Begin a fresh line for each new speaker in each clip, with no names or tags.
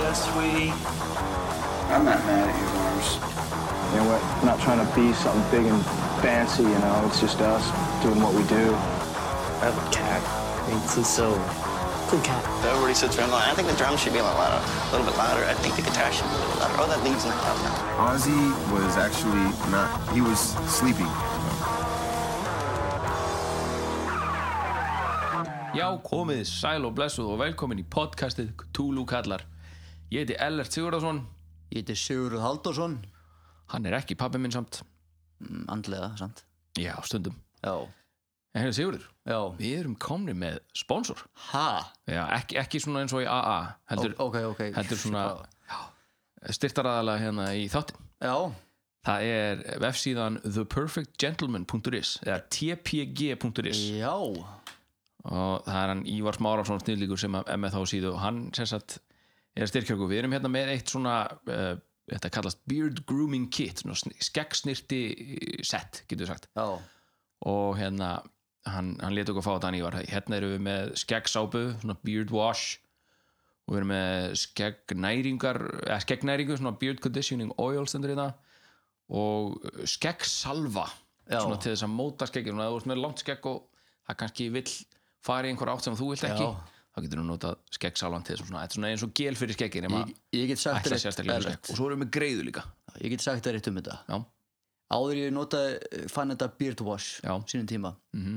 Yes, sweetie.
I'm not mad at you, Mars.
You know, we're not trying to be something big and fancy, you know, it's just us doing what we do.
I have a cat. It's just so cool cat.
Everybody sits around going, I think the drums should be a little louder, a little bit louder. I think the guitar should be a little louder. Oh, that lead's not loud enough.
Ozzy was actually not, he was sleeping.
Já, komið þið sæl og blessuð og velkomin í podcastið Cthulhu kallar. Ég heiti Ellert Sigurðarsson,
Ég heiti Sigurður Halldórsson
hann er ekki pappi minn samt.
Mm, Andlega, sant?
Já, stundum.
Já
En hérna Sigurður,
Já
við erum komni með sponsor.
Ha?
Já, ekki, ekki svona eins og í AA, heldur,
Ó- ok, ok.
heldur svona styrtaraðala hérna í þáttin.
Já
Það er vefsíðan theperfectgentleman.is eða tpg.is
Já
og það er hann Ívar Smárafsson snillíkur sem er með þá síðu og hann sem sagt er styrkjörgu við erum hérna með eitt svona uh, þetta kallast beard grooming kit svona sn- skeggsnirti eh, set getur við sagt
Já
og hérna hann, hann leti okkur fá þetta hann Ívar hérna erum við með skeggsápu, svona beard wash og við erum með skeggnæringar, eða skeggnæringu svona beard conditioning oil stendur hérna og skeggsalva
Já.
svona til þess að móta skeggið svona að þú ert með langt skegg og það kannski vill fara í einhver átt sem þú vilt ekki
Já.
þá getur þú notað skeggsalvan til þess svona, þetta er svona eins og gel fyrir skeggið nema
Ég, ég get sagt
ætla
þér eitt,
sérstaklega fyrir
Ellert.
skegg og svo erum við með greiðu líka
Ég get sagt þér eitt um þetta
já,
Áður ég notaði, eh, fann þetta beard wash
Já.
Sínum tíma mm
Mhm.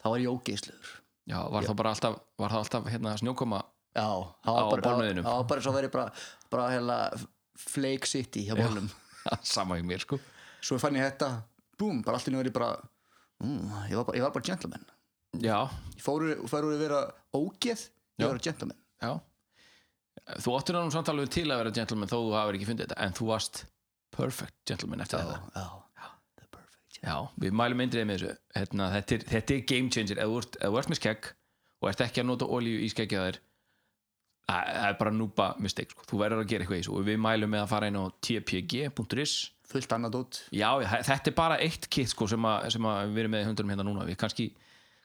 Þá var ég ógeislegur
já var það bara alltaf, var það alltaf hérna, snjókoma
Já Það
Á
var bara
bolnauðinum.
Það var bara svo verið bara Bara hella Flake City hjá bólnum
sama í mér sko
Svo fann ég þetta Búm Bara allt í nöður ég bara mm, ég, var bara ég var bara gentleman
já,
Ég fór, úr- fór úr að vera ógeð Ég
Já.
var gentleman
Já Þú áttir nú samt alveg til að vera gentleman þó þú hafur ekki fundið þetta en þú varst perfect gentleman eftir þetta
Já The perfect
Já, við mælum eindriðið með þessu hérna, þetta, er, þetta er game changer ef þú ert, ef þú ert með skegg og ert ekki að nota olíu í skeggið á þér það það er bara núpa mistake sko. þú verður að gera eitthvað í þessu og við mælum með að fara inn á tpg.is
Fullt annað út
Já, já, þe- þetta er bara eitt kit sko, sem, að, sem að við erum með í hundurum hérna núna við kannski,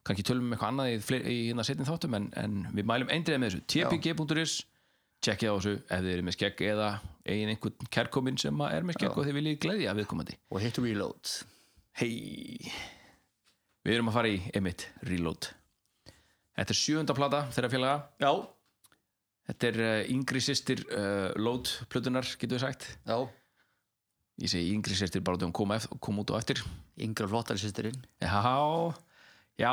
kannski tölum um eitthvað annað í, fleiri, í hérna setjum þáttum en, en við mælum eindriðið með þessu tpg.is tjekkið á þessu ef þið eru með skegg eða eigin einhvern kærkomin sem að er með skegg og þið viljið gleðja viðkomandi
og hitt reload
Hei Við erum að fara í Emmitt Reload Þetta er sjöunda plata þeirra félaga
já,
Þetta er uh, yngri sýstir uh, Load plötunar, getur við sagt
já,
Ég segi yngri sýstir bara þegar hún kom, ef, kom út og eftir
yngra flottari sýsturinn
Já, já,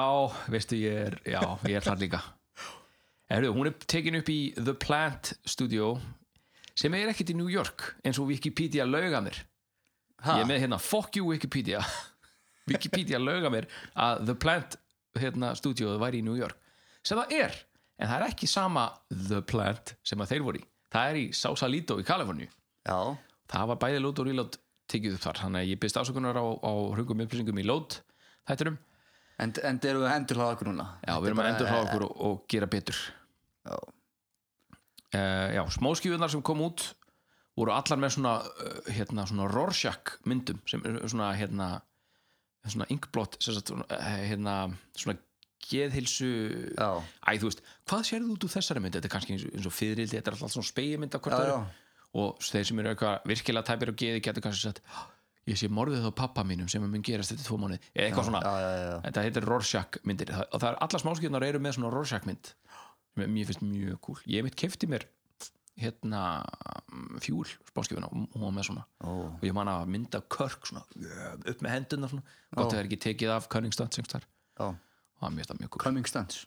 veistu ég er Já, ég er þar líka Herru, hún er tekin upp í The Plant Studio sem er ekkit í New York eins og Wikipedia lauga mér
ha,
Ég er með hérna, fuck you Wikipedia Wikipedia lauga mér að The Plant hérna, stúdíóð væri í New York sem það er, en það er ekki sama The Plant sem að þeir voru í það er í Sausalito í Kaliforníu
já,
það var bæði lót og rílót tekið upp þar þannig að ég byrst afsökunar á, á hrungum upplýsingum í lót þætturum,
en, en þeir eru að endur hlaða okkur núna
já við erum að endur hrá okkur og, og gera betur
já,
uh, já, smáskjöfunar sem kom út voru allar með svona uh, hérna, svona Rorschach myndum sem eru svona hérna svona inkblott sem sagt, svona, eh, hérna, svona geðhilsu
já,
æ, þú veist, hvað sérðu út úr þessari mynd þetta er kannski eins, og- eins og fyririldi, þetta er alltaf svona spegimynd af hvort
já,
öðru.
já.
og þeir sem eru eitthvað virkilega tæpir og geði getur kannski sagt "Há, ég sé morðið á pappa mínum sem mun gerast þetta tvo mánuði eða eitthvað svona,
já, já, já.
þetta heitir Rorschach myndir Það- og það er allar smáskjöðnar eru með svona Rorschach mynd sem er- mér finnst mjög cool ég mitt kefti mér hérna mm, fjúl smáskjöðuna og hún var með svona
Ó.
og ég man að mynda körk svona yeah, upp með hendurna svona gott að það er ekki tekið af Cunningstand sem þar
já.
og það mér finnst það mjög cool
coming stands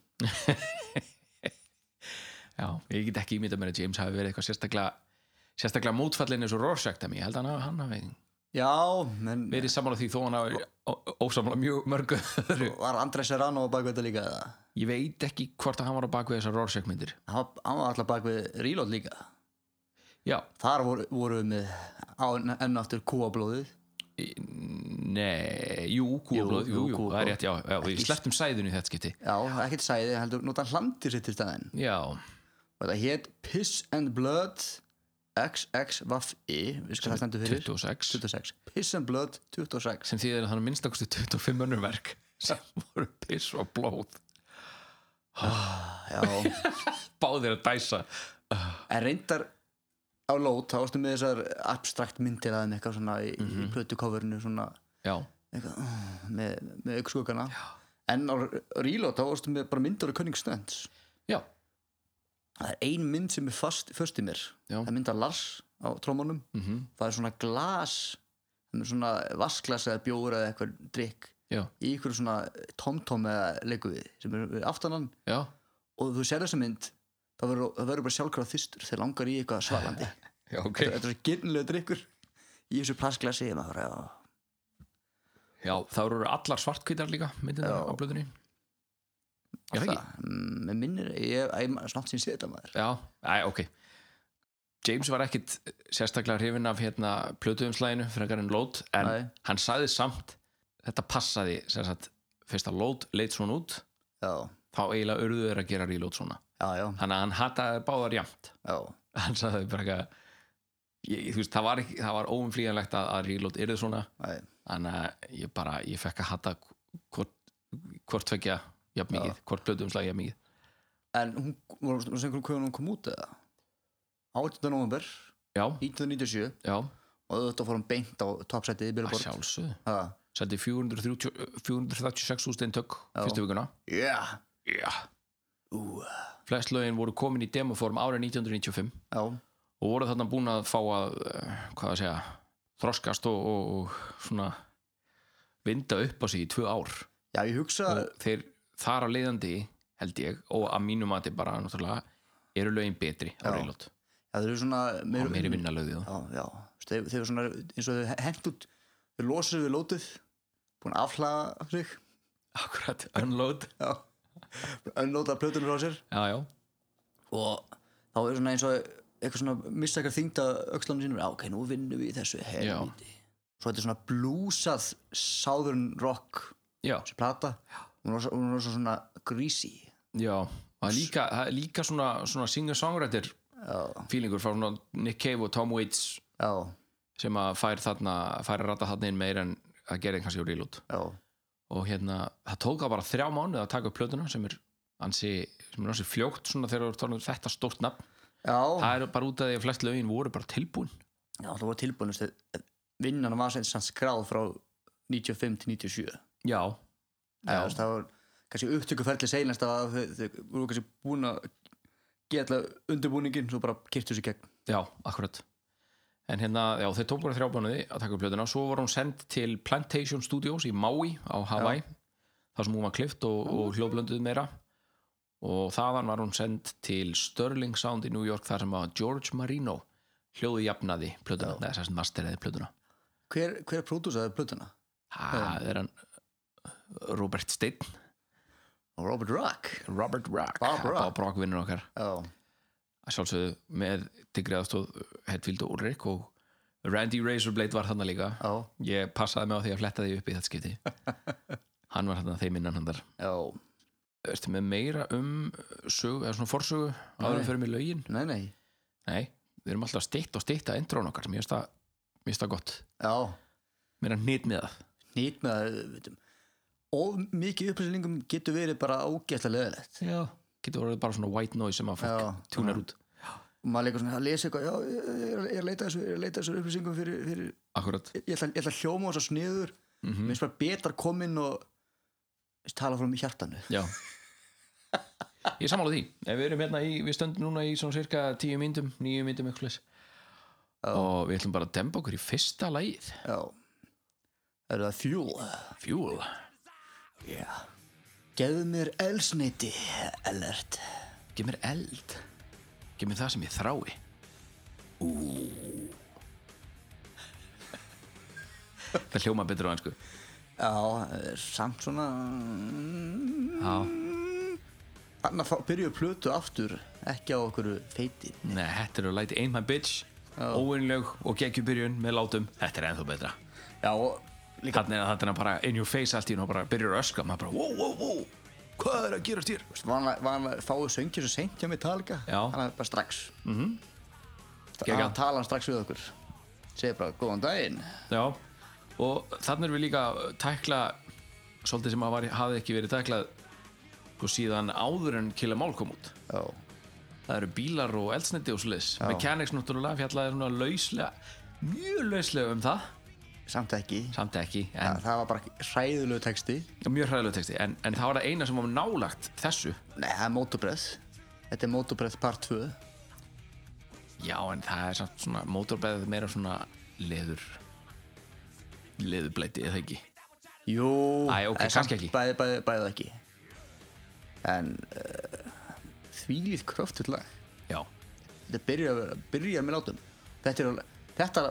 Já, ég get ekki ímyndað mér að James hafi verið eitthvað sérstaklega sérstaklega mótfallin eins og Rorschach dæmi. ég held að hann, hafi- hann hafi
já, menn
verið sammála því þó hann hafi ó- ósammála mjög mörgu öðru
var Andrés Serrano á bakvið þetta líka eða?
ég veit ekki hvort að hann var á bakvið þessar Rorschach myndir
hann var- hann var alltaf bakvið reload líka
já,
þar voru, voru við með á, enn aftur kúablóðið
í- nei, jú, kúablóð jú,
Jú,
jú,
kúablóð.
það er rétt, já, já við
Ekki-
slepptum sæðinu í þetta skipti
já, ekkert sæði, heldur, nota hlandir sitt í staðinn
já,
og þetta hétt Piss and Blood XXVAFI við skalum það stendur fyrir
26
26 Piss and Blood 26
sem þýðir að þannig minnstakosti 25 önnur verk sem voru piss og blóð
já,
báðir að dæsa
en reyndar á lót þá varstu með þessar abstrakt myndir að þeim eitthvað svona í, mm
Mhm.
-hmm. í plötukofurinu svona
já,
eitthvað, uh, með, með aukskugana en á Reload þá varstu með bara myndir af Cunning Stunts
já,
það er ein mynd sem er fast, först í mér
Já.
það er mynd af Lars á trómanum
Mhm.
það er svona glas það er svona vasklas eða bjóra eða eitthvað drikk
já,
í ykkur svona tomtom eða leikuði sem er við aftanan
já
og þú sér þessa mynd þá verður það verður bara sjálfkráð þystur þegar langar í eitthvað svalandi
já, ok,
þetta er svo gyrnilega drikkur í þessu plastglasi og maður, já.
já, það eru allar svartkvítar líka myndin
Já.
á blöðunni já,
það
ekki,
mm, mig minnir, ég er snátt sín séð þetta maður
já, æ, ok James var ekkit sérstaklega hrifin af hérna plötuumslæginu frekar en lót, en
Nei.
hann sagði samt þetta passaði sem sagt, fyrst að lót leit svona út
já,
þá eiginlega urðu þeir að gera reload svona
já, já,
þannig að hann hataði þær báðar jafnt
já,
hann sagði bara eitthvað ég, þú veist, það var, ekki- það var óumflýjanlegt að, að reload yrði svona
Nei.
þannig að ég bara, ég fekk að hata hvort, hvort tvekja jafn mikið, hvort blötu umslag jafn mikið
en hún, hún, hún sengur hún hvernig hún kom út eða 18. november
já,
1997
já,
og þetta fór hún beint á topsætið í
að
Billboard
sjálfsögðu
Ha,
seldi 436.000 tök fyrstu vikuna
yeah.
yeah. flest lögin voru komin í demoform árið 1995
já,
og voru þarna búin að fá að eh, hvað að segja, þroskast og, og, og svona vinda upp á sig í tvö ár
já, ég hugsa
og þeir þar á leiðandi held ég og að mínum mati bara náttúrulega eru lögin betri á
Já.
reylót
Já, þeir eru svona
og meiri vinna lögði þá
Já, já, Þú veist, þeir, þeir eru svona eins og þeir hent út Þeir losa við lótið Búin að afhlaða sig
akkurat, unload
Já Önnlóta plötunum frá sér
já, já,
Og þá er svona eins og Eitthvað svona mista eitthvað þyngd að öxlanum sínum Já, ok, nú vinnum við í þessu helviti Svo þetta er svona blúsað Southern rock
já,
Þessi plata Hún er rosa- hún er rosa svona greasy
já. Það er líka, það er líka svona, svona singer-songwriter
Já,
feelingur frá svona Nick Cave og Tom Waits
já,
sem að fær þarna fær að rata þarna inn meir en að gera kannski á reylót
já
og hérna, það tók það bara þrjá mánuð að taka upp plötuna sem er ansi, sem er ansi fljókt svona þegar þú ert orðinn þetta stórt nafn
Já,
það er bara út af því að flest lögin voru bara tilbúin
já það voru tilbúin þú veist, Vinnan var sem sann skráð frá 95 til 97
já,
Já. Veist, það var kannski upptökuferli seinast að þau, þau voru kannski búin að geta undirbúningin svo bara kyrtu sér gegn
já, akkurat en hérna, já, þeir tók bara þrjá mánuði að taka upp plötuna, svo var hún send til Plantation Studios í Maui á Hawaii þar sem hún var klift og, og hljóðblönduð meira og þaðan var hún send til Sterling Sound í New York þar sem að George Marino hljóði jafnaði plötuna, neða þess að masteraði plötuna
hver, hver pródúsaði plötuna?
Það er hann Robert Steinn
Robert Rock
Robert Rock
Bob Rock.
Bob Rock vinnur okkar
já,
að sjálfsögðu með digriðastóð Hetfield og Ulrik og Randy Razorblade var þarna líka
já,
ég passaði mig á því að fletta því upp í þetta skipti hann var þarna þeim innan hann þar
já
Ertu með meira um sögu, eða svona forsögu áður
Nei.
en fyrir mig lögin?
nei, nei,
Nei, við erum alltaf stitt og stitt að intrón okkar, mér finnst það mér finnst það gott,
já
mér er nýtt með það
nýtt með að veitum, of mikið upplýsingum getur verið bara ágætla leðilegt
Já, getur orðið bara svona white noise sem að
Já,
fólk túnar
já.
út
og maður leikur svona að lesa eitthvað já, ég, ég, er- ég er að leita þessu, ég er að leita þessu upplýsingum fyrir, fyrir
Akkurat,
ég, ætla, ég ætla að hljóma þess að sniður mm -hmm. minnst bara betar komin og veist, tala frá mig hjartanu
Já Ég er sammála því En við erum hérna í, við stöndum núna í svona cirka tíu myndum, nýju myndum ykkur leys Og við ætlum bara að demba okkur í fyrsta lagið
Já Er það fjúl?
Fuel
Já Gefðu mér elsneiti, Ellert
Gef mér eld Gef mér það sem ég þrái Ú Það hljóma betur á ennsku
Já, er samt svona
Já
Þannig að byrjuðu plötu aftur Ekki á okkur feiti
Nei, þetta eru læti Ain't My Bitch Óinlög og geggjum byrjun með látum Þetta er ennþá betra
Já, og
Líka. Þannig að þetta er bara in your face allt í hún og bara byrjar að öskra maður bara, wow, wow, wow, hvað er að gerast hér?
veist, vanlega, vanlega fáið söngið svo seint hjá Metallica
Já.
Þannig að bara strax mm -hmm.
Geggjað.
Að tala hann strax við okkur Segir bara, góðan daginn
Já, og þannig erum við líka að tækla svolítið sem að var, hafði ekki verið tæklað sko, síðan áður en Kill Em All kom út
Já,
það eru bílar og eldsneiti og svoleiðis Mechanics náttúrulega fjallaði svona lauslega mjög lauslega um það
samt ekki
samt ekki,
Þa,
en
það var bara hræðulegu texti
mjög hræðilegu texti en, en það var það eina sem var nálagt þessu
nei, það er Motobreath þetta er Motobreath part 2
já, en það er samt svona motorbæðið meira svona leður leðurblæti eða ekki
jú,
Æ, ok,
en samt
kannski ekki.
bæði, bæði, bæði ekki en uh, þvílið kröftuð lag
já,
þetta byrjar byrja með látum þetta er alveg- þetta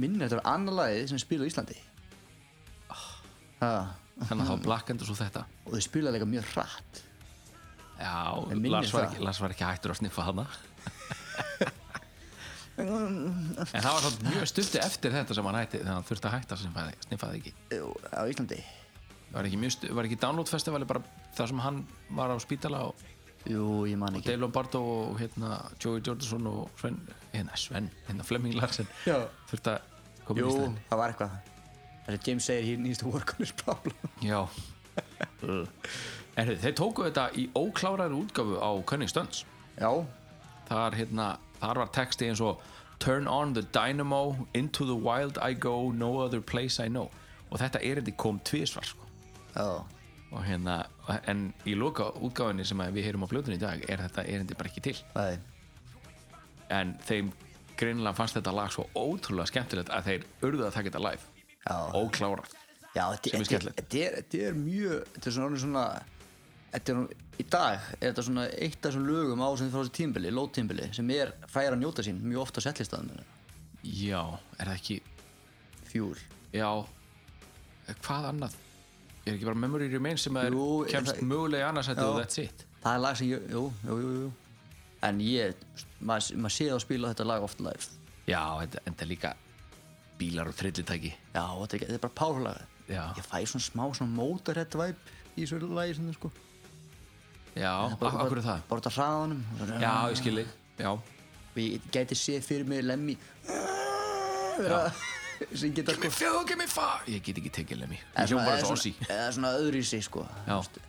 minnir þetta var annar lagið sem spila á Íslandi ah.
þannig að þá blakkandi svo þetta
og þau spila líka mjög hratt
já,
En minnir
Lars var,
það.
ekki, Lars var ekki hættur að sniffa hana en það var samt mjög stutti eftir þetta sem hann hætti þannig að hann þurfti að hætta að sniffa- sniffa það ekki
Jú, á Íslandi
var ekki, mjög, stu- var ekki Download Festivali bara þar sem hann var á spítala og
jú, ég man ekki
Dave Lombardo og hérna Joey Jordison og Sven, hérna Sven, hérna Flemming Larsen
Já.
þurft að koma
jú,
í stæðin
það var eitthvað það er James segir hér nýstu work on his problem
Já Erðu, þeir tóku þetta í ókláraður útgáfu á Cunning Stunts
já,
þar, hérna, þar var texti eins og Turn on the dynamo, into the wild I go, no other place I know og þetta erindi kom tvisvar sko.
já,
og hérna, en í loka útgáfunni sem að við heyrum á fljótunni í dag er þetta erindi bara ekki til
það er
en þeim greinilega fannst þetta lag svo ótrúlega skemmtilegt að þeir urðu að taka þetta live
já,
óklárað
já þetta,
Sem er
þetta,
skemmtilegt.
þetta, er, þetta er mjög þetta er svona, orðið svona þetta er, nú- í dag er þetta svona eitt af þessum lögum á sem frá þessu tímbili, lóttímbili sem er færa að njóta sín mjög ofta á settlistæðum
já, er það ekki
fjúl
já, hvað annað er ekki bara Memory Remains sem er
Jú, er
kemst
það-
mögulega í annarsætti
Já.
og that's it
það er lag sem ég, jú, jú, jú, jú. en ég, maður mað sé það að spila þetta lag ofta live
já, en, en það er líka bílar og trillitæki
já, þetta er, þetta er bara powerlag
Já.
ég fæ svona smá svona motorhead vibe í þessu lagi sem það sko
já,
Bara-
akkur er það
bara út af hraðanum
já, ég skilji, já,
og ég gæti sé fyrir mig lemmi vera sem geta sko
fjóðu, give me five ég get ekki tekið lemmi,
eða
ég hljum bara
eða
svo ossi
eða svona öðru í sig sko
Já.
Veistu.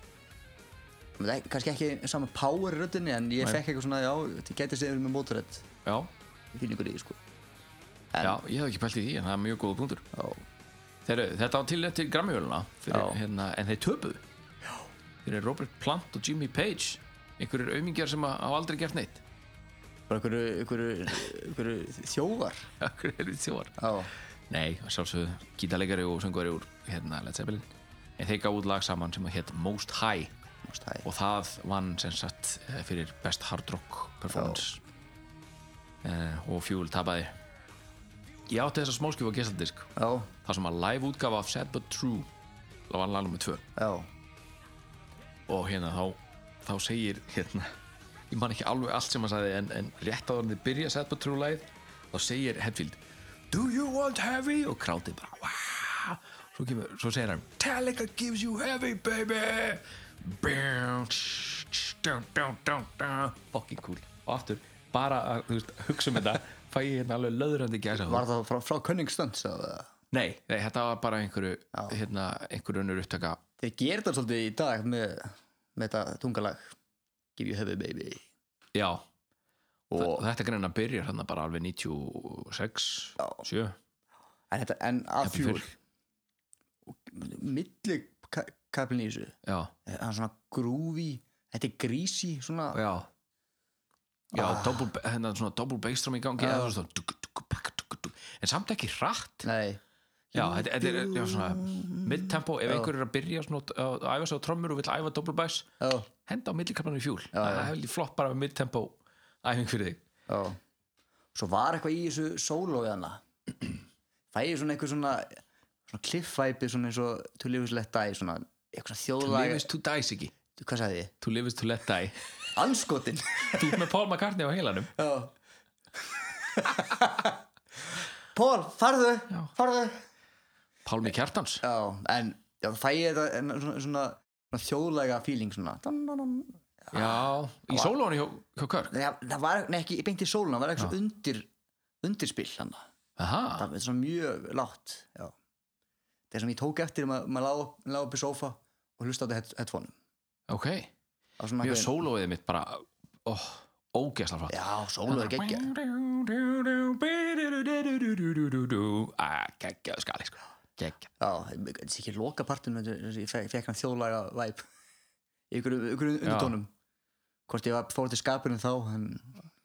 Það er kannski ekki sama power í röddinni en ég
Nei.
fekk eitthvað svona já, þetta gæti sé fyrir mig motorhead
já,
fílingur í því, sko
já, ég hef ekki pælt í því en það er mjög góða punktur
já,
Þeir, þetta var tilnætt til Grammyvöluna
Já.
hérna, en þeir töpuðu fyrir Robert Plant og Jimmy Page einhverjir aumingjar sem að- hafa aldrei gert neitt
bara einhverju- einhverju einhverju þjófar
Akkur er við þjóðar
já,
Nei, að sjálfsögðu gítarleikari og söngvari úr hérna Led Zeppelin en þeir gáðu út lag saman sem hétt Most High
mást hæ
og það vann sem sagt eh, fyrir Best Hard Rock Performance eh, og Fuel tapaði Ég átti þessa smáskjöf á gesaldisk
já,
þar sem að live útgafa af Sad But True það var lag nummer 2
já,
og hérna þá þá segir hérna ég man ekki alveg allt sem hann sagði en, en rétt áður en þið byrja að setja trú læð þá segir Hetfield Do you want heavy? og krátið bara wow. svo, kemur, svo segir hann Metallica gives you heavy baby Bam, tsh, tsh, dun, dun, dun, dun. fucking cool og aftur bara að þú veist, hugsa um þetta fæ ég hérna alveg löðurandi gæsa
var það frá, frá Cunningstunts eða
nei, nei, þetta var bara einhverju hérna, einhverju önnur upptaka
þeir gerir það svolítið í dag með, með þetta tungalag Give you heavy baby
já,
og,
og þetta greina byrjar hann bara alveg 96
Já.
7
en, þetta, en að
Jafnvel
fjúl milli ka kaplin í þessu
já,
það Eh, er svona groovy þetta er greasy svona
já já, double, hennan svona double bass drum í gangi
Ah. Já.
eða svona tuk, tuk, pak, tuk, tuk. en samt ekki hratt
nei,
já, þetta, þetta er já, svona mid-tempo, ef einhver er að byrja svona, að æfa sig á trommur og vill æfa double bass
já,
henda á millikarnarnu í fjúl það er heldur flott bara með mid-tempo æfing fyrir þig
já svo var eitthvað í þessu sólói hana fæ ég svona eitthvað svona svona kliffæpi svona eins og to live is let die svona eitthvað svona
Þú
þjóðlag
lifist to dies ekki,
hvað sagði ég?
þú lifist to let die
anskotin
þú ert með Paul McCartney á heilanum
Já Pól, farðu, farðu
Pálmi Kjartans
Já, en já, það fæ ég þetta en svona, svona, svona þjóðlega feeling svona Dun, dun, dun.
já, í sólónu hjá, hjá Körk
Nei, Það, það var, nei ekki, beint í sóluna, það var eitthvað svona undir, undirspill hann
aha,
Það er svona mjög látt Já Það er sem ég tók eftir, maður ma lág, lág upp í sófa og hlusta á þetta headphone
ok
Það var svona
mjög
einhvern-
sólóið mitt bara oh, ógeðslega frátt
Já, sólu er geggja
geggjað skali sko geggjað
Já, þetta er ekki loka partin ég fekk, fekk hann þjóðlaga væp í ykkur, ykkur undirtónum hvort ég var, fór til skapinu þá en,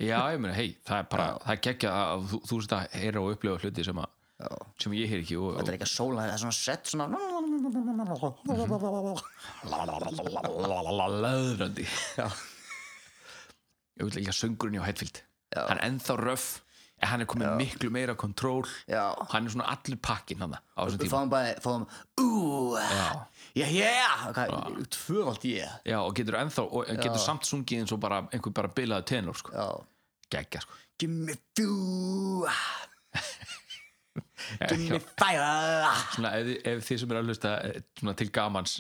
já ég meina hei það er bara
Já.
það er geggjað að þú, þú sérst að heyra og upplifa hluti sem, að,
já,
sem ég heyr ekki og,
þetta er ekki að sóla það er svona sett
Mhm.
svona
og löðrandi
Já.
ég vil ekki að söngurinn hjá Hetfield
Já.
hann er ennþá röf en hann er komið miklu meira kontról
Já.
hann er svona allur pakkin hann á þessum
við
tíma
fáum bara fáum, ú,
Já.
yeah, yeah hvað, tvöfald ég
Já, og getur ennþá, og getur samt sungið eins og bara einhver bara bilaði tenor, sko.
já,
Gekkja, sko.
give me two give
Já.
me
Eh,
fire
Svona, ef, þið- ef þið sem er að hlusta eh, svona, til gamans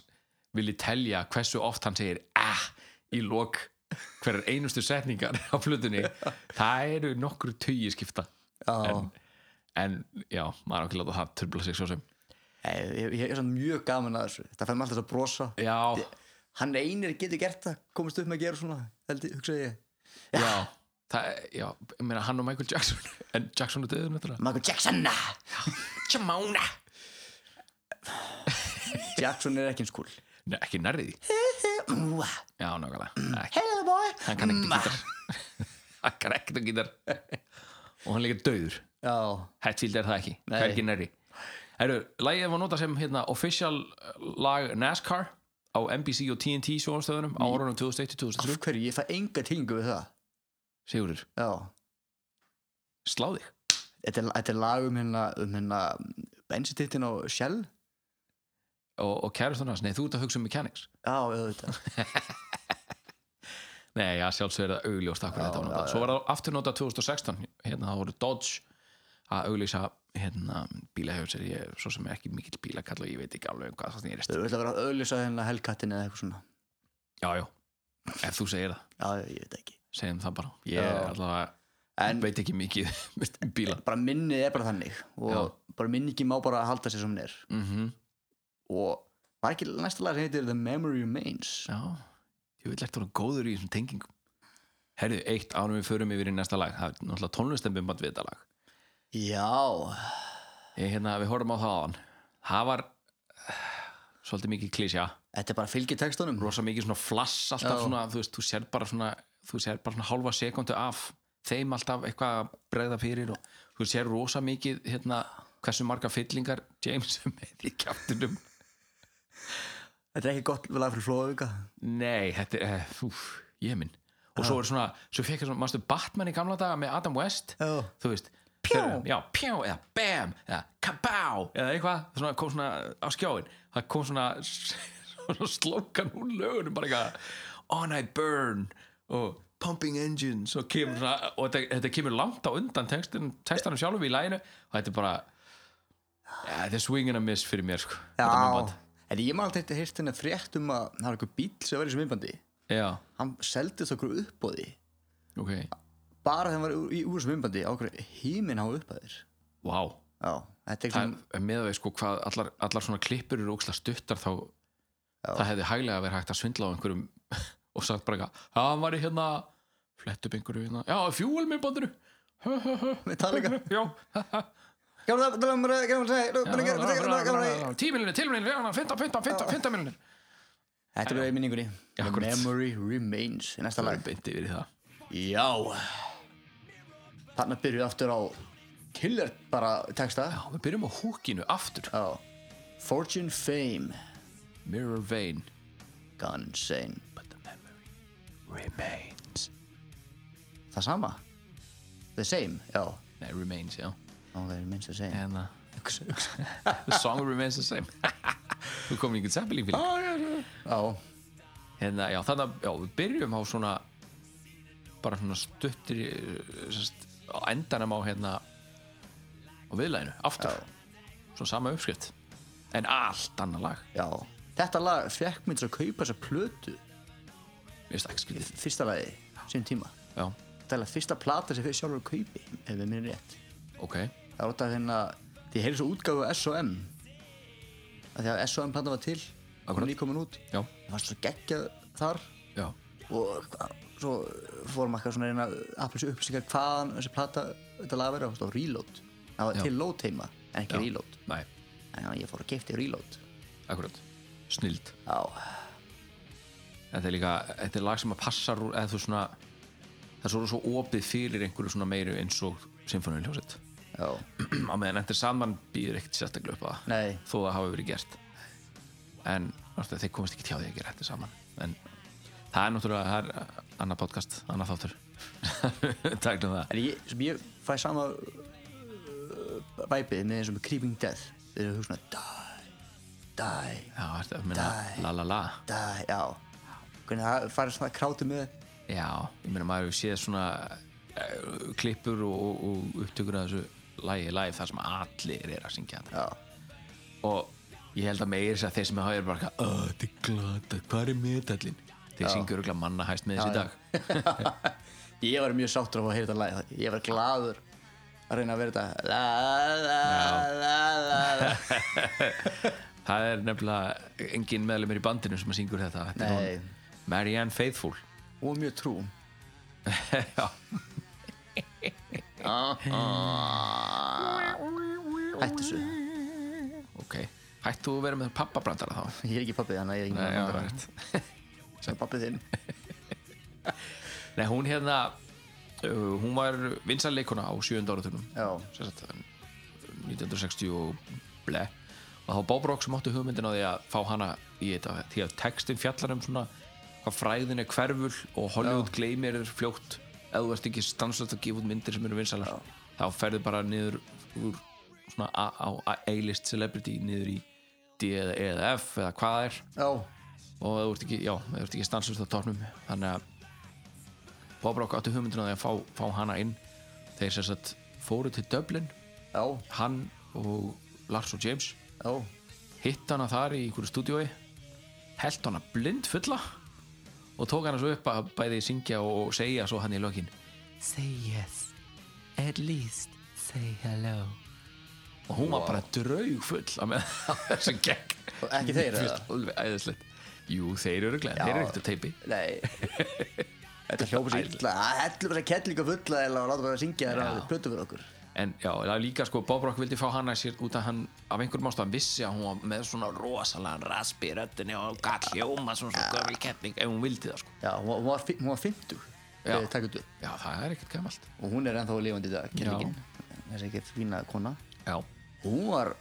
viljið telja hversu oft hann segir ah í lok hverjar einustu setningar á flutunni, það eru nokkur tugi skipta.
já,
En, en já, maður er ekki láta það trubla sig svo sem.
ég, ég, ég er svona mjög gaman að þessu það fær mér alltaf að brosa
Já,
hann einir getur gert það komist upp með að gera svona held, ég- hugsa ég
já. Það, já, ég meina hann og Michael Jackson en Jackson er döður náttúrulega
Michael Jackson
Jamána
Jackson er ekki eins kúl
Nei, ekki nærrið því
Ú,
Já, nákvæmlega Ekki-
Hello boy
hann kann ekkert að gítar hann kann ekkert að gítar og hann er líka döður
Já,
Hetfield er það ekki,
Nei.
hvergi nærri Herru, lagið var notað sem hérna, official lag NASCAR á NBC og TNT sjónastöðunum á orðunum 2001-2003
af hverju ég fæ enga tingu við það
Sigurður,
Já,
slá þig
þetta er, þetta er lag um hérna um hérna bensitittin á Shell
og, og kærustan hans, nei þú ert að hugsa um mechanics
Já, auðvitað
nei, já, sjálfsögur það augljóst akkur þetta var notað svo var það aftur notað 2016 hérna það voru Dodge að auglýsa hérna bílahjóðsir ég er svo sem ekki mikill bílakall og ég veit ekki alveg um hvað það snýrist
Þau vilja vera að auðlýsa hérna helkattin eða eitthvað svona
já, já, ef þú segir það
Já, ég veit ekki
segjum það bara ég er
Já.
allavega
En-
veit ekki mikið um bíla
Bara minnið er bara þannig og bara minningi má bara halda sér sem hún er
mm
Mhm. og var ekki næsta lag sem heitir The Memory Remains
já, ég vil eftir að góður í þessum tengingum herðu, eitt ánum við förum yfir í næsta lag það er náttúrulega tónlistembimbat við þetta lag
Já,
ég, hérna, við horfum á það áðan það var eh, svolítið mikið klísja
þetta er bara fylgið textunum
rosa mikið svona flass alltaf
Já.
svona, þú veist, þú sér bara svona þú sér bara svona hálfa sekundu af þeim alltaf eitthvað að bregða fyrir og þú sér rosa mikið hérna, hversu marga fyllingar James er með í kjáttunum
Þetta er ekki gott lag fyrir flóðuga
Nei, þetta er, uh, úf, ég minn Og svo er svona, svo fekk ég svona, mannstu Batman í gamla daga með Adam West
Já.
Þú veist, pjá, já, pjá, eða bam, eða kabá Eða eitthvað, svona kom svona á skjáin Það kom svona, svona slókan úr lögunum bara eitthvað On I Burn og Pumping Engines og, kemur, svona, og þetta, þetta kemur langt á undan textin, textanum sjálfum í læginu og þetta er bara ja, þetta er swing and a miss fyrir mér sko, þetta myndband.
En ég maður alltaf heist hérna frétt um að það var eitthvað bíl sem var í þessu minnbandi
Já,
Hann seldist okkur uppbóði
ok,
bara þegar hann var í úr þessu minnbandi á okkur híminn á uppbæðir
wow
Já, þetta er ekki
það
svona
er með að við sko hvað allar, allar svona klippur eru óksla stuttar þá það hefði hæglega verið hægt að svindla á einhverjum og sagt bara eitthvað "Já, hann var í hérna, flett upp einhverju hérna já, fjúvel með bandinu
Við tala líka
já,
Gamla það, gamla það, gamla það, gamla það, gamla það
tímilinu, tímilinu, já, 15, 15, 15, 15 milinu
Þetta er bara í minningunni The
akkurat.
Memory Remains í næsta
það
lag
er beint yfir í það
Já Þarna byrjuðu aftur á killer bara texta
já, við byrjum á húkinu aftur
Já Fortune Fame
Mirror Vein
Gone Insane
but the memory remains
Það sama The same, já
nei, remains, já
Ok, minnst það same
en uh, the song remains the same þú komin í einhvern seppilík fyrir
Já,
hérna, já, þannig að já, við byrjum á svona bara svona stuttir sest, á endanum á hérna á viðlæginu, aftur svona sama uppskrift en allt annað lag,
já Þetta lag fekk mér til að kaupa þessa plötu
mér finnst ekki
í
skrítið
fyrsta lagi, sín tíma
já,
Þetta er alveg fyrsta plata sem fyrir sjálfur að kaupi ef við minn rétt
ok,
Það var þetta hérna því ég heyrði svo útgáfu af S.O.M að því að S.O.M platan var til
Akkurat.
og ný komin út
já,
Það var svo geggjað þar
já
og hvað- svo fórum eitthvað svona að reyna að afla þessu upplýsingar hvaðan þessi plata þetta lag verið, það stóð reload það var
Já.
til load heima, en ekki
Já.
reload
Nei,
þannig að ég fór að gifti reload
akkurat Snild
já,
Þetta er líka, þetta er lag sem að passar úr eða þú svona það er svo, svo opið fyrir einhverju svona meiru eins og symfóniuljóset
já,
á meðan þetta saman býður ekkert sérstaklega upp að það
nei
þó það hafi verið gert en náttúrulega, þeir komast ekki hjá því að gera þetta saman en það er náttúrulega það er uh, annað podcast, annað þáttur taklum það
en ég, sem ég fæ sama væpið með eins og með Creeping Death þeir eru hugsa die, die
Já, þetta er minna
Die.
la la la
die, já hvernig það farið svona krátið með
Já, ég meina maður hefur séð svona uh, klippur og, og, og upptökur af þessu lagi live þar sem allir er að syngja þetta
já,
og ég held að meira þess að þeir sem hafa er bara eitthvað, "Ó, þetta er glata, hvað er meðdallin? Þeir syngur örugglega manna hæst með þessi
Já, já.
dag
ég var mjög sáttur að fá að heyra þetta lag ég var gladur að reyna að vera þetta la la la la la
Það er nefnilega engin meðlumir í bandinu sem að syngur þetta, þetta er
Nei.
hún Marianne Faithful
og mjög trú
Já,
hættu þessu
ok Hættu að vera með pappabrandara þá
ég er ekki pappið þannig að ég er ekki
Nei, já,
með andra.
rétt.
ég er pappið þinn
Nei, hún hérna uh, hún var vinsanleikona á sjönda áratunum
já,
sem sagt, um, 1960 og ble og þá Bóbrók sem átti hugmyndin á því að fá hana í þetta því að textin fjallar um svona hvað fræðin er hverful og Hollywood gleymir þér fljótt ef þú ert ekki stansast að gefa út myndir sem eru vinsalar þá ferðu bara niður úr svona A- á á A-list celebrity niður í D eða E eða F eða hvað það er
já,
og þú ert ekki, já, þú ert ekki stansast á tórnum þannig að Bóbrók átti hugmyndin á því að fá, fá hana inn þeir sem sagt fóru til Dublin
já,
hann og Lars og James
já
hitt hana þar í einhverju stúdiói held hana blind fulla og tók hana svo upp að bæði syngja og segja svo hann í lokin
Say yes. At least say hello.
og hún var bara draugfull að með þessu gegn
Og ekki þeir,
Mér
eða?
finnst alveg æðislegt Jú, þeir eru glæð, þeir eru ekkert að teipi
nei þetta hljópa sér illa það heldur bara kettlinga fulla eða láta bara að syngja þeirra
Já.
að plötu fyrir okkur
En já, það er líka sko, Bob Rock vildi fá hana sér út að hann af einhverjum ástæðan vissi að hún var með svona rosalega raspi í röddinni og galt hljóma svona svona gömul kettning ef hún vildi það sko
já, hún var- hún var fi- hún var 50
Já.
þegar þið takkum upp
Já, það er ekkert gamalt
og hún er ennþá lifandi í dag kettlingin þessi ekki fína kona
Já,
hún var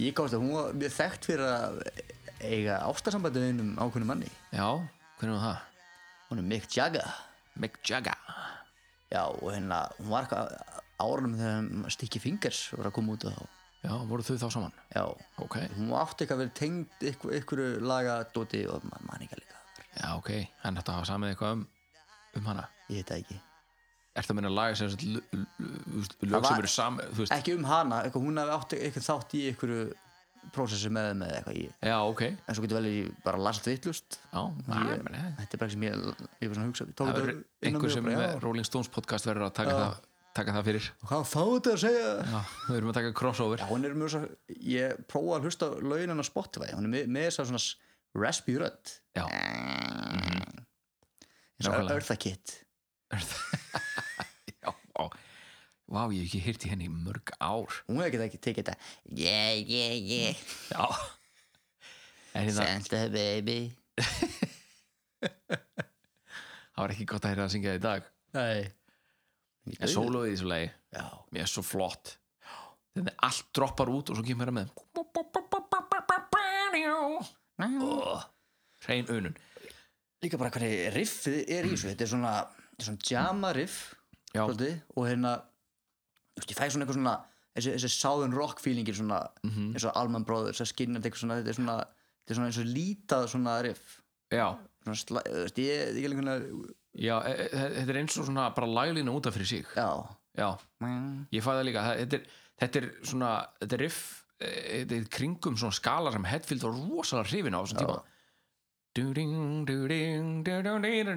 ég komst að hún var mjög þekkt fyrir að eiga ástasambandi við einum ákveðnum manni
já, hvernig var það?
hún er Mick Jagger
Mick Jagger
já og hérna hún var eitthvað árunum þegar Sticky Fingers var að koma út á þá
Já, voru þau þá saman?
já
Ok,
hún átti eitthvað verið tengd ykkur, ykkur lagadóti og ma- man ekki líka
já ok Hann ætti að hafa samið eitthvað um, um hana
ég veit það ekki
Ertu að minna laga sem sagt l- l- þú veist,
Það
lög
var-
sem eru samið þú veist,
ekki um hana eitthvað, hún hafði átti eitthvað þátt í ykkur prósessu með þeim eða eitthvað ég
Já, ok Já,
en svo getur vel ég bara lasa þetta vittlust
að,
Ég-
meni,
þetta er bara sem ég ég var svona að hugsa ég tók
Það
þetta
verður
inn á
einhver
mig og
sem
bara,
með
já.
Rolling Stones podcast verður að taka, það, taka það fyrir
Og hvað þá þetta að segja
Já, við verðum að taka crossover
já, hún er mjög svo ég prófa að hlusta á lögin hennar Spotify hún er með, með þess að svona s- raspy rödd
Já.
eins og
Mhm. Nákvæmlega.
Eartha Kitt
Já, vá Vá, ég hef ekki heyrt í henni í mörg ár
hún hefði ekki tekið þetta yeah, yeah, yeah,
Já En hérna,
Santa baby
það var ekki gott að heyra að syngja það í dag
nei
En sólóið í þessu lagi
já,
mér er svo flott þannig að allt droppar út og svo kemur það með oh, hrein unun
líka bara hvernig riffið er í þessu þetta er svona, þetta er svona jama riff
Mm. Já.
svolítið, og hérna þú veist, ég fæ svona eitthvað svona þessi, þessi southern rock feelingir svona
Mhm.
eins og Alman Brothers, að skinna þetta er svona, þetta er svona, þetta er svona eins og lítað svona riff
já,
svona slæ, þú veist, ég ég er einhvern veginn
já e- e- þetta er eins og svona bara laglína út af fyrir sig
já,
já, ég fæði það líka Það- þetta er, þetta er svona, þetta er riff e, þetta er kringum svona skala sem Hetfield var rosalega hrifin á á þessum tíma Du-ding, du-ding, du-ding-du-ding,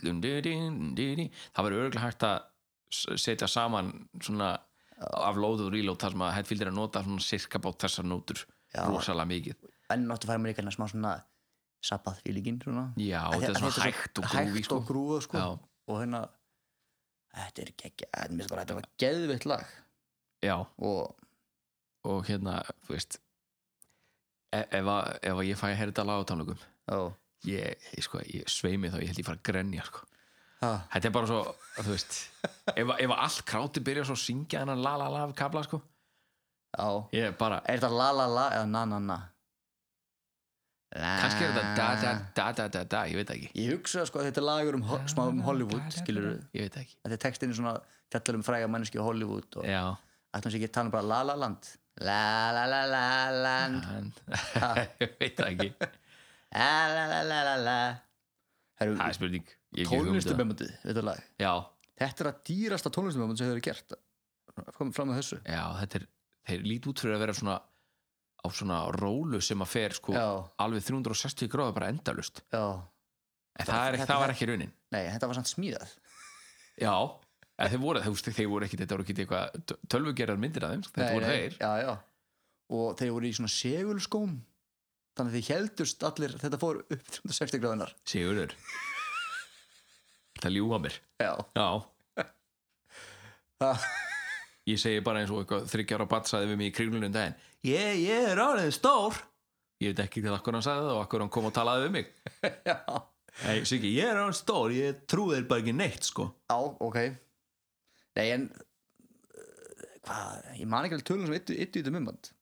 du-du-ding-du-ding. það verður örgulega hægt að s- setja saman svona af load og reload þar sem að Hetfield er að nota svona sirka bát þessar nótur
Já.
rosalega mikið
en náttúrulega færa mér líka hérna smá svona sabbað fílíkin svona
Já,
Af því
þetta
að
er svona
þetta er svo
hægt og grúfi
hægt
sko.
og grúfa sko
Já.
og hérna þetta er geggja, en mér finnst bara að þetta var geðvitt lag
Já,
og
og hérna, þú veist e- ef að, ef að ég fæ að heyra þetta lag á tónleikum
já,
ég, ég, sko, ég sveimi þá, ég held ég fara að grenja sko.
ha,
Þetta er bara svo, þú veist ef, að- ef að allt kráti byrja svo að syngja þennan la la la kabla, sko
já
ég bara,
er þetta la la la eða na na na La.
kannski er
Ah.
þetta da da da da da da, ég veit það ekki
ég hugsa sko að þetta er lagur um ho- smá um Hollywood skilur
Ég veit það ekki
þetta er textin svona fjallar um fræga manneski Hollywood og
Já,
ætlum sér ekki að tala um bara la la land la la la la land
en,
Ah.
ég veit það ekki
la la la la la la
Það
Herru,
er spurning Ég hef ekki hugmynd um það.
tónlistumemundið þetta lag
Já,
þetta er að dýrasta tónlistumemund sem þau eru gert komum fram með þessu
já, þetta er þeir lít út fyrir að vera svona á svona rólu sem að fer sko
Já.
alveg 360 gráða bara endalust
já
en það, er,
þetta-
það var ekki raunin
nei, þetta var samt smíðað
Já, en þeir voru, þú veist, þeir voru ekki þetta voru ekki eitthvað tölvugerar myndir af þeim sko, þetta
Nei,
voru
nei,
þeir
já, já. og þeir voru í svona segulskóm þannig að þeir heldust allir þetta fór upp 360 gráðunar
Sigurður Það ljúga mér
já,
Já
Ha.
Ég segi bara eins og eitthvað þryggjára batsaði við mig í kringlunum daginn Ég, ég er orðið stór Ég veit ekki til akkur hann sagði það og akkur hann kom og talaði við mig
já,
Nei, Siggi, ég er orðið stór, ég trúi þér bara ekki neitt sko
já, ok nei, en uh, hvað, ég man ekki alveg tölum sem yttu yttu í þetta mymband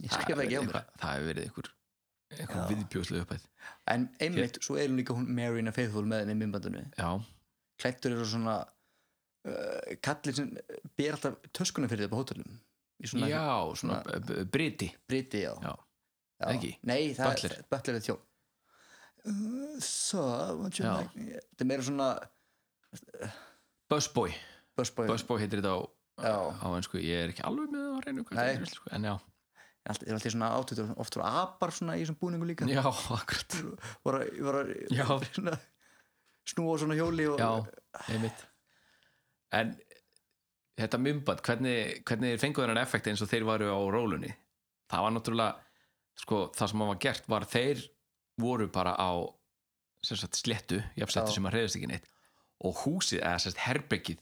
ég skrifa það ekki á
hefur verið
mér
eitthvað- Það hefur verið einhver, einhver viðbjóðslega upphæð
en einmitt, svo er hún líka hún Marina Faithful með henni í mymbandinu
Já,
klættur eru svona uh, kallir sem ber alltaf töskuna fyrir þetta på hótelum í svona
já, svona b- b- briti
briti, já
Já,
Já.
Ekki?
Nei, það
Butler?
er Butler er þjón Uh, So, what you
Já.
like me Þetta er meira svona
Busboy
Busboy Bus.
Busboy heitir þetta á,
Já.
á einsku Ég er ekki alveg með það á reynu hvað
Nei.
þetta er, sko, En já,
Það er alltaf svona átöður Oft voru apar svona í þessum búningu líka
já, akkurat
Voru, voru
Já.
svona, Snúa svona hjóli og,
Já, einmitt Sko, En þetta mymband, hvernig, hvernig þeir fengu þennan effekt eins og þeir varu á rólunni það var náttúrulega sko, það sem var gert var þeir voru bara á sem sagt, sléttu, jafnslettu
Já.
sem að reyðist ekki neitt og húsið, eða sem sagt, herbyggið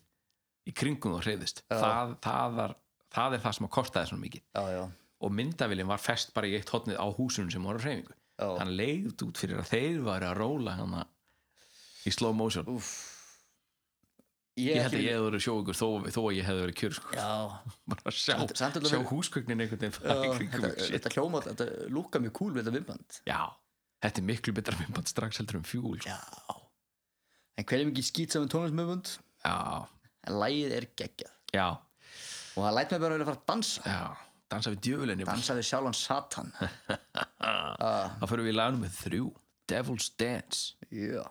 í kringum þá reyðist
Já.
það, það, var, það er það sem að kostaði svona mikið
já, já,
og myndavillin var fest bara í eitt hotnið á húsunum sem voru á reyfingu
já.
hann leiðt út fyrir að þeir varu að róla hana í slow motion
Úff.
Ég
er
held að
ekki-
ég hefði verið sjóingur þó, þó að ég hefði verið kjör sko.
Já,
bara að sjá,
Samt- samt alveg
sjá
verið-
húsgögnin einhvern veginn
já
fara í kringum
þetta,
mig, shit.
þetta hljóma Þetta lúka mjög cool við þetta vimband
Já, þetta er miklu betra myndband strax heldur um fjúl sko.
Já En hver er mikið skýt saman tónlismöfund
Já,
En lægið er geggjað
já,
Og það læt mig bara að fara að dansa
já Dansa við djöfulinni
dansa við sjálfan Satan uh,
Það fyrir við í lagnum með þrjú Devil's Dance
yeah.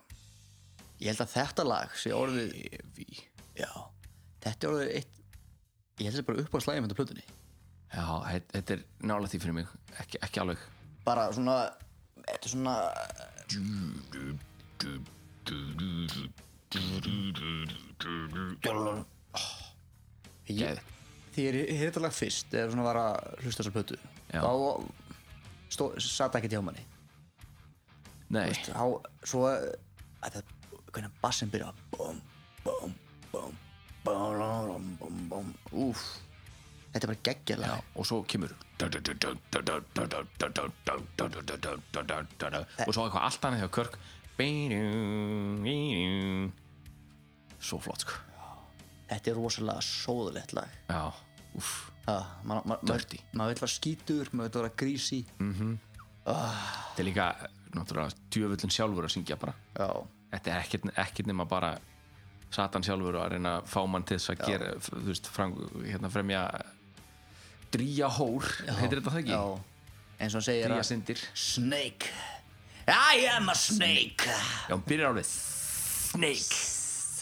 ég held að þetta lag sé orðið
Evi.
já, þetta er orðið eitt ég held að þetta er bara upp á slægjum þetta plötunni
Já, þetta- þetta er nála því fyrir mig Ekki, ekki alveg
bara svona þetta er svona
Geð.
ég, þegar ég heyrði þetta lag fyrst eða svona var að hlusta þessa plötu
Já.
þá stó, sat ekki hjá manni
Nei,
þá svo að það, hvernig bassin byrja bum, bum, bum, bum, bum, bum, bum, úf þetta er bara geggjala
já, og svo kemur Og svo eitthvað allt annað hjá Körk Svo flott sko
þetta er rosalega sóðulegt lag
Já, úff
Ha, ma- ma- ma-
Dirty.
maður vill vera skítur, maður vill vera grísi
Þetta er líka, náttúrulega, djöfullin sjálfur að syngja bara.
já,
Þetta er ekkert, ekkert nema bara Satan sjálfur að reyna að fá mann til þess að gera, f- þú veist, frang, hérna fremja dríja hór, heitir þetta það ekki?
já eins og hann segir
Dríja
að
syndir.
snake I am a snake
Já, hún byrjar alveg snake.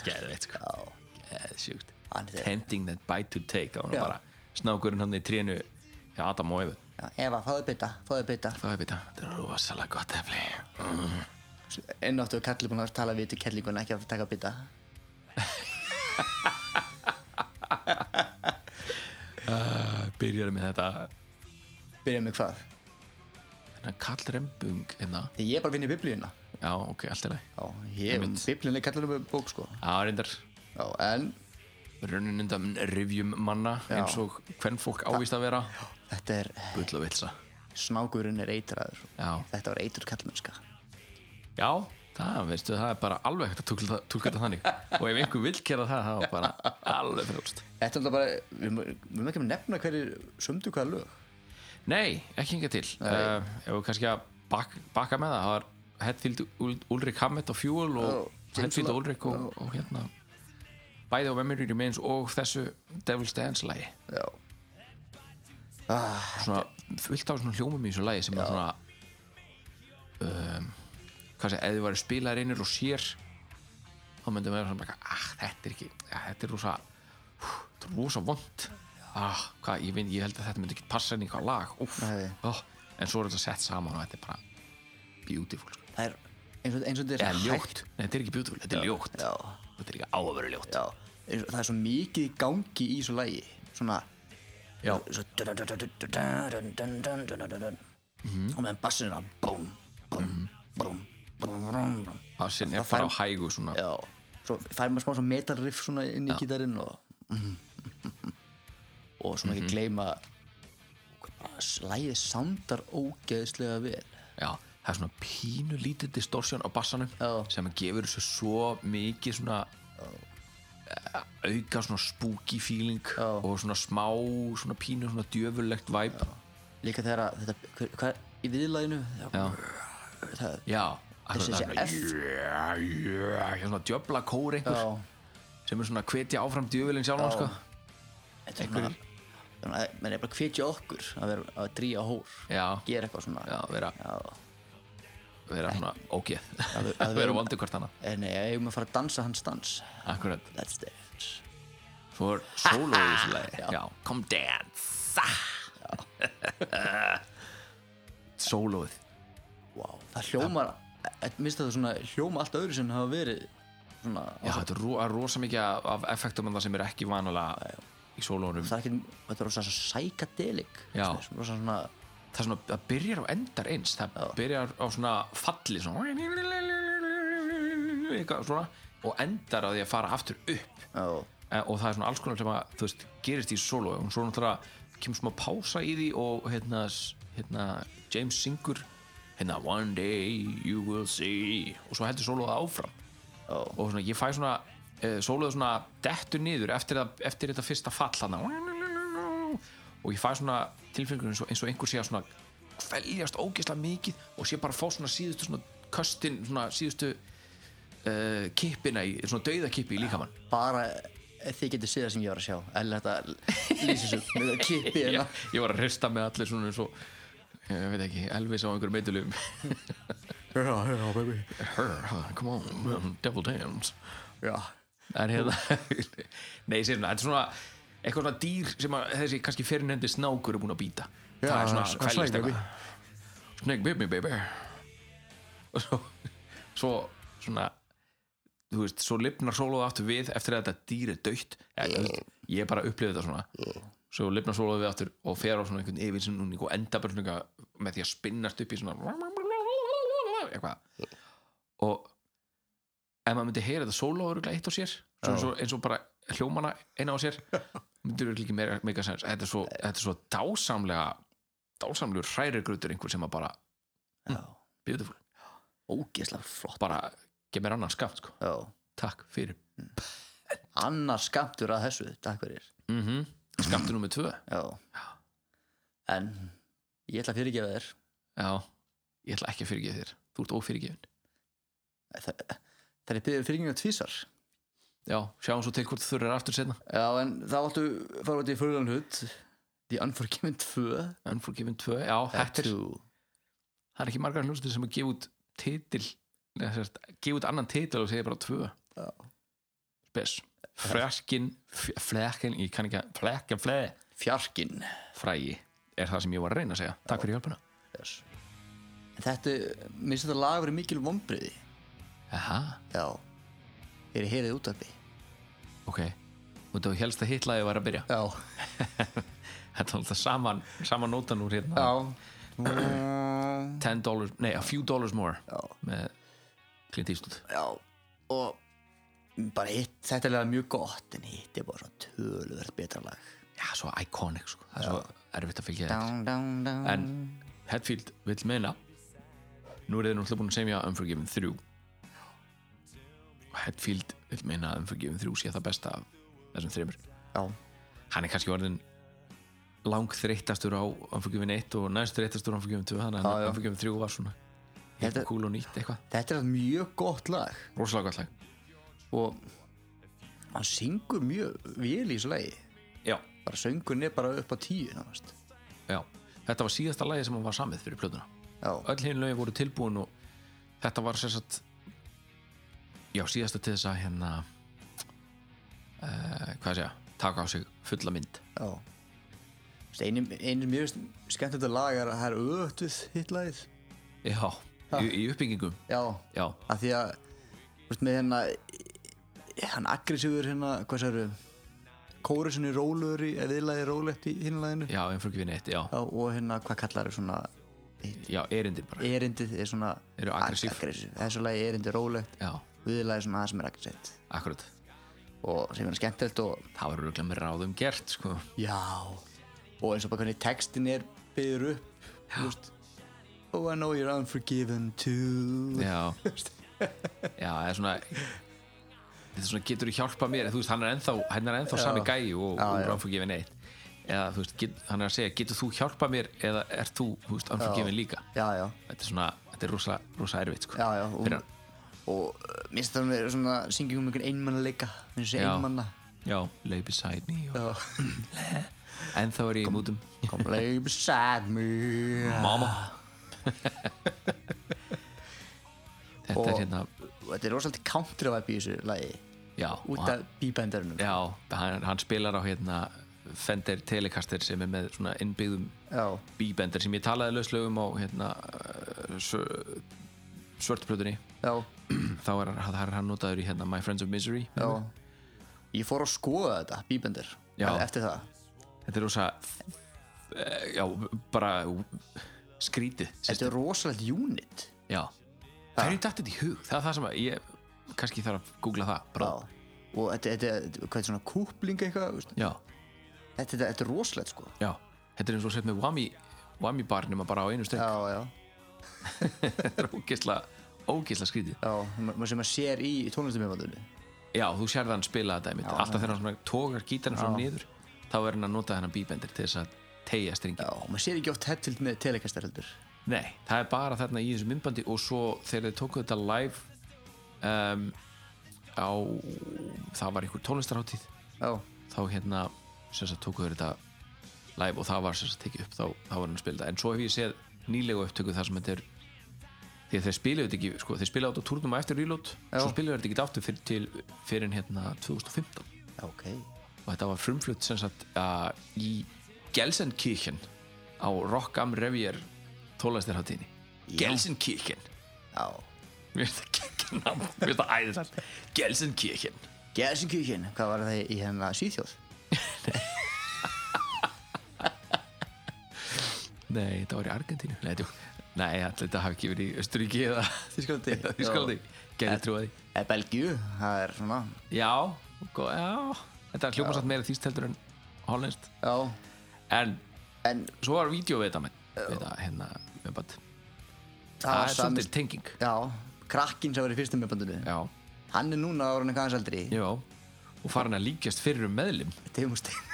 Geðveitt, sko. Geðsjúkt.
Hann er-
Tempting that bite to take, það var
Já.
bara snákurinn hann í trénu, já, Adam og Efu.
já, Eva, fáðu bytta, fáðu bytta
Það er vita, þetta er rosalega gott efli.
ennáttu og kallir búin að tala við til kellinguna ekki að taka bytta
Byrjar með þetta,
byrja með hvað
Hérna, Karl Rembung hérna.
Því ég er bara að vinna í biblíuna
Já, ok, allt er það
Já, ég, biblíuna er kallar um bók sko
Já, reyndar
Já, en
runnin undan rivjum manna eins og hvern fólk ávist að vera
þetta er,
Bull og vilsa
snákurinn er eitraður
Já.
Þetta var eitur kallmennska
Já, það veistu, það er bara alveg hægt að túlka, túlka þetta þannig og ef einhver vil gera það, það er bara alveg frjálst
Þetta er alltaf bara, við má- við mögum ekki að nefna hverjir sömdu hvaða lög
Nei, ekki enga til uh, Ef við kannski að bak, baka með það það var Hetfield Ul- Ulrik Hammett á Fuel og
Já, James
Hetfield
Lo-
Ulrik og, og hérna bæði á Memory Remains og þessu Devil's Dance lagi
Já,
svona fullt á svona hljómum í þessu lagi sem er svona um, hvað sé, ef þið væri spilaðir einir og sér þá myndum við vera svona bara, ah, þetta er ekki, ja, þetta er rosa hú, þetta er rosa vond ah, hvað, ég, veit, ég held að þetta myndi ekki passa inn í hvað lag úf,
Nei.
oh, en svo er þetta sett saman og þetta er bara beautiful sko.
það er eins og, eins og þetta
eða
er svo hægt
ljótt, Nei, þetta er ekki beautiful, þetta er ljótt
Já,
þetta er ekki áveru ljótt
já eins og, Það er svo mikið í gangi í svo lagi Svona
Já.
svo, dun, dun, dun, dun, dun, dun, dun, dun, dun, dun, dun. Og meðan bassinu er Búm, búm, búm, búm, búm, búm
það sinn er
Það
bara á
fær-
hægu svona
Já, svo fær maður smá svona metalriff svona inn í gítarinn og og svona
Mhm.
ekki gleyma bara slæðið soundar ógeðslega vel
Já, það er svona pínu lítið distortion á bassanum
Já.
sem gefur þessu svo mikið svona eh, auka svona spooky feeling
Já.
og svona smá, svona pínu svona djöfurlegt væp Já,
líka þegar að þetta, hver, hvað er í viðlæðinu það,
akkurat,
Þessi-
það er
þessi
svona, yeah, yeah, svona djöfla kór einhver
já,
sem er svona að hvetja áfram djöfurlinn sjálfan sko.
þetta er svona þannig að mann er bara að hvetja okkur að vera að dríja hór
Já.
gera eitthvað svona
Já, vera,
Já.
vera svona ógeð
að
vera
við-
vondu hvort hana
Eh, nei, ég eigum að fara að dansa hans dans
Akkurat,
that's dance
svo er solo í þessu lagi Já, come dance Soloið
wow. það hljómar, eh, minnst þetta svona hljóma allt öðru sem hafa verið svona
Já, þetta er ro að rosa mikið af, af effektum en það sem er ekki vanalega í sólónum.
það er ekki, þetta er rosa svo psychedelic
Já.
svona, rosa svona
Það, er svona, það byrjar á endar eins, það byrjar á svona falli svona, eitthvað svona og endar á því að fara aftur upp
já,
e, og það er svona alls konar sem að, þú veist, gerist í sóló og svo náttúrulega kemur smá pása í því og hérna, s- hérna James syngur hérna one day you will see og svo heldur sólóða áfram
já,
og svona, ég fæ svona uh, sóluðu svona dettur niður eftir, að, eftir þetta fyrsta fall hana. og ég fæ svona tilfengur eins og, eins og einhver sé að svona kveljast ógeðslega mikið og sé bara að fá svona síðustu svona köstin svona síðustu uh, kippina í, svona dauðakippi í líkamann
bara ef þið getur séð það sem ég var að sjá eða þetta lýsir svo með það klippi
ég,
hérna
ég var að hrista með allir svona eins og ég veit ekki, Elvis á einhverjum meitulum
já, já, baby
come on, devil dance
já,
en hérna nei, ég segir svona, þetta er svona eitthvað svona dýr sem að þessi kannski fyrirnendi snákur er búin að býta
Já,
það er svona
hann- hann
kveljast
snake baby.
eitthvað. snake baby baby og svo, svo svona þú veist, svo lifnar sólóðu aftur við eftir að þetta dýr er döitt ég er bara upplifið þetta svona svo lifnar sólóðu við aftur og fer á svona einhvern yfir sem núning og enda bara svona eitthvað með því að spinnast upp í svona eitthvað og ef maður myndi heyra þetta sóló örugglega eitt á sér svo eins, og, eins og bara hljómana eina á sér myndir við líka meira, meika sens þetta er svo, þetta er svo dásamlega dásamlegur hrærigrautur einhver sem að bara
já,
beautiful,
ógeðslega flott
bara gef mér annan skamt sko.
já,
takk fyrir
annar skamtur að þessu takk fyrir,
mm -hmm. skamtu nummið tvö
já en ég ætla að fyrirgefa þér
já, ég ætla ekki að fyrirgefa þér þú ert ófyrirgefin
það, það er byrðið fyrirgefa tvísar
já, sjáum svo til hvort þú þurfir aftur senna
já, en þá áttu fara út í fyrðan hud The Unforgiven 2
Unforgiven 2, já, þetta er
Two.
það er ekki margar hljómsveitir sem að gefa út titil neða, sem sagt, gefa út annan titil og segja bara tvö
Já.
spes frækin, flækin ég kann ekki að flækin, flæ
Fjarkinn
frægi er það sem ég var að reyna að segja takk fyrir hjálpuna
yes. En Þetta, mér finnst þetta lag verið mikil vonbriði
Aha,
Já Þeir heyrið út af því
ok og þú helst að hitlaði var að byrja
Já
þetta var alltaf saman, saman nótan úr hérna
Já
10 dollars, nei, a few dollars more
Já.
með Clint Eastwood
já, og bara hitt, þetta er lega mjög gott en hitt er bara svona töluvert betra lag
já, svo iconic, sko það er svo erfitt að fylgja þetta
down, down, down
en Hetfield vill meina nú er þið náttúrulega búin að semja Unforgiven 3 og Hetfield vill meina að Unforgiven 3 sé það besta af þessum þreymur
já,
hann er kannski orðin lang þreyttastur á Unforgiven 1 og næst þreyttastur á Unforgiven 2 þannig
Já,
að
já.
Unforgiven 3 var svona
Þetta-
cool og nýtt eitthvað,
þetta er mjög gott lag
rosalega gott lag
og hann syngur mjög vel í þessu lagi
já,
bara söngun er bara upp á tíu náttúrulega
já, þetta var síðasta lagi sem hann var samið fyrir plötuna
já,
öll hinn lögin voru tilbúin og þetta var sérsagt já, síðasta til þess að hérna uh, hvað sé ég, taka á sig fulla mynd
já einu, einu mjög skemmt þetta lag er að það er ötuð hitt lagið
já, í, í uppbyggingum
já,
já,
að því að þú veist, með hérna e, hann aggressífur hérna hvað sér kóri sinni rólur í viðlaði rólegt í hinlaðinu
já, en fyrir kvinni eitt já,
og hérna hvað kallar er svona
já, erindin bara
erindið er svona
Eru aggressív.
aggressív. þessu lagi erindið rólegt
já,
viðlaði svona það sem er aggressíft
akkurat,
og sem er skemmtilegt og
það var röglega með ráðum gert sko,
já og eins og bara hvernig textin er byður upp þú veist oh I know you're unforgiven too
já já, það er svona þetta er svona, getur þú hjálpa mér þú veist, hann er ennþá, hann er ennþá sami gæi og,
Já, já.
og ránfugifin eitt eða, þú veist, get, hann er að segja, getur þú hjálpa mér eða er þú, þú veist, ránfugifin líka
já já
þetta er svona, þetta er rosa, rosa erfitt sko.
já, já, og,
Fyrir hann.
og eh, minnst það með svona syngjum um einhvern einmannleika minnst þessi
Já.
einmanna
já, lay beside me og...
Já.
en þá er ég í mútum
come lay beside me
mama þetta
Og-
er hérna
og þetta er rosalega country vibe í þessu lagi
já, og
út
hann,
af bíbendarinnum
já hann, hann spilar á hérna Fender Telecaster sem er með svona innbyggðum
já,
bíbender sem ég talaði lauslögum á hérna uh, svör- svörtuplötunni
já,
þá er, hann- það er hann notaður í hérna My Friends of Misery
já. ég fór að skoða þetta, bíbender
Mhm. Já.
eftir það
þetta er rosa eh, já, bara skrítið
þetta er rosalegt unit
Já Hverju datt þetta í hug? Það er það sem að ég kannski þarf að googla það
já.
bara.
og þetta, þetta, þetta hvað er svona kúpling eitthvað veist?
Já,
þetta, þetta, þetta er rosalegt sko
já Þetta er eins og sett með Wami Wami barnum að bara á einu stund
já, já,
Þetta er ógisla, ógisla skrítið
já ma- ma- sem maður sér í tónlistumjöfandunni
Já, þú sérði hann spila þetta einmitt Alltaf þegar hann svona tókar gítarinn frá niður þá er hann að nota hennan bíbendir til þess að tegja stringin
já, maður sér ekki oft hettild með telekastar heldur
Nei, það er bara þarna í þessu myndbandi og svo þegar þeir tóku þetta live um, á það var einhver tónlistarháttíð
já,
þá hérna sem sagt tóku þau þetta live og það var sem sagt tekið upp þá, þá var hann að spila þetta en svo hef ég séð nýlegu upptöku þar sem þetta er því að þeir spilaðu þetta ekki sko, þeir spilaðu þetta á turnum á eftir reload svo spilaðu þetta ekki aftur fyrir, til, fyrir en hérna 2015
já, ok
og þetta var frumflutt sem sagt uh, í Gelsenkirchen á Rock am Revier tólastirháttíðinni Gelsenkirchen
já
mér finnst það kekkinam mér finnst það æðisar Gelsenkirchen
Gelsenkirchen, hvað var það í hérna Svíþjóð?
Nei, þetta var í Argentínu Nei, djók. Nei ætli þetta hafi ekki verið í Östuríki eða
Þýskalandi.
Eða Þýskalandi Gerði
En-
trúið
Eða Belgíu, það er svona
Já, gó, já Þetta er hljóma satt meira þýst heldur en hollenskt
Já,
En
en
svo var vídeo við þetta með Þetta hérna með bætt
það
Það
var
er svolítið tenging
Já, krakkinn sem var í fyrstum meðbandinu
Já,
Hann er núna ára hann eitthvað hans aldri
já Og farin að líkjast fyrir um meðlim
Tegumustin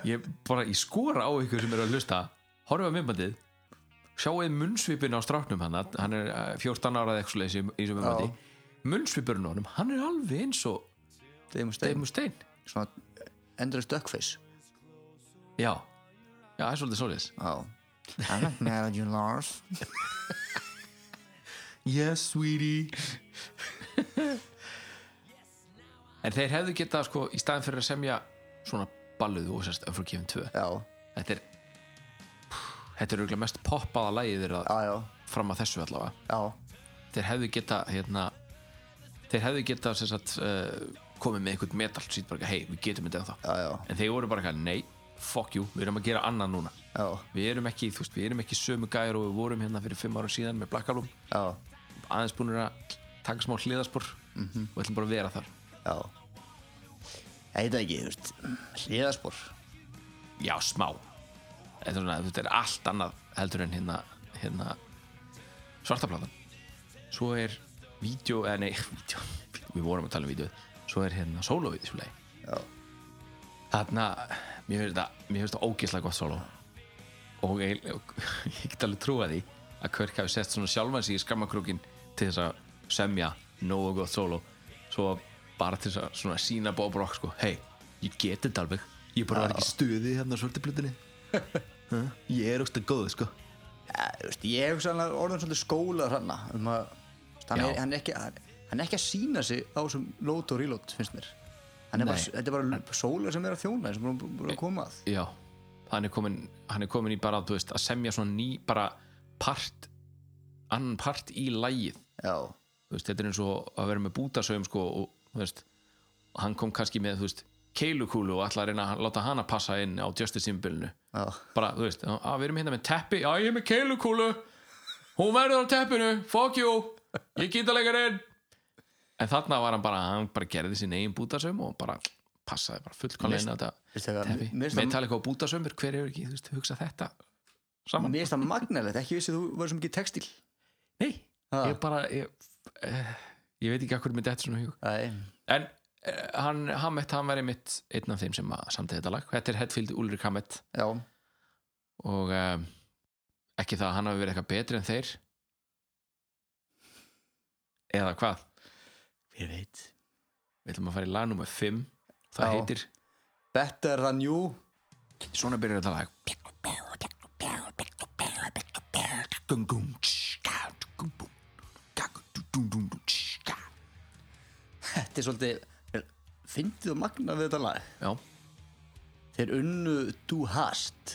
Ég bara, ég skora á ykkur sem eru að hlusta Horfa myndbandið Sjáuð munnsvipin á stráknum hann Hann er eh, 14 ára eða eitthvað leys í þessu myndbandi Munnsvipurinn á honum, hann er alveg eins og Dave
Tegumustin
Mustaine
Svona endurist duckface
Já, já, það er svolítið svolítið
Já I'm not mad at you, Lars
Yes, sweetie En þeir hefðu getað sko í staðin fyrir að semja svona balluðu og sérst Unforgiven 2
Já,
Þetta er Þetta er auðvitað mest poppaða lagið þeirra
já, já,
fram að þessu allavega
já
Þeir hefðu getað hérna Þeir hefðu getað eh, sem sagt uh, komið með einhvern metal sýtt bara hei, við getum þetta ennþá
Já, já.
En þeir voru bara eitthvað, nei, fuck you, við erum að gera annað núna
já,
við erum ekki, þú veist, við erum ekki sömu gæjar og við vorum hérna fyrir fimm ára síðan með Black Album
já,
aðeins búinir að taka smá hliðarspor og ætlum bara að vera þar
já ég veit það ekki, þú veist hliðarspor,
já, smá þetta er, svona, þetta er allt annað heldur en hérna, hérna svartaplatan svo er vídeo, eða nei, vídeo við vorum að tala um vídeo svo er hérna solo í þessu leið
já,
þarna, mér finnst það mér finnst það ógeðslega gott solo og ég, og, ég get alveg trúa því að Körk hafi sett svona sjálfan sig í skammakrúkin til þess að semja nógu gott solo svo bara til þess að svona sína Bob Rock sko, hei, ég get þetta alveg ég bara var ekki í stuði hérna á svörtiplutinni ég er ógst að góð sko
Ja, þú veist, ég hef sannlega orðin svolítið skóla hranna um að, hann,
Já.
er, hann, er ekki, hann, hann er ekki að sína sig á þessum load og reload finnst mér Hann er
Nei.
bara, þetta er bara sóla sem er að þjóna sem er búin að koma að
já, hann er komin hann er komin í bara, þú veist, að semja svona ný bara part annan part í lægið
já,
Þú veist, þetta er eins og að vera með bútasöfum sko, og þú veist, hann kom kannski með þú veist, keilukúlu og ætla að reyna að láta hana passa inn á justice-symbolinu
já,
bara, þú veist, að við erum hérna með teppi já, ég er með keilukúlu hún verður á teppinu, fuck you ég geta leikarinn en þarna var hann bara, hann bara gerði sín eigin bútasöfum og bara passaði bara fullkomlega inn á þetta
veist það
teppi
mér finnst það-
Metallica og bútasöfum, hver hefur ekki, þú veist, hugsa þetta saman,
mér finnst það magnalegt, ekki vissi þú verður sem ekki textil
nei
Ha.
ég bara, ég, eh, ég veit ekki að hverju myndi þetta svona í hug
Æ,
En eh, hann, Hammett, hann verið mitt einn af þeim sem að samtið þetta lag Þetta er Hetfield Ulrik Hammett
já,
og um, ekki það að hann hafi verið eitthvað betri en þeir eða hvað
ég veit
Við ætlum að fara í lag nummer 5 Það
Já.
heitir,
Better than you
svona byrjar þetta lag Gungum Gungum
Þetta er svolítið, fyndið og magnað við þetta lag
Já,
Þeir unnu Du Hast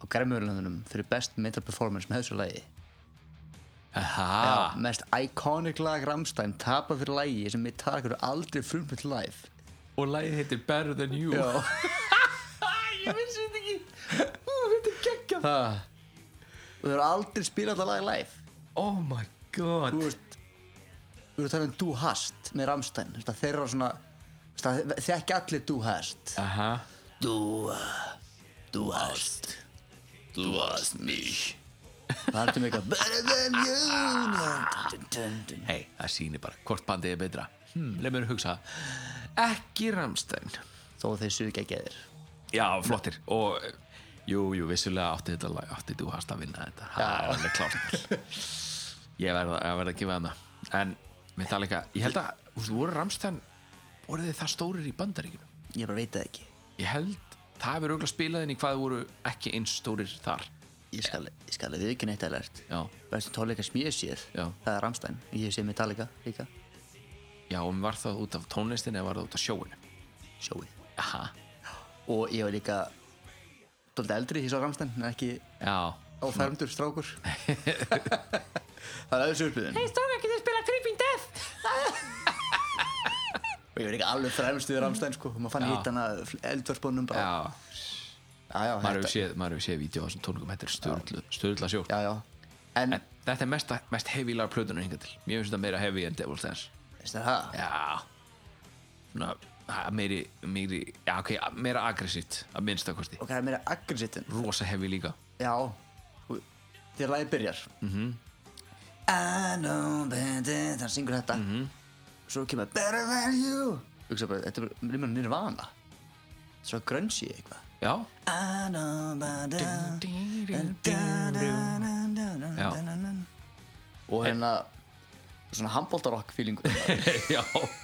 á Græmurlöndunum fyrir best metal performance með þessu lagi
aha Ah.
Já, mest iconic lag Rammstein tapar fyrir lagi sem við takur aldrei frumfjöld live
Og lagið heitir Better Than You
Já.
Ég vissi þetta ekki Ú, Þetta er geggjað
og þau eru aldrei spilað þetta lag live
Oh my god
þú veist þú veist það er um Du Hast með Rammstein þú veist að þeirra svona þú veist að þekki allir Du Hast
Aha
Du Du Hast Du Hast mich það er til mig eitthvað better than you Dun, dun, dun.
Hei, það sýnir bara hvort bandið er betra hmm, Leif mér hugsa Ekki Ramstein
þó þeir séu ekki að geðir
Já, flottir Og eh, jú, jú, vissulega átti þetta lag Átti þú hast að vinna þetta Það er alveg klárt Ég verða að verða að gefa hana En með það líka Ég held að, þú veist, voru Ramstein Voru þið það stórir í bandaríkjum
ég bara veit það ekki
Ég held, það hefur auðvitað spilað inn í hvað þið voru ekki eins stórir þar
ég skal, ég skal við ekki neitt að lært
Já,
bestu tónleika sem ég hef séð
Já.
það er Rammstein, ég hef séð Metallica líka
já, og var það út af tónlistin Eða var það út af sjóinu
sjóið
Aha,
og ég var líka dóldi eldri því svo Rammstein en ekki
já,
áfermdur strákur það er aðeins upplýðin hei strákur, getur spila Creeping Death og ég var líka alveg fremst við Rammstein sko og maður fann
Já.
hitt hana eldvörpunum bara
já
já, já,
Maður
þetta-
hefur séð, maður hefur séð vídeo á þessum tónungum, þetta er stöðla, stöðla sjó
já, já. en,
En þetta er mest, mest heavy lag plötunum hingað til Mér finnst þetta meira heavy en Devil's Dance
veist það það?
Já Svona, ha, meiri, meiri Já, ok, meira aggressíft að minnsta kosti
ok, það er meira aggressivt en
Rosa heavy líka
já, sko, þegar lagið byrjar
Mhm.
I know that it hann syngur þetta
Mhm.
svo kemur better than you hugsa bara, þetta er bara limur nirvana svo grungy eitthvað
Já,
I know that
Já.
it og hérna svona handbóltarokk feeling
já,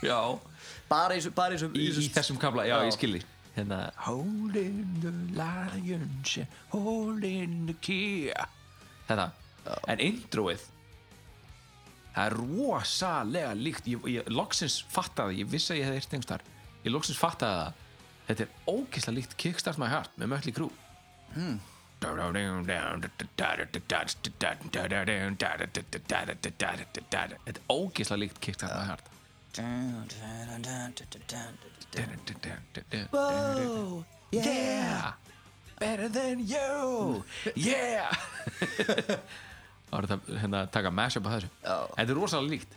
já
bara í, svo- bara í, svo-
Í,
svo-
í þessum kabla, já,
Já.
ég skilji Hérna Hold in the lions Hold in the key Þetta En introið Það er rosalega líkt Ég, ég loksins fattaði, ég vissi að ég hefði eirt einhvers þar Ég loksins fattaði það Þetta er ógeðslega líkt Kickstart My Heart með Mötli Krú Hmm. Þetta er ógeðslega líkt Kickstart My Heart
Dun, dun, dun, dun, dun, dun, dun.
Whoa, Yeah Better than you Yeah Það var þetta hérna, að taka mashup að þessu
Já.
Þetta er rosalega líkt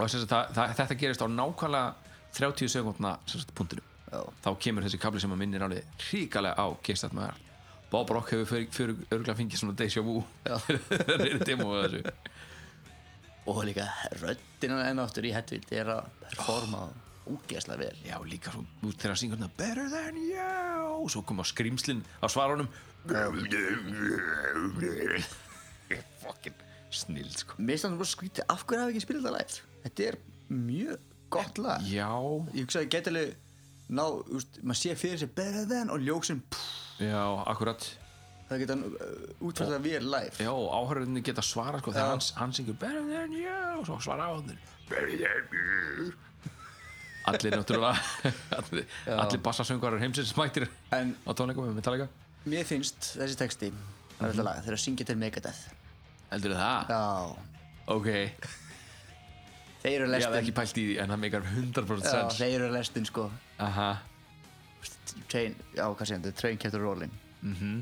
og þess að það, það, þetta gerist á nákvæmlega 30 sekundna punktinu
Já.
þá kemur þessi kabli sem að minnir alveg ríkalega á Kistat Magar Bob Rock hefur fyrir, fyrir örgulega fengið svona deja vu þegar þeir demo að þessu
og líka röddina enn áttur í Hedvild er að
Ah.
performa oh. úgeðslega vel
Já, líka svo, þú veist, þegar að syngja hérna Better than you Svo kom á skrýmslin á svarunum Fucking snill, sko
mér finnst þannig að skrítið, af hverju hafi ekki spilað þetta live þetta er mjög gott lag
Já,
ég hugsa að ég geti alveg ná, úst, maður sé fyrir sér better than og ljók sem pff,
já, akkurat
það geta hann uh, útfært að vera live
Já, áhörðinni geta svara, sko Þegar hans, hann syngur Better than you Og svo svara á hann Better than you Allir náttúrulega Allir, allir bassasöngvarar heimsins mættir
En-
Á tónleikum með Metallica
mér finnst þessi texti
Mhm.
það er þetta lag, þeir eru að syngja til Megadeth
Heldur það?
já,
Ok,
þeir eru
ég hafði
lestin
ekki pælt í því En það meikar 100%
já,
sens
þeir eru lestin sko
Aha,
train, já, hvað séum þetta, train kept a rolling -hmm.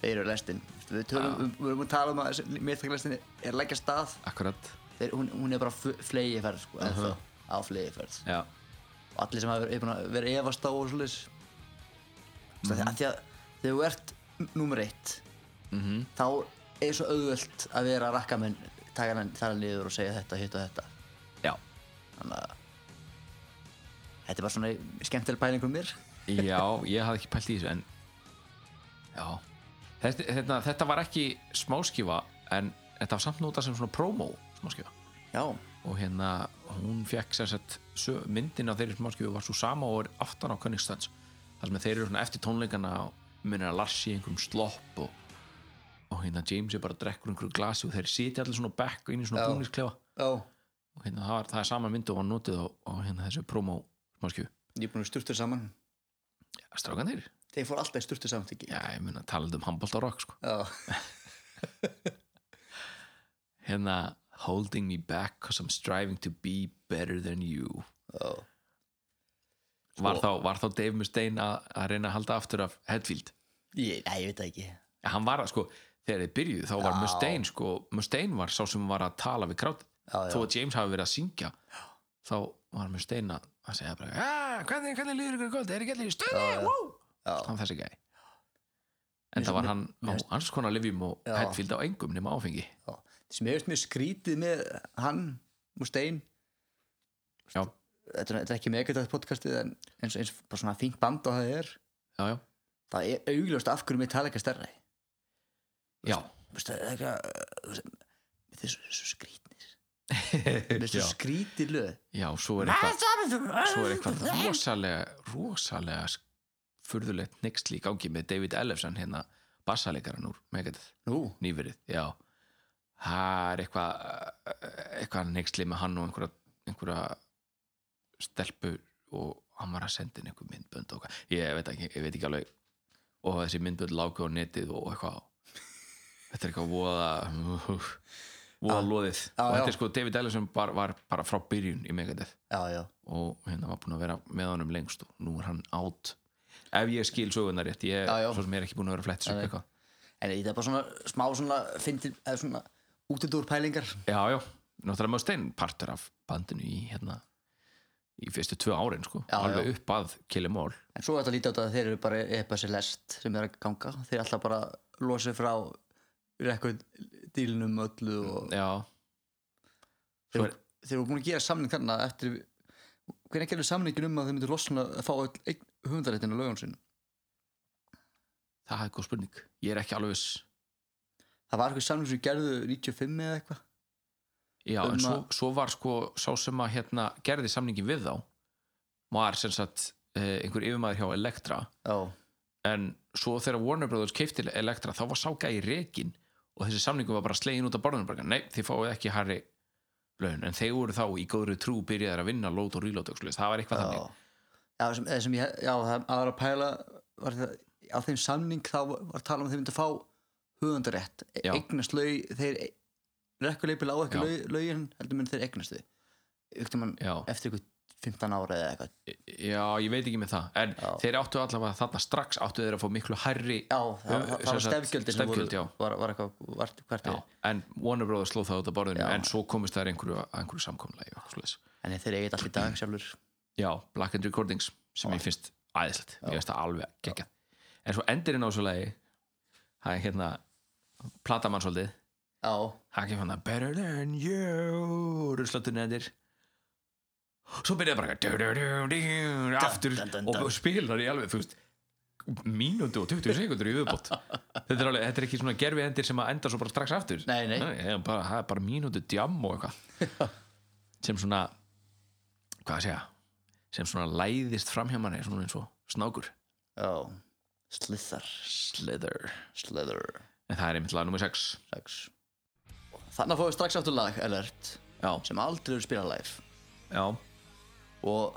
þeir eru lestin við tölum, við- við erum að tala um að meðtaklistin er að leggja stað
akkurat
þeir, hún, hún er bara flegi ferð sko, uh -huh. á flegi ferð
Já,
og allir sem hafa verið- búin að vera efast á og svoleiðis mm -hmm. því að þegar þú ert n- númer eitt -hmm. þá er svo auðvöld að vera að rakka menn taka menn þar niður og segja þetta, hitt og þetta
já
þannig að þetta er bara svona skemmtileg pæling um mér
Já, ég hafði ekki pælt í þessu en Já Þetta, þetta, þetta var ekki smáskifa en þetta var samt nota sem svona promo smáskifa
já,
og hérna hún fekk sem sagt sö- myndin á þeirri smáskifu var svo sama og er aftan á Königstöns þar sem þeir eru svona eftir tónleikana og munir að Lars í einhverjum slopp og, og hérna James er bara að drekkur einhverju glasi og þeir sitja allir svona á bekk og inn í svona
Já.
búnisklefa
já
og hérna það, var, það er sama myndu og var notið á, á hérna þessu promo smáskifu
ég er búin að sturta saman
Strákan þeir?
þeir fór alltaf í sturta saman ekki
Já, ég mun að tala um handbóltarokk sko
já,
hérna holding me back because I'm striving to be better than you
já, Sko
var þá, var þá Dave Mustaine að, að reyna að halda aftur af Hetfield
ég, nei, ég veit það ekki
en hann var að sko, þegar þið byrjuðu þá var Mustaine sko, Mustaine var sá sem var að tala við krát,
Já, já.
þó að James hafi verið að syngja þá var Mustaine að, að segja bara, "Ah, hvernig, hvernig líður ykkur í kvöld, er ekki allir í stöði Woo!"
Já.
hann þessi gæði en það var hann á hans konar livjum og
Já.
Hetfield á engum nema áfengi
já. það sem ég veist mér skrítið með hann Mustaine
já,
þetta er, þetta er ekki megadætt podcastið en eins, eins bara svona fínt band og það er
já, já,
það er augljóst af hverju Metallica er stærri
já.
Veistu, það er eitthvað þú veist, þetta er svo, svo skrítnir þetta er svo
Já.
skrítið lög
Já, svo er eitthvað svo er eitthvað rosalega rosalega sk- furðulegt nexli í gangi með David Ellefson hérna bassalegaran úr Megadeth
nú,
nýverið, já það er eitthvað eitthvað nexli með hann og einhverja, einhverja stelpu og hann var að senda inn einhver myndbönd og eitthvað. ég veit ekki, ég veit ekki alveg og þessi myndbönd lágu á netið og eitthvað þetta er eitthvað voða voða loðið
já,
og þetta
já.
er sko David Ellison var, var bara frá byrjun í Megadeth
já, já,
og hérna var búin að vera með honum lengst og nú er hann átt ef ég skil sögunar rétt, ég
Já, já.
svo sem ég er ekki búin að vera flett
Já,
sög
já.
eitthvað
en þetta er bara svona smá svona, fyndin, eða svona útidúr pælingar
Já, já, náttúrulega maður stein partur af bandinu í hérna í fyrstu tvö árin sko,
Já,
alveg
já.
upp að Killim All
en svo er þetta lítið á þetta að þeir eru bara eitthvað sér lest sem er að ganga, þeir er alltaf bara losið frá rekord dílnum öllu og
Já,
þeir,
Svo er-
þeir voru búin að gera samning þarna eftir hvernig gerðu samningin um að þeir myndu losna að fá öll eign- höfundaréttin á lögum sinn
það er góð spurning Ég er ekki alveg viss
það var eitthvað samning sem þeir gerðu 95 eða eitthvað
Já,
Um
en svo,
að-
svo var sko sá sem að hérna gerði samningin við þá var sem sagt eh, einhver yfirmaður hjá Elektra
já,
en svo þegar Warner Brothers keifti Elektra þá var sáka í rekin og þessi samningu var bara slegin út af barnum bara, nei, þið fáið ekki harri laun en þeir voru þá í góðri trú byrjaðar að vinna lót og reload og svoleiðis. það var eitthvað
já.
þannig
já, sem, eða sem ég, já það það var að pæla var það, á þeim samning þá var var að tala um að þeir myndu fá höfundarétt e-
Já.
eignast lög, þeir rekkuleipil á ekki
Já.
lög, lögin heldur myndu þeir eignast þau Yktum mann,
Já.
eftir eitthvað 15 ára eða eitthvað
já, ég veit ekki með það en þeir áttu allavega þarna strax áttu þeir að fá miklu hærri
Já, það, það, það var stefgjöldin sem voru,
stefgjöld, já,
var, var eitthvað vart, hvert
já.
er
en Warner Brothers sló það út af borðinu en svo komist þær einhverju, að einhverju samkomlega
En þeir eigið allt í dag sjálfur
já, Black and Recordings sem ég finnst aðeinslegt, ég veist það alveg geggjað en svo endurinn á svo lagi það er hérna platamann svolítið
Já,
Það kemur hann að Better than you Ruslatunni endir Svo byrjaði bara du, du, du, du, Aftur
dun, dun, dun.
og spilar í alveg Þú veist mínútu og 20 sekundur í viðbót þetta er, alveg, þetta er ekki svona gerfi endir sem að enda svo bara strax aftur
Nei, nei.
ég, bara, það er bara mínútu djam og eitthvað sem svona hvað að segja sem svona læðist fram hjá manni svona eins og snákur
já Slither,
Slither
Slither
en það er einmitt lag nummer 6
Sex. Þannig að fóðu strax aftur lag, Elert
já,
sem aldrei eru spilað live
já,
og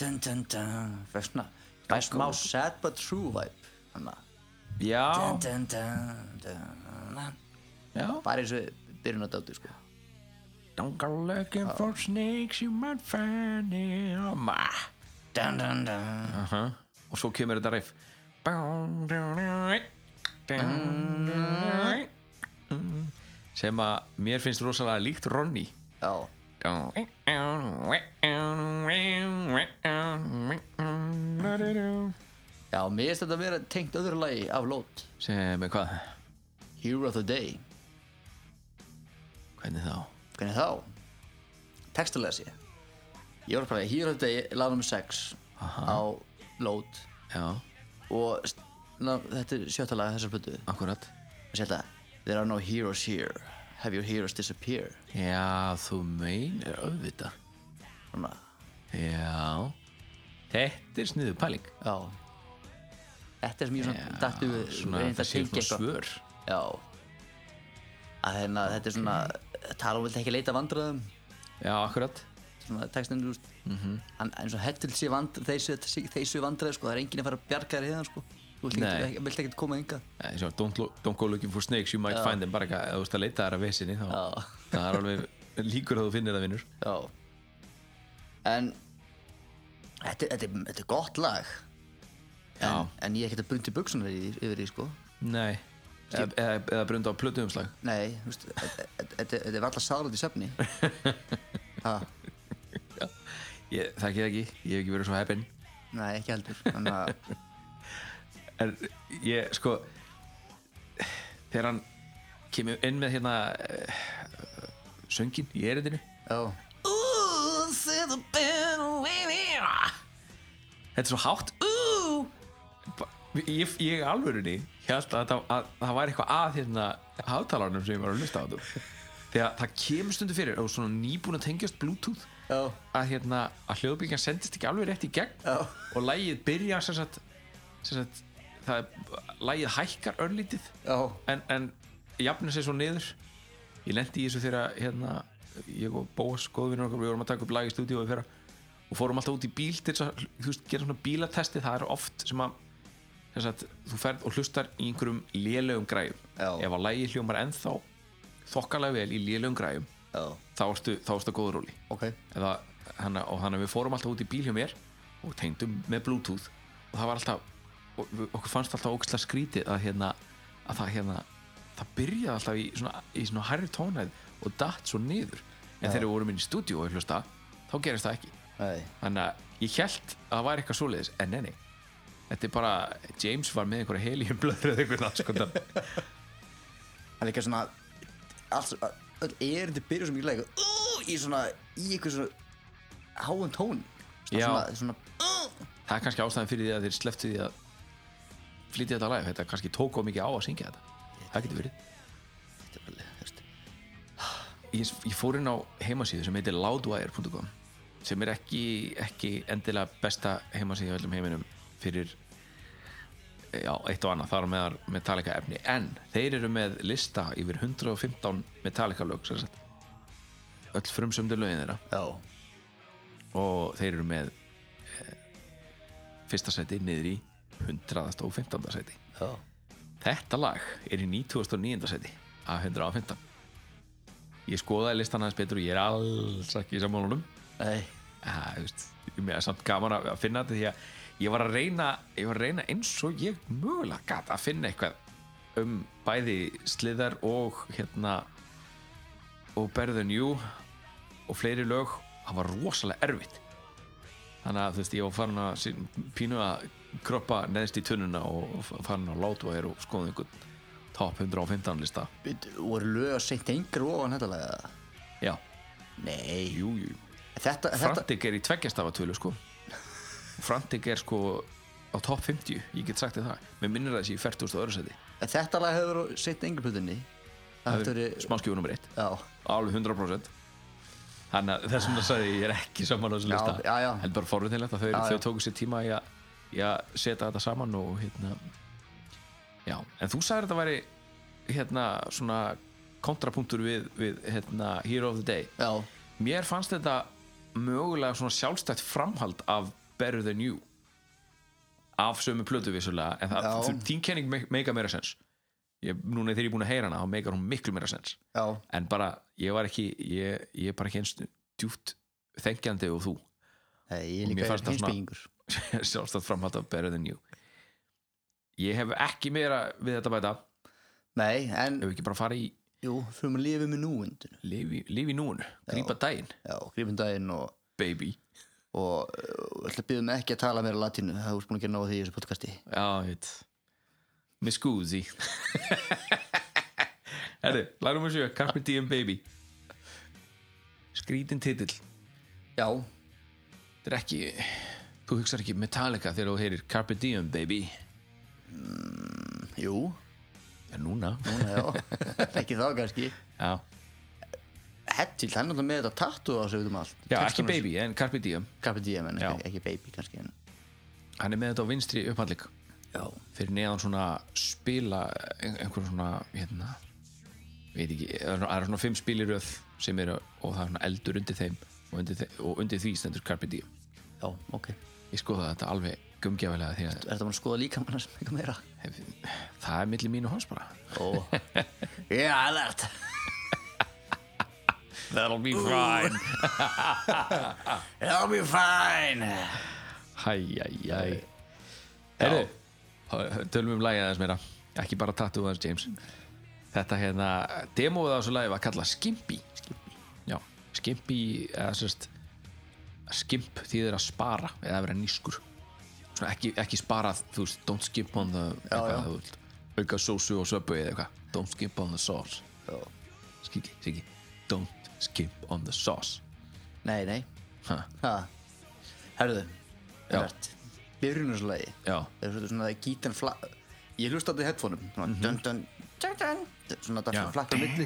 dun, dun, dun, fæst svona fæ smá sad but true vibe þannig að
já,
dun, dun, dun, dun, dun.
já.
bara eins og byrjun að dátu sko
Don't go looking for snakes you might find them
dun, dun, dun.
uh -huh. Og svo kemur þetta riff sem að mér finnst rosalega líkt Ronny
já, já, mér finnst þetta að vera tengt öðru lagi af lót
sem er hvað
Hero of the Day,
hvernig þá
hvernig þá? textulega sé ég var bara að Hero of the Day, lag nummer 6 á lót
já,
og s- na, þetta er sjötta lag þessar plötu
akkurat
og sér þetta There are no heroes here Have your heroes disappear
já, þú meinir auðvitað
Svona,
já þetta er sniðu pæling
já Þetta er sem ég svona Dattu við
svona,
reyndi að
það séu svona
tengja eitthvað.
svör
Já að hérna, Þetta er svona Tala vilt ekki leita að vandræðum
já, akkurat
Svona textin, þú veist mm Hann eins og hettil sé vand Þeir séu þeir séu vandræð sko Það er enginn að fara að bjarga þér hérna sko Þú vilt
Nei.
ekki, vilt ekki koma ynga
Nei, sjá, don't, lo- don't go looking for snakes, you might find them bara eitthvað, ef þú ert að leita þær að vesinni þá
Já.
það er alveg líkur að þú finnir það vinnur
Já En Þetta, þetta, er- þetta er gott lag
Já.
en, en ég er ekkert að bundi buksunar yfir því sko
Nei, eða, eða, eða brunda á um plötuumslag
Nei, þú veist, e, þetta- þetta þetta- þetta er alltaf sálut í söfni
ég, Það ekki það ekki, ég hef ekki verið svo heppin
Nei, ekki heldur Þannig að,
En ég, sko þegar hann kemur inn með hérna uh, söngin í erindinu
já
Ooh, see the band waving. Þetta er svo hátt Ooh. Ba- Ég, ég alvörunni held að, það- að það væri eitthvað að hérna hátalarnum sem ég var að lusta á þú þegar það kemur stundu fyrir og svona nýbúin að tengjast bluetooth
Já.
að hérna að hljóðbyggjan sendist ekki alveg rétt í gegn
Já.
og lægið byrja sem sagt, sem sagt það er, lægið hækkar örlítið
Já,
en, en jafnir sér svo niður ég lendi í þessu þegar hérna, ég og Bóas, góðvinnur okkar við vorum að taka upp lag í stúdíu og fyrra og fórum alltaf út í bíl til þess að þú veist, gera svona bílatesti, það er oft sem að sem sagt, þú ferð og hlustar í einhverjum lélegum græjum
Já.
ef að lægi hljómar ennþá þokkalega vel í lélegum græjum
já,
þá ertu, þá ertu að góður róli
ok
eða, hana, og þannig að við fórum alltaf út í bíl hjá mér og tengdum með bluetooth og það var alltaf og við- okkur fannst alltaf ógislega skrítið að hérna að það hérna það byrjaði alltaf í svona, í svona hærri tónæð og datt svo niður en þegar við vorum inn í stúdíu og ég hlusta þá gerist það ekki
Nei,
þannig að ég held að það væri eitthvað svoleiðis en neini þetta er bara James var með einhverja helíum blöður eða einhverja skoðan
það er líka svona alls, Öll erindi byrju sem ég leik Ú, uh, í svona, í eitthvað svona Háum tón Svona,
Já.
svona, svona
það er kannski ástæðan fyrir því að þeir sleftu því að flytja þetta lag þetta kannski tók á mikið á að syngja þetta það getur verið
Þetta er bara, þú veist
ég, ég fór inn á heimasíðu sem heitir loudwire.com sem er ekki, ekki endilega besta heimasíðu í öllum heiminum fyrir já, eitt og annað, þar á meðar Metallica efni, en þeir eru með lista yfir 115 Metallica lög sem sagt. öll frumsömdu lögin þeirra
Já,
og þeir eru með eh, fyrsta seti niður í 115. seti
já
Þetta lag er í 99. seti af 115 Ég skoðaði listan hans betur og ég er alls ekki í sammálunum
Nei,
ja, þú veist, ég meða samt gaman að að finna þetta því að ég var að reyna, ég var að reyna eins og ég mögulega gat að finna eitthvað um bæði sliðar og hérna og Better Than You og fleiri lög, það var rosalega erfitt þannig að þú veist, ég var farin að sín- pínu að kroppa neðst í tunnuna og farin að láta þér og skoða einhvern top 115 lista
Bíddu, voru lög að seint engur ofan þetta lag eða?
já,
Nei
jú, jú
Þetta, þetta,
Frantic er í tveggjastafa tölu sko Frantic er sko á top 50, ég get sagt þér það mér minnir það sé í 40 öðru seti
þetta lag hefur verið seint engur plutinni Það hefur verið
smáskjóðunum reitt,
Já,
alveg 100% þannig að þess vegna sagði ég, ég er ekki saman á þessum
Já,
lista
já, já.
heldur bara forvitinlegt að þau,
Já, já.
þau tóku sér tíma í að, í að setja þetta saman og hérna já, en þú sagðir þetta væri hérna svona kontrapunktur við, við hérna Hero of the Day
já,
Mér fannst þetta mögulega svona sjálfstætt framhald af Better Than You af sömu plötu vissulega en
Já.
það, þín kenning me- meika meira sens ég, núna þegar ég er búin að heyra hana þá meikar hún miklu meira sens
já
en bara, ég var ekki ég, ég er bara ekki eins djúpt þengjandi og þú
Nei, ég
Og
er
mér
líka
fannst það svona-
heimsbyggingur
sjálfstætt framhald af Better Than You ég hef ekki meira við þetta að bæta ef
Nei, en,
við ekki bara fara í
jú, fyrir maður lifið með núundinu
lifi, lifi núinu, grípa daginn
Já, grípum daginn og
baby,
og uh, ætla að byggja mig ekki að tala meira latínu það er búin að gera náðu því í þessu podcasti
Já, ég veit Með skúzi Herðu, lagum við sjö Carpe Diem Baby Skrítin titill
já,
Þetta er ekki Þú hugsar ekki Metallica þegar þú heyrir Carpe Diem Baby
jú,
En núna
núna já ekki þá kannski
Já,
Hettil, hann er náttúrulega með þetta tattoo á sig út um allt
Já ekki Baby en Carpe Diem
Carpe Diem, en
Já.
ekki, ekki baby kannski en.
Hann er með þetta á vinstri upphandlik
já,
Fyrir neðan svona spila ein- einhver svona hérna veit ekki, það eru- það eru svona fimm spiliröð sem eru og það er svona eldur undir þeim og undir, þe og undir því stendur Carpe Diem
já, ok er
ég skoða þetta alveg gumgjafilega því að
þetta bara að skoða líka mann sem eitthvað meira
hef, það er milli mín og hans bara
ó, já, alert
That'll be fine
I'll be fine
Hæjæjæj Herru, tölum um lagið aðeins meira ekki bara tattu aðeins James þetta hérna, demóið á þessu lagi var kallað Skimpi Já, Skimpi eða sérst Skimp þýðir að spara eða vera nýskur Svona ekki, ekki spara, þú veist, don't skimp on the eitthvað,
já.
þú veist, auka sósu og söpu eða eitthvað, don't skimp on the sauce Skiki, skiki Don't skimp on the sauce
nei, nei,
ha,
ha herðu,
Já.
alert byrjunarslagi
Já,
það er svolítið svona gítan fla... ég hlusta þetta í headphoneum svona, dun, dun, dun, dun, dun, svona þetta
Mhm. Já.
flakkar milli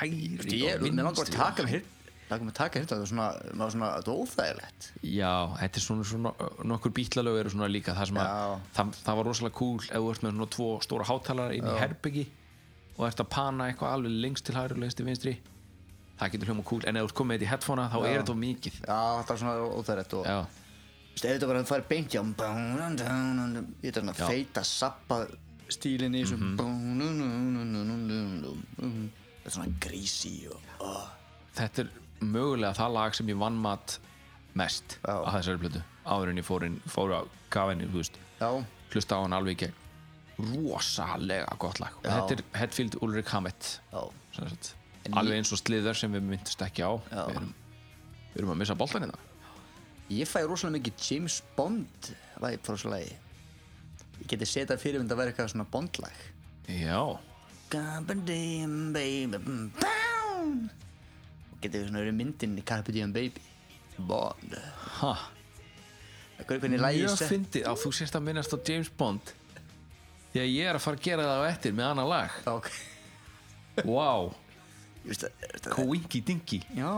Hægri
ég,
og
mér langar bara að
vinstri.
taka hérna? mig hirt langar mig að taka hirt þetta er svona, maður svona, þetta er óþægilegt
Já, þetta er svona, svona nokkur bítlalög eru svona líka það, sem að,
Já.
það, það var rosalega cool ef þú ert með svona tvo stóra hátalara inn í herbyggi og ert að pana eitthvað alveg lengst til hægri og lengst til vinstri það getur hljóma cool, en ef þú ert komið með þetta í headphonea þá er þetta of mikið
já, þetta er svona óþægilegt og
Já,
Veistu, ef þetta bara fær beint hjá bún, dun, dun, dun, dun, ég er þannig
Já. Mhm.
að feita sappa stílinn í þessum bún, dun, dun, dun, dun, dun, dun, dun, dun. þetta er svona grísi og oh,
þetta er mögulega það lag sem ég vann mat mest
Já.
á þessari plötu áður en ég fór, inn, fór á kafinni, þú veist
já,
hlusta á hann alveg í gegn rosalega gott lag og
Já.
þetta er Hetfield Ulrik Hammett
já,
sem sagt.
En
alveg eins og sliðar sem við myndist ekki á
Já.
við erum, við erum að missa hérna. boltan í það
ég fæ rosalega mikið James Bond væp frá þessu lagi ég geti setað fyrirmynd að vera eitthvað svona Bond-lag
já,
Carpe diem baby bum, bum. og getur við svona verið myndin í Carpe diem baby Bond
ha
hvernig, hvernig lægi
mjög
sett
fyndið að þú sérst að minnast á James Bond því að ég er að fara að gera það á eftir með annan lag
Já, ok.
wow,
Ég veist að- veist að-
kóingi dingi
já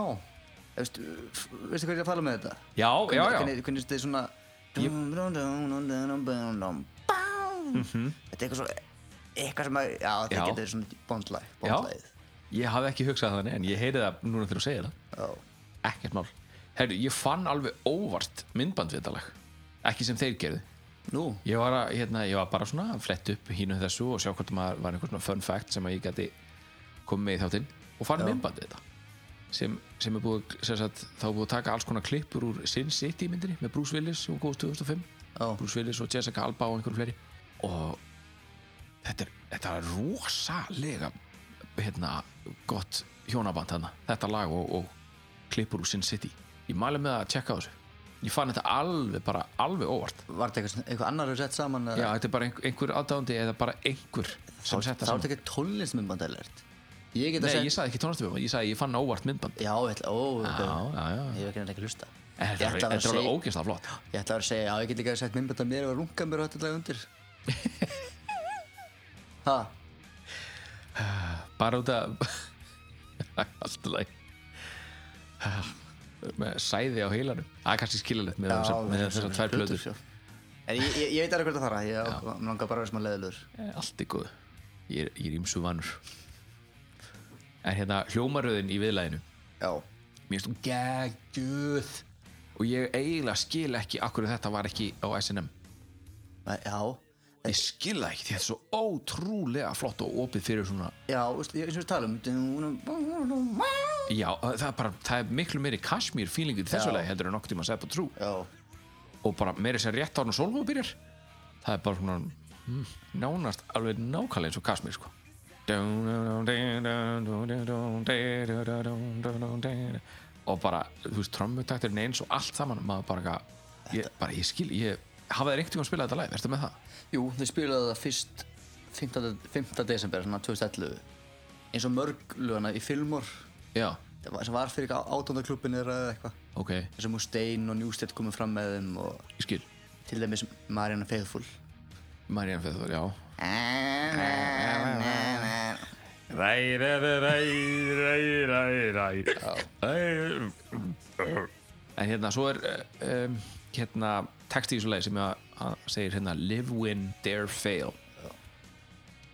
veistu f- veistu hvað ég er að fara með þetta
já, já, já,
hvernig, hvernig þetta er svona Dum, dum, dum, dum, dum, dum, dum, bum. þetta er eitthvað svo eitthvað sem að já
Mhm. Já.
þetta getur verið svona Bond-lag
já
Bond-lagið
ég hafði ekki hugsað þannig en ég heyri það núna þegar þú segir það
já
ekkert mál Herru, ég fann alveg óvart myndband við þetta lag ekki sem þeir gerðu
nú
Ég var, að, hérna, ég var bara svona að fletta upp hínu þessu og sjá hvort maður var einhver svona fun fact sem að ég gæti komið með í þáttinn og farið myndbandið þetta sem, sem er búið, sem sagt, þá er búið að taka alls konar klippur úr Sin City myndinni með Bruce Willis sem góðst 2005
Ó.
Bruce Willis og Jessica Alba og einhverjum fleiri og þetta er, þetta er rosalega hérna, gott hjónaband þarna, þetta lag og, og klippur úr Sin City ég mæli með að tjekka á þessu ég fann þetta alveg, bara alveg óvart
Var þetta eitthvað, eitthvað annar sett saman
já, þetta er bara einhver, einhver aðdáðandi eða bara einhver sem
Þá er
setta
þetta
saman
ekki tónlistmyndband alert Ég get að
nei,
segja
ég sagði ekki tónastöfum, ég sagði ég fann óvart myndband
Já, ég ætla, ó,
já, já, já
ég hef ekki nefnir ekki að hlusta
En
Ég
Þetta
ætla
er
að
þetta
vera
er alveg
seg-
ógeðslega flott
Ég ætla að vera að segja, já, ég get líka að setja myndband af mér og runga mér og þetta lag undir Ha,
Bara út af Allt í lagi Með sæði á heilanum Það er kannski skilalegt með
Já,
þessar- með
við
þessar
þessar
tvær
plötur,
blöður
já. En ég, ég, ég veit alveg hvert að fara, ég á- mig langar bara að vera smá leðilur
Allt í góðu Ég er- ég er ímsu vannur En hérna hljómaröðin í viðlæðinu
Já,
Mér finnst hún geggjöð Og ég eiginlega skil ekki Akkur þetta var ekki á SNM
Æ, já,
Ég skil það ekki því þetta er svo ótrúlega flott Og opið fyrir svona
já, veist, ég- eins og við talum Já,
Já, það er, bara, það er miklu meiri Kashmir fílingu í þessu
Já.
lagi heldur en nokkuð tíma að segja på trú
já,
og bara meira sér rétt án og sólhóðu byrjar það er bara svona mm, nánast alveg nákvæmlega eins og Kasmir sko og bara, þú veist, trommutakturinn eins og allt saman, maður bara eitthvað ég, bara, ég skil, ég hafa þeir einhvern tíma að spila þetta lag, verður með það?
jú, þau spilaðu það fyrst 15. 15. desember, svona 2011 eins og mörg lögana í Filmor
Já,
sem var fyrir átöndarklubbin eða eitthvað
ok,
eins og Mustaine og Newstead komið fram með þeim og
ég skil
til dæmis Mariana Faithfull
Marianne Feður, já En hérna, svo er eh, um, hérna, texti í þessu leið sem að, að segir hérna Live, win, dare, fail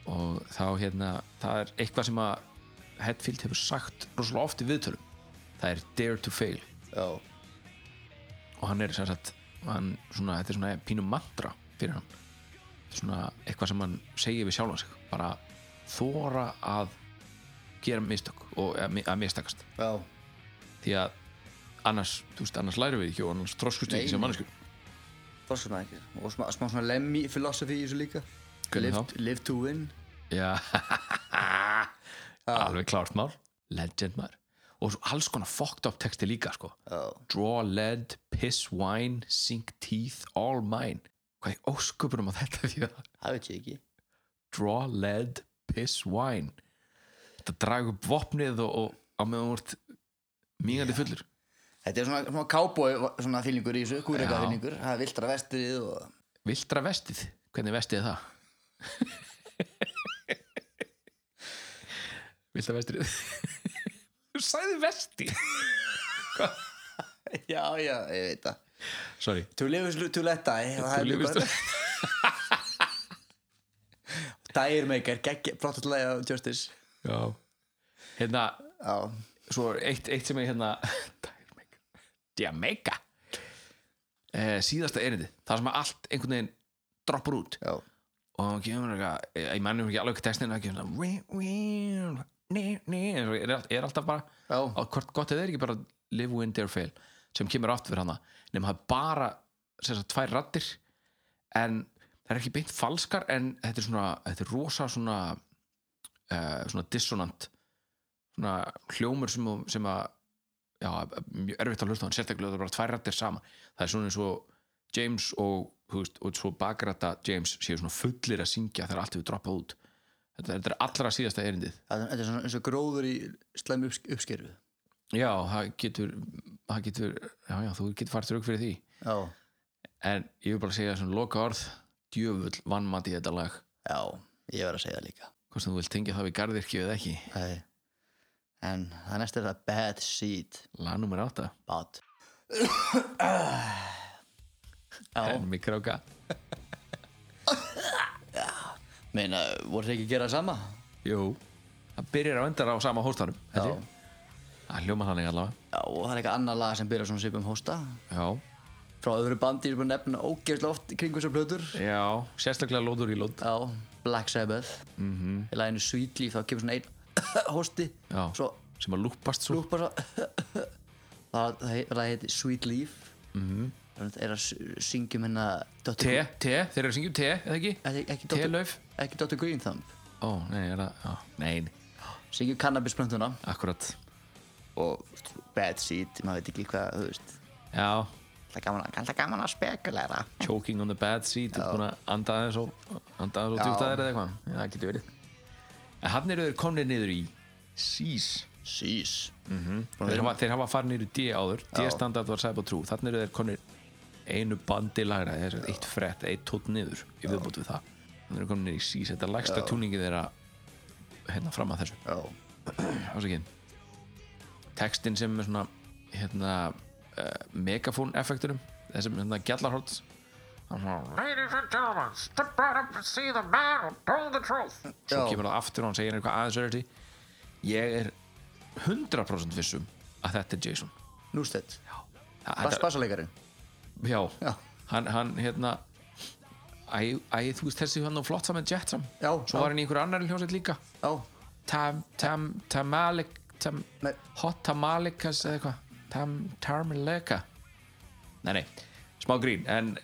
og þá hérna það er eitthvað sem að Hetfield hefur sagt rosalega oft í viðtölum það er dare to fail
já,
og hann er sem sagt hann, svona, þetta er svona pínum mantra fyrir hann svona eitthvað sem hann segir við sjálfan sig bara þóra að gera mistök og eða mi- að mistakast
já,
því að annars, þú veist, annars lærum við ekki og annars þroskust við
Nei,
ekki sem
nei.
mannesku
það er svona ekki og smá, smá svona lemmi filosofi í þessu líka
Hvernig
live,
þá?
live to win
Já Alveg klárt mál Legend maður Og svo alls konar fucked up texti líka sko
já,
Draw lead, piss wine, sink teeth, all mine Hvað er ósköpunum á þetta því að
það veit ég ekki
Draw lead, piss wine Þetta dragu upp vopnið og, og á meðan úr mingandi fullur
þetta er svona, svona cowboy svona fílingur í þessu,
Já.
kúrika fílingur það er viltra vestrið og
Vildra vestið, hvernig vestið er það? Vildra vestrið Þú sagði vesti
já, já, ég veit það
Sorry
to live is to let die
To
það er
live is
líka- Dire Maker, gegg, flott að læga Justice
Já Hérna,
já,
svo er eitt, eitt sem er hérna Jamaica Jamaica eh, Síðasta erindi, það sem að allt einhvern veginn droppar út
já,
og hann kemur eitthvað, eh, ég mannum ekki alveg textin það kemur svona "Wee, wee, nee, nee", er, allt- er alltaf bara
Já.
á hvort gott eða er ekki bara live, win, dare, fail sem kemur aftur fyrir hana nema það er bara sem sagt, tvær rattir en það er ekki beint falskar en þetta er svona, þetta er rosa svona uh, svona dissonant svona hljómur sem, sem að já, eh, mjög erfitt að hlusta á hann sérstaklega það er bara tvær rættir saman það er svona eins og James og þú veist, og svo bakrætta James séu svona fullir að syngja þegar allt hefur droppað út þetta, þetta er allra síðasta erindið
Það- þetta er svona eins og gróður í slæmi upps- uppskeru
já, það getur, það getur já, já, þú getur farið trögg fyrir því
já,
en ég vil bara segja svona loka orð djöfull vannmati þetta lag
já, ég verð að segja það líka
hvort sem þú vilt tengja það við garðirkju eða ekki
Nei. En það næst er það Bad Seed
lag nummer 8
Bad
en mig kráka
Meina, voru þið ekki að gera það sama?
Jú, það byrjar að endara á sama hóstanum held ég. Það hljóma þannig allavega
Já, og það er eitthvað annað lag sem byrjar svona svipum hósta
Já,
Frá öðru bandi sem er búin að nefna ógeðslega oft í kringu þessar plötur
já, sérstaklega lóður í lót
Já, Black Sabbath mm -hmm. Í laginu Sweet Leaf þá kemur svona einn hósti
Mhm. Já.
Svo
sem að lúpast svo
lúpa svo það, það, heit- það heiti Sweet Leaf mm -hmm. er að s- syngjum hérna Dr.
Mhm. Te,
Green-
te, þeir eru að um syngjum te, eða ekki?
Ekki, ekki, Dr.
Telauf?
ekki Dr. Green Thumb
Ó, nei, er það, á, nei,
syngjum kannabisplöntuna
akkurat
og þú veist, Bad Seed, maður veit ekki hvað þú veist,
Já,
það er gaman, að- alltaf gaman að spekulera
choking on the bad seat Þú ert búin að anda aðeins og anda aðeins og djúpt að þér eða eitthvað Já, það getur verið En hann eru þeir komnir niður í Sís
sís
Þeir hafa, þeir hafa farin niður í D áður D standart var sæpa trú Þannig eru þeir komnir einu bandi lagra eða sem sagt Eitt frett, eitt tótt niður Í viðbútt við það Þannig eru komnir niður í Sís Þetta er lægsta túningi þeirra Hérna fram að þessu
já,
ásakinn textin sem er svona hérna uh, megafón effektunum þessum hérna gjallarhótt
Ladies and gentlemen, step right up and see the man who told the truth.
svo kemur það aftur og hann segir eitthvað aðeins öðru ég er 100% vissum að þetta er Jason
nústett
Það-
Bas,
þetta-
basalegarinn
já,
Já.
Hann, hann hérna æ, æ, þú veist þessi hann og flott saman Jet sam
Já,
svo
já.
var hann í einhverju annari hljóset líka
já,
tam, tam, tamalik tam,
Nei.
hot tamalikas eða eitthvað tam, tamalika nei, nei, smá grín en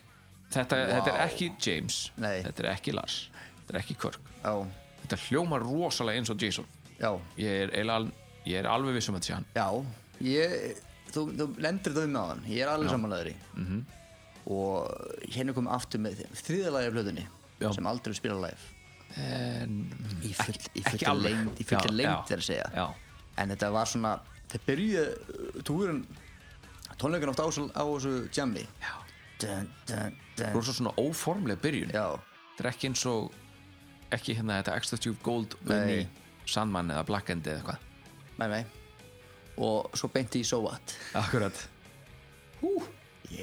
þetta, þetta er ekki James
Nei.
þetta er ekki Lars þetta er ekki Kirk
já,
þetta hljómar rosalega eins og Jason
já
ég er, eiginlega al, ég er alveg viss um að þetta sé hann
já, ég þú, þú lendir það um á hann, ég er alveg samanlegaðri mm
Mhm.
-hmm. og hérna kom aftur með þriðalagi af blöðunni
Já.
sem aldrei spila live
en,
í full, í
ekki
full
alveg.
lengd, í full
Já,
lengd
já,
þegar að segja
já.
en þetta var svona það byrjuði túrin tónleikan oft á, þessu- á þessu jammi
já,
dun, dun, dun.
rosa svona óformlega byrjun
já,
þetta er ekki eins og ekki hérna þetta extra stjúf gold unni
Nei.
Sandman eða Black End eða eitthvað
mæ mæ og svo beinti í so what
Akkurat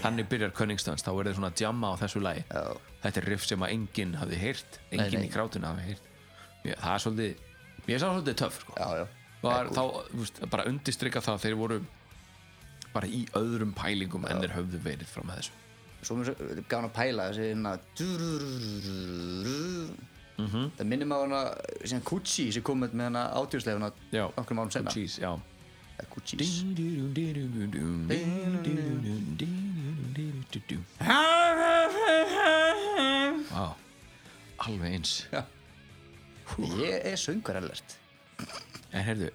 Þannig byrjar Cunningstons, þá er það svona að jamma á þessu lagi
Já.
Þetta er riff sem að enginn hafði heyrt Enginn
nei.
í krátinu hafði heyrt Mér, Það er svolítið, mér sá svolítið töff sko.
já, já,
Var, þá, þú veist, bara undistrykka það að Þeir voru bara í öðrum pælingum En þeir höfðu verið fram að þessu
svo mér svo- gaf hann að pæla þessi hérna það minnir maður hana sem Kuchi sem kom með hana ádjóðslega hana
Já.
okkur málum senna
Cheese, já
Kuchis
Vá, Alveg eins
ég er söngur ellert
En heyrðu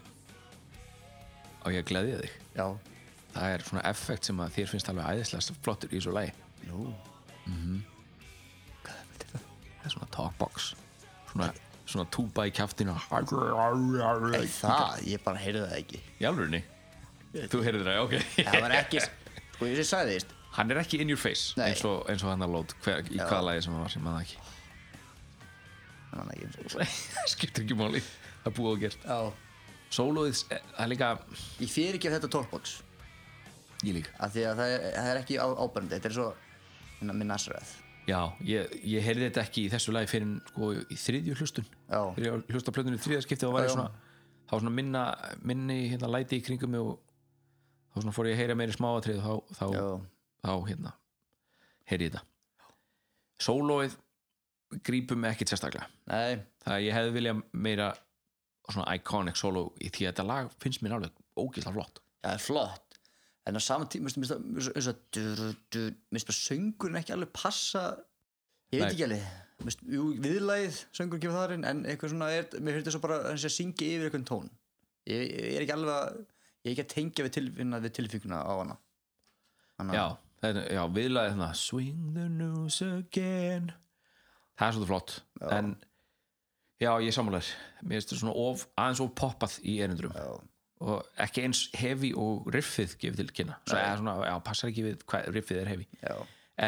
Á ég að gleðja þig
já,
það er svona effekt sem að þér finnst alveg æðislega flottur í þessu lagi það er svona talkbox svona, svona túpa í kjaftina
Ei, það, ég bara heyrði það ekki
í alvörunni þú heyrðir það, ok
það var ekki sko ég sem sagði þist
hann er ekki in your face
Nei.
eins og, eins og hann að lót hver, í hvaða lagi sem hann var sem hann ekki
hann ekki eins og
skiptir ekki máli það er búið og gert
Já.
sólóið, það er líka
ég fyrir ekki af þetta talkbox
ég líka
af því að það er, það er ekki á, ábærandi þetta er svo hérna minn nasrað
já, ég, ég heyrði þetta ekki í þessu lagi fyrir sko, í þriðju hlustun
Já.
þegar ég hlusta á plötunni í þriðja skipti þá var
Já,
ég
já.
svona þá var svona minna, minni hérna læti í kringum mig og þá svona fór ég að heyra meiri smáatrið og þá, þá, þá hérna heyri ég þetta sólóið grípum mig ekkit sérstaklega
nei
það að ég hefði viljað meira svona iconic solo í því að þetta lag finnst mér alveg ógislega flott
það er flott en á sama tíma minnst það eins og duru, duru, minnst bara söngurinn ekki alveg passa ég veit
Nei.
ekki alveg minnst, jú, viðlæð söngurinn gefur það inn en eitthvað svona er, mér finnst það svo bara að það syngi yfir eitthvað tón ég, ég er ekki alveg að ég er ekki að tengja við, tilfinna, við tilfinguna á hana hana
já, þetta, já viðlaði þarna swing the news again það er svolítið flott en já, ég er sammálar mér finnst þetta svona of, aðeins of poppað í erindrum
Já.
og ekki eins heavy og riffið gefið til kynna svo eða svona, já, passar ekki við hvað riffið er heavy
já,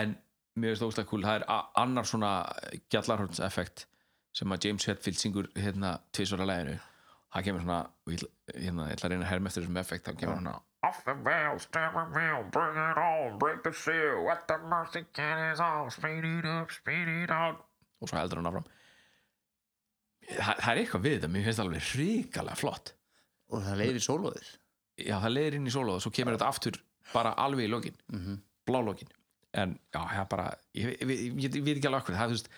en mér finnst það óslega cool það er a- annar svona gjallarhorns effekt sem að James Hetfield syngur hérna tvisvara læginu það kemur svona, og ég ætla- hérna, ég ætla að reyna að herma eftir þessum effekt, það kemur svona
Off the rail, stab a rail, bring it on, break the seal, at the mercy can is all, speed it up, speed it out.
og svo heldur hann áfram Þa, það er eitthvað við þetta, mér finnst það alveg hrikalega flott
og það leiðir sólóðið
já, það leiðir inn í solo og svo kemur þetta aftur bara alveg í lokin, mm
Mhm.
-hmm. blálókin en já, það er bara ég, ég, ég, ég, ég veit ekki alveg akkur, það, er, þú veist,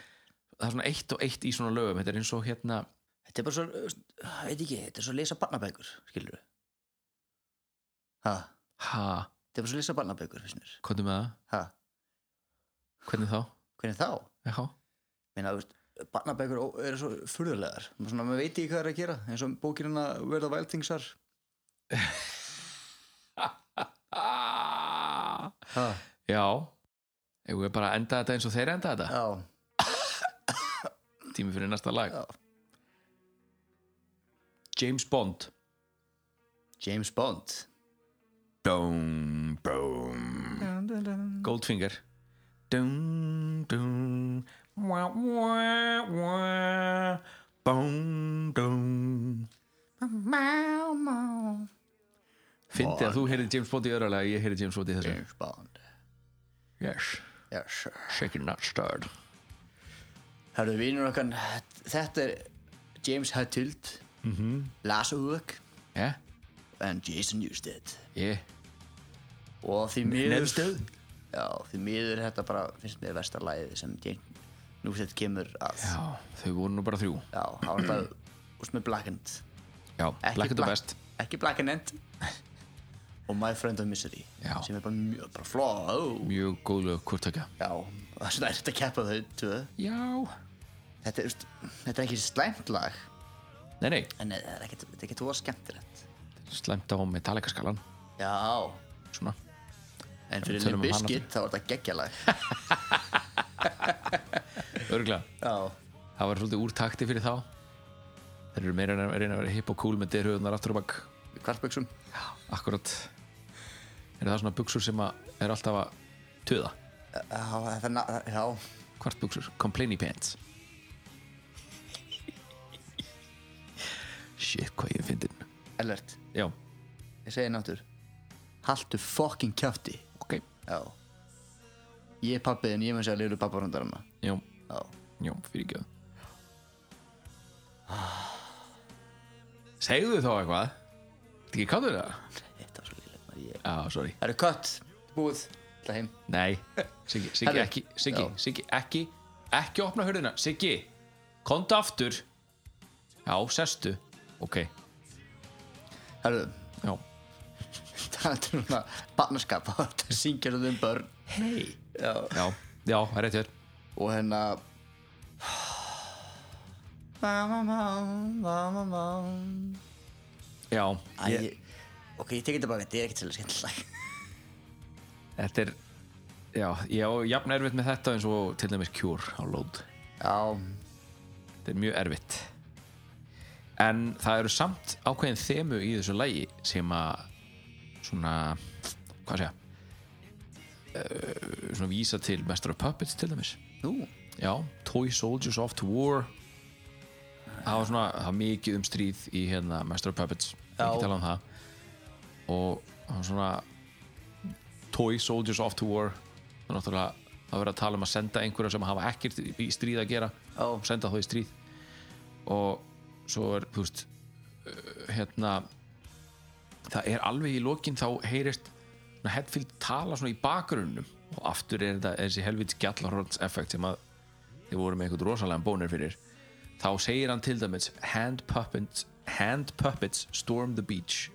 það er svona eitt og eitt í svona lögum þetta er eins og hérna
þetta er bara svo, uh, veit ekki, þetta er svo að lesa barnabækur skilur við, Ha,
ha,
þetta er bara svo lýsa barnabækur, finnst mér.
hvernig með það?
Ha,
hvernig þá?
hvernig þá?
Já,
Meina, þú veist, barnabækur ó- eru svo furðulegar. Svona, maður veit ekki hvað er að gera, eins og bókinina Where the Wild Things Are. Ha,
já. Ég er bara að enda þetta eins og þeir enda þetta
já,
tími fyrir næsta lag
já.
James Bond
James Bond.
Dum, bum. Goldfinger Dum, dum Wah, wah, wah Bum, dum Fyndi að þú heyrið James Bond í öðralega ég heyrið James Bond í þessu
James Bond.
Yes,
Yes, sir.
shaking not stirred
Herðu vinur okkar, þetta er James Hetfield, -hmm. Lars Ulrich
Yeah,
en Jason Newsted.
yeah
Og því miður...
Newsted?
Já, því miður er þetta bara, finnst mér, versta lagið sem James Newsted kemur að.
Já, þau voru nú bara þrjú
Já, hann var þetta, úst með Black End.
Já,
Ekki
Black and the
Black-
Best
Ekki Black End. og My Friend of Misery.
Já.
Sem er bara mjög, bara fló, ó.
Mjög góð lög hvort tökja
Já, það er svona erfitt að keppa þau, tvö.
Já
Þetta er, úst, þetta er ekki slæmt lag,
Nei, nei,
en það er ekkert, þetta er ekkert voða skemmtilegt.
slæmt á Metallica skalan
Já,
Svona
En fyrir
Tölum
Limp
um hana.
Bizkit þá er þetta geggjalag
Örglega
Já
það var svolítið úr takti fyrir þá þeir eru meira að reyna að vera hip og cool með derhauðunar aftur og bakk
Í kvartböksum
akkurat er það svona buksur sem að er alltaf að töða
Já, það er na- það- já
hvart buksur, complaining pants shit hvað ég finn þinn
Ellert,
já,
ég segi náttur Haltu fucking kjátti
ok,
Já Ég er pappið en ég með segja að liður papparundar hana
já,
Já
já, fyrir ekki segðu þá eitthvað Ertu ekki káttur það?
Þetta var svo lilla maður ég
já, sorry
Það eru kött Búið Það heim
Nei, Siggi, Siggi
Herðu,
ekki Siggi,
já.
Siggi, ekki ekki opna hörðina, Siggi komdu aftur já, sestu, ok
Herðu
já.
Það er núna Barnaskap Það er að syngja það um börn
hei
Já
já, já, það er rétt hér
Og hérna Mamma, mamma, mamma
já,
Æ, ég, ok, ég tekið þetta bara, þetta er ekkert svolítið skemmtileg
þetta er já, ég á jafn erfitt með þetta eins og til dæmis Cure á load
Já,
þetta er mjög erfitt en það eru samt ákveðin þemu í þessu lægi sem að svona, hvað segja uh, svona vísa til Master of Puppets til dæmis
nú,
Já, Toy Soldiers of to War Það var svona það var mikið um stríð í hérna Master of Puppets, ekki tala um það og það var svona Toy Soldiers of to War það er náttúrulega að vera að tala um að senda einhverja sem hafa ekkert í í stríð að gera
Já.
og senda þá í stríð og svo er, þú veist uh, hérna það er alveg í lokin þá heyrist svona Hetfield tala svona í bakgrunnum og aftur er þetta þessi helvits gjallhorns effekt sem að þið voru með einhvern rosalega bónir fyrir þá segir hann til dæmis hand puppets, hand puppets storm the beach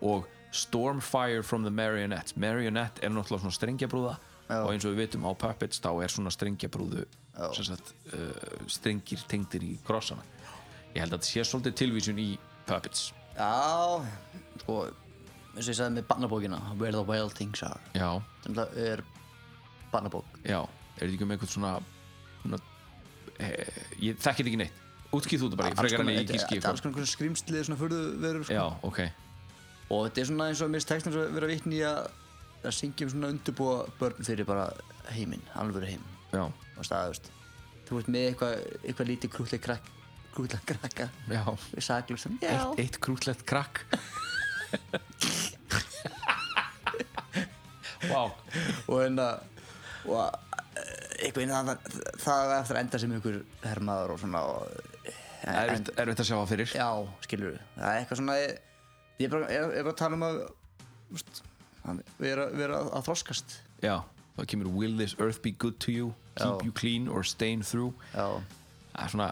og storm fire from the marionette marionette er náttúrulega svona strengjabrúða og eins og við vitum á puppets þá er svona strengjabrúðu sem sagt, uh, strengir tengdir í krossana ég held að þetta sé svolítið tilvísun í puppets
já Sko, eins og ég sagði með barnabókina Where the Wild Things Are
já,
Þannig að er barnabók
já, er þetta ekki um einhvern svona, svona eh, ég þekki þetta ekki neitt útkýð þú þetta bara, ég frekar hann í
þetta
gíski
þetta er alls konar einhverjum skrýmslið svona furðu verur sko.
já, ok,
Og þetta er svona eins og mér tekstum að vera vitni í að að syngja um svona undurbúa börn fyrir bara heiminn, alvöru heim
já,
og staðust Þú ert með eitthvað eitthvað lítið krútlega krakk krútlega krakka
já
við saklusum Já,
eitt, eitt krútlegt krakk Vá,
og hérna og eh, einhvern veginn það, það, það á eftir að enda sem einhver hermaður og svona og,
erfitt, erfitt að sjá það fyrir
já, skilur það er eitthvað svona ég, ég er bara, ég er bara að tala um að úst, hann- vera, vera að, að þroskast
Já, þá kemur Will this earth be good to you Keep
Já.
you clean or stain through
já,
Það er svona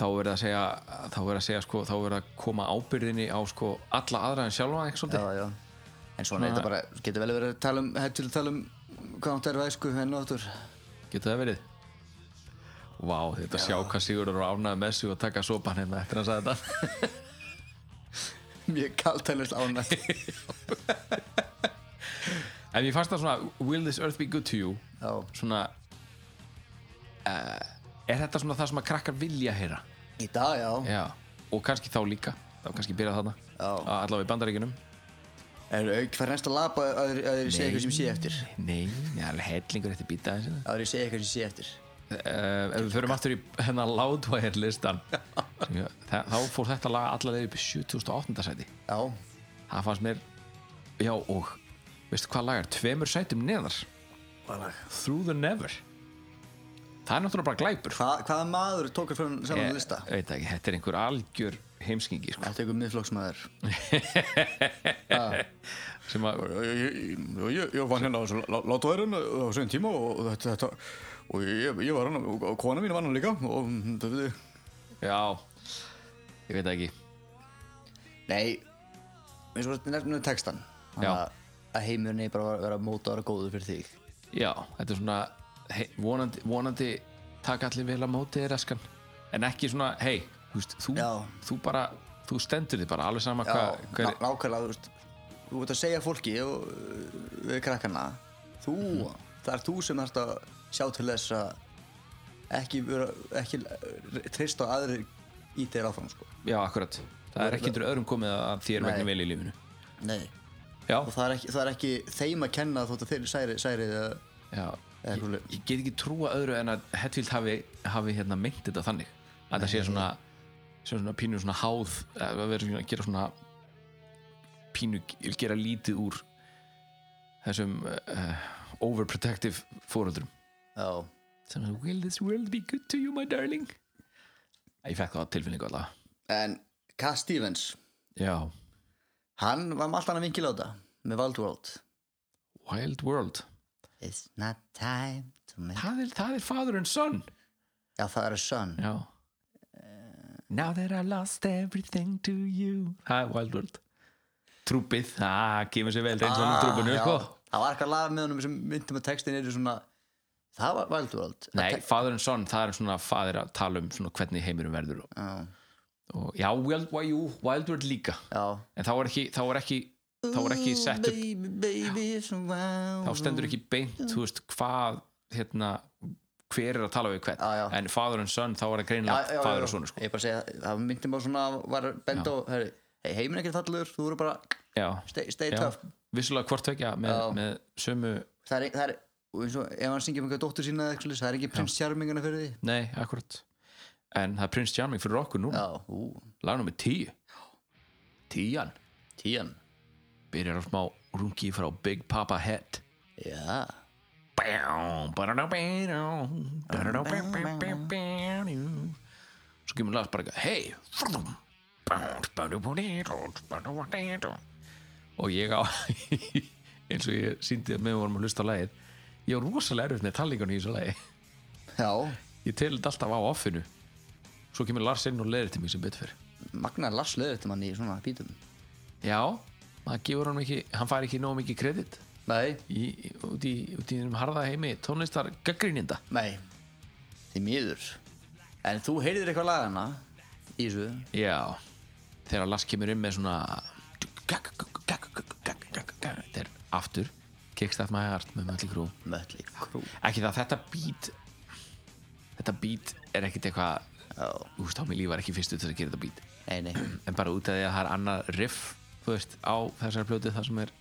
þá verður að segja þá verður að segja sko, þá verður að koma ábyrðinni á sko alla aðra en sjálfa ekki svolítið
já, já. En svona er þetta bara, getur vel verið að tala um, hættu til að tala um hvað átt er væsku henn og áttur.
Getur það verið? Vá, þetta sjá hvað Sigurður er ánægð með sig og taka sopan hérna eftir að hann sagði þetta
Mjög kaltælust ánætt.
En ég fannst það svona Will this earth be good to you?
Já,
Svona uh, Er þetta svona það sem að krakkar vilja heyra?
í dag, já.
Já Og kannski þá líka Það var kannski byrjað þarna
Já.
Að Allavega í bandaríkinum
Er auk hvað reynst að lapa að þeir segja eitthvað sem sé eftir?
Nei, það er alveg hellingur eftir býta þessi uh,
Að þeir segja eitthvað sem sé eftir?
Eh, Ef við förum aftur í hennar loudwire listan Já, þa- Þá fór þetta lag allavega upp í 7008. sæti
Já,
Það fannst mér Já og Veistu hvað lag er? Tveimur sætum neðar Through the never Það er náttúrulega bara glæpur
Hva, hvaða maður tók að fyrir saman
Ég-
að lista?
veit það ekki, þetta er einhver algjör heimskingi sko,
Þetta er eitthvað miðflokksmaður.
sem að
Ég, ég, ég, ég vann hérna á þessu látværin eh, á þessum tíma og þetta, þetta og ég, ég var hann og kona mín var hann líka og þetta
já, ég veit það ekki
Nei, eins og þetta nefnum textan
Já.
að, að heimurinn er bara að vera móta og vera góður fyrir þig
já, þetta er svona hei, vonandi, vonandi taka allir vel að móti þér eskan en ekki svona, hei, þú, veist, þú,
Já.
þú bara þú stendur þig bara, alveg sama
Já,
hvað
ná,
hver,
nákvæmlega, þú veist Þú ert að segja fólki og uh, við krakkana Þú, það er þú sem ert að sjá til þess að ekki, vera, ekki uh, treysta á aðrir í þeir áfram sko.
já, akkurat það er ekki undir öðrum komið að þér
Nei.
vegna vel í lífinu
Nei
já,
Og það er ekki, það er ekki þeim að kenna þótt að þeir særi, særi eða
já
eða
ég,
eitthvað-
ég get ekki trúa öðru en að Hetfield hafi, hafi hérna meint þetta þannig að það sé svona, sé svona pínu svona háð að vera svona, gera svona pínu, gera lítið úr þessum uh, overprotective fóröldrum
Já,
sem er will this world be good to you my darling ég fekk það á tilfinningu allavega
en Cass Stevens
já,
Hann var með allt annað vinkil á þetta með Wildworld
wild world
It's not time to make
það er, það er father and son
Já, það er Sun
já Now that I lost everything to you Það er Wild World Trúpið, það kemur sér vel reynsan úr trúpinu
Ah, já.
sko.
Það var eitthvað lag með honum sem myndum að textin eru svona Það var Wild World
Nei, Father and Son, það er svona faðir að tala um svona hvernig heimurum verður og,
Já,
og, Já, Wild, why you, Wild World líka
já.
En þá er ekki, þá er ekki, þá er ekki sett upp
Baby, baby, it's wild
Þá stendur ekki beint, þú veist, hvað hérna, hver er að tala við hvern
Já, já.
En Father and Son, þá er það greinilega faðir og sonur sko.
Ég er bara að segja, það myndum bara svona var bend á, herri, hey, heiminn ekkert fallur þú eru bara,
Já,
stay, stay
já.
tough
Vissulega hvort vekja með,
Já.
með sömu
Það er, e- það er, og eins og ef hann syngir með einhverja dóttur sína eða eitthvað svoleiðis, það er ekki prins Charmingana fyrir því
Nei, akkurat En það er Prince Charming fyrir okkur núna
Já, ú,
Lag nummer 10 Tían
tían
Byrjar á smá rungi frá Big Papa Head
Já,
Bám, barará, barará, barará, bám, bám, bám, bám. Svo kemur lag bara Hei Og ég á eins og ég síndi að með vorum að hlusta á lagið Ég á rosalega erfitt með tallingunni í þessu lagi
já,
Ég telur þetta alltaf á offinu Svo kemur Lars inn og leðir til mig sem betur fyrir
Magnar Lars löður þetta mann í svona bítum
Já, maður gefur hann ekki hann fær ekki nóg mikið kredit
Nei,
í, í- út í, út í þeim harða heimi tónlistar gaggríninda
Nei, því miður En þú heyrðir eitthvað lagana í þessu
Já, þegar Lars kemur inn með svona þetta er aftur Kickstart My Heart með Mötli Krú
Mötli Krú
ekki það þetta beat þetta beat er ekkit eitthvað
Já,
þú veist á mig líf var ekki fyrstu til að gera þetta beat
nei, nei
en bara út af því að það er annað riff þú veist, á þessari plötu það sem er